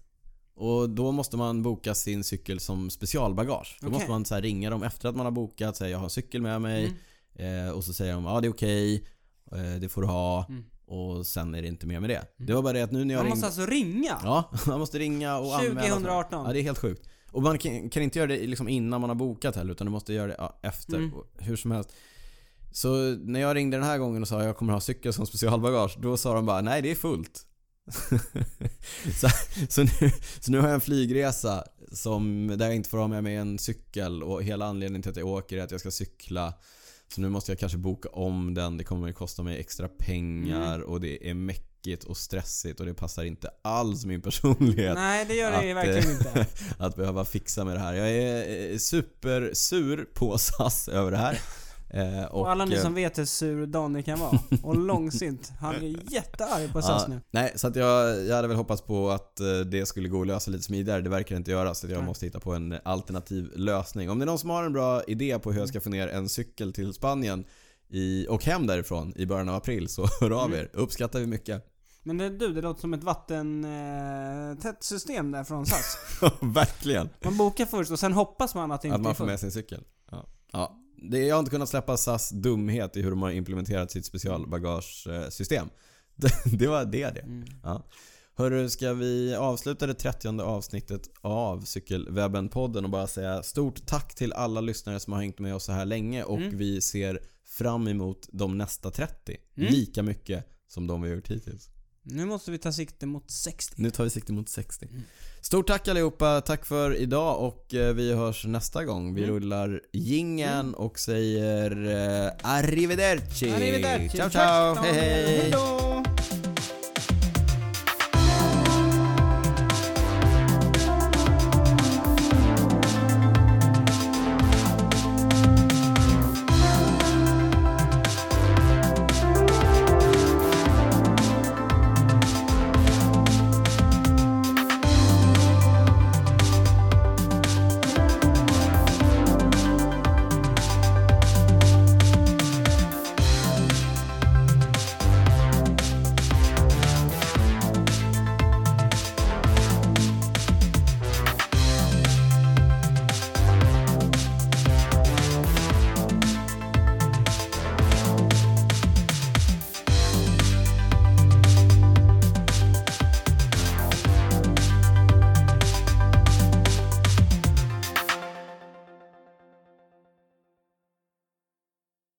Speaker 1: Och då måste man boka sin cykel som specialbagage. Då
Speaker 2: Okej.
Speaker 1: måste man så här ringa dem efter att man har bokat, säga jag har en cykel med mig.
Speaker 2: Mm.
Speaker 1: Eh, och så säger de ja det är okej, eh, det får du ha. Och sen är det inte mer med det. Det var bara det att nu när jag
Speaker 2: Mm. Man
Speaker 1: ringde...
Speaker 2: måste alltså ringa?
Speaker 1: Ja, man måste ringa och anmäla. sig.
Speaker 2: 2018.
Speaker 1: Ja, det är helt sjukt. Och man kan, kan inte göra det liksom innan man har bokat heller utan du måste göra det ja, efter.
Speaker 2: Mm.
Speaker 1: Och Hur som helst. Så när jag ringde den här gången och sa jag kommer ha cykel som specialbagage. Då sa de bara nej det är fullt. så, så, nu, så nu har jag en flygresa som, där jag inte får ha med mig en cykel och hela anledningen till att jag åker är att jag ska cykla. Så nu måste jag kanske boka om den. Det kommer att kosta mig extra pengar och det är mäckigt och stressigt och det passar inte alls min personlighet
Speaker 2: Nej, det gör det ju
Speaker 1: Att, eh,
Speaker 2: verkligen inte.
Speaker 1: att behöva fixa med det här. Jag är eh, supersur på SAS över det här. Eh,
Speaker 2: Och alla ni
Speaker 1: eh,
Speaker 2: som vet hur sur Daniel kan vara. Och långsint. Han är jättearg på SAS
Speaker 1: ja,
Speaker 2: nu.
Speaker 1: Nej, så att jag, jag hade väl hoppats på att eh, det skulle gå att lösa lite smidigare. Det verkar inte göra så att jag
Speaker 2: Nej.
Speaker 1: måste hitta på en alternativ lösning. Om det är någon som har en bra idé på hur jag ska få ner en cykel till Spanien i, och hem därifrån i början av april så hör av
Speaker 2: Mm.
Speaker 1: er. Uppskattar vi mycket.
Speaker 2: Men det, du, det låter som ett vattentätt system där från SAS.
Speaker 1: Verkligen.
Speaker 2: Man bokar först och sen hoppas man att det inte
Speaker 1: Att man
Speaker 2: är
Speaker 1: får
Speaker 2: fullt.
Speaker 1: med sin cykel. Ja. Ja. Det, jag har inte kunnat släppa SAS dumhet i hur de har implementerat sitt specialbagagesystem. Det, det var det det. Ja. Hörru, ska vi avsluta det 30 avsnittet av Cykelwebben-podden och bara säga stort tack till alla lyssnare som har hängt med oss så här länge och vi ser fram emot de nästa 30. Lika mycket som de vi har gjort hittills.
Speaker 2: Nu måste vi ta sikte mot 60.
Speaker 1: Nu tar vi sikte mot 60.
Speaker 2: Mm.
Speaker 1: Stort tack allihopa, tack för idag och eh, vi hörs nästa gång.
Speaker 2: Mm.
Speaker 1: Vi rullar jingeln och säger eh, arrivederci.
Speaker 2: Arrivederci.
Speaker 1: Ciao
Speaker 2: Tack,
Speaker 1: ciao, hej
Speaker 2: Daniel.
Speaker 1: hej.
Speaker 2: Hejdå!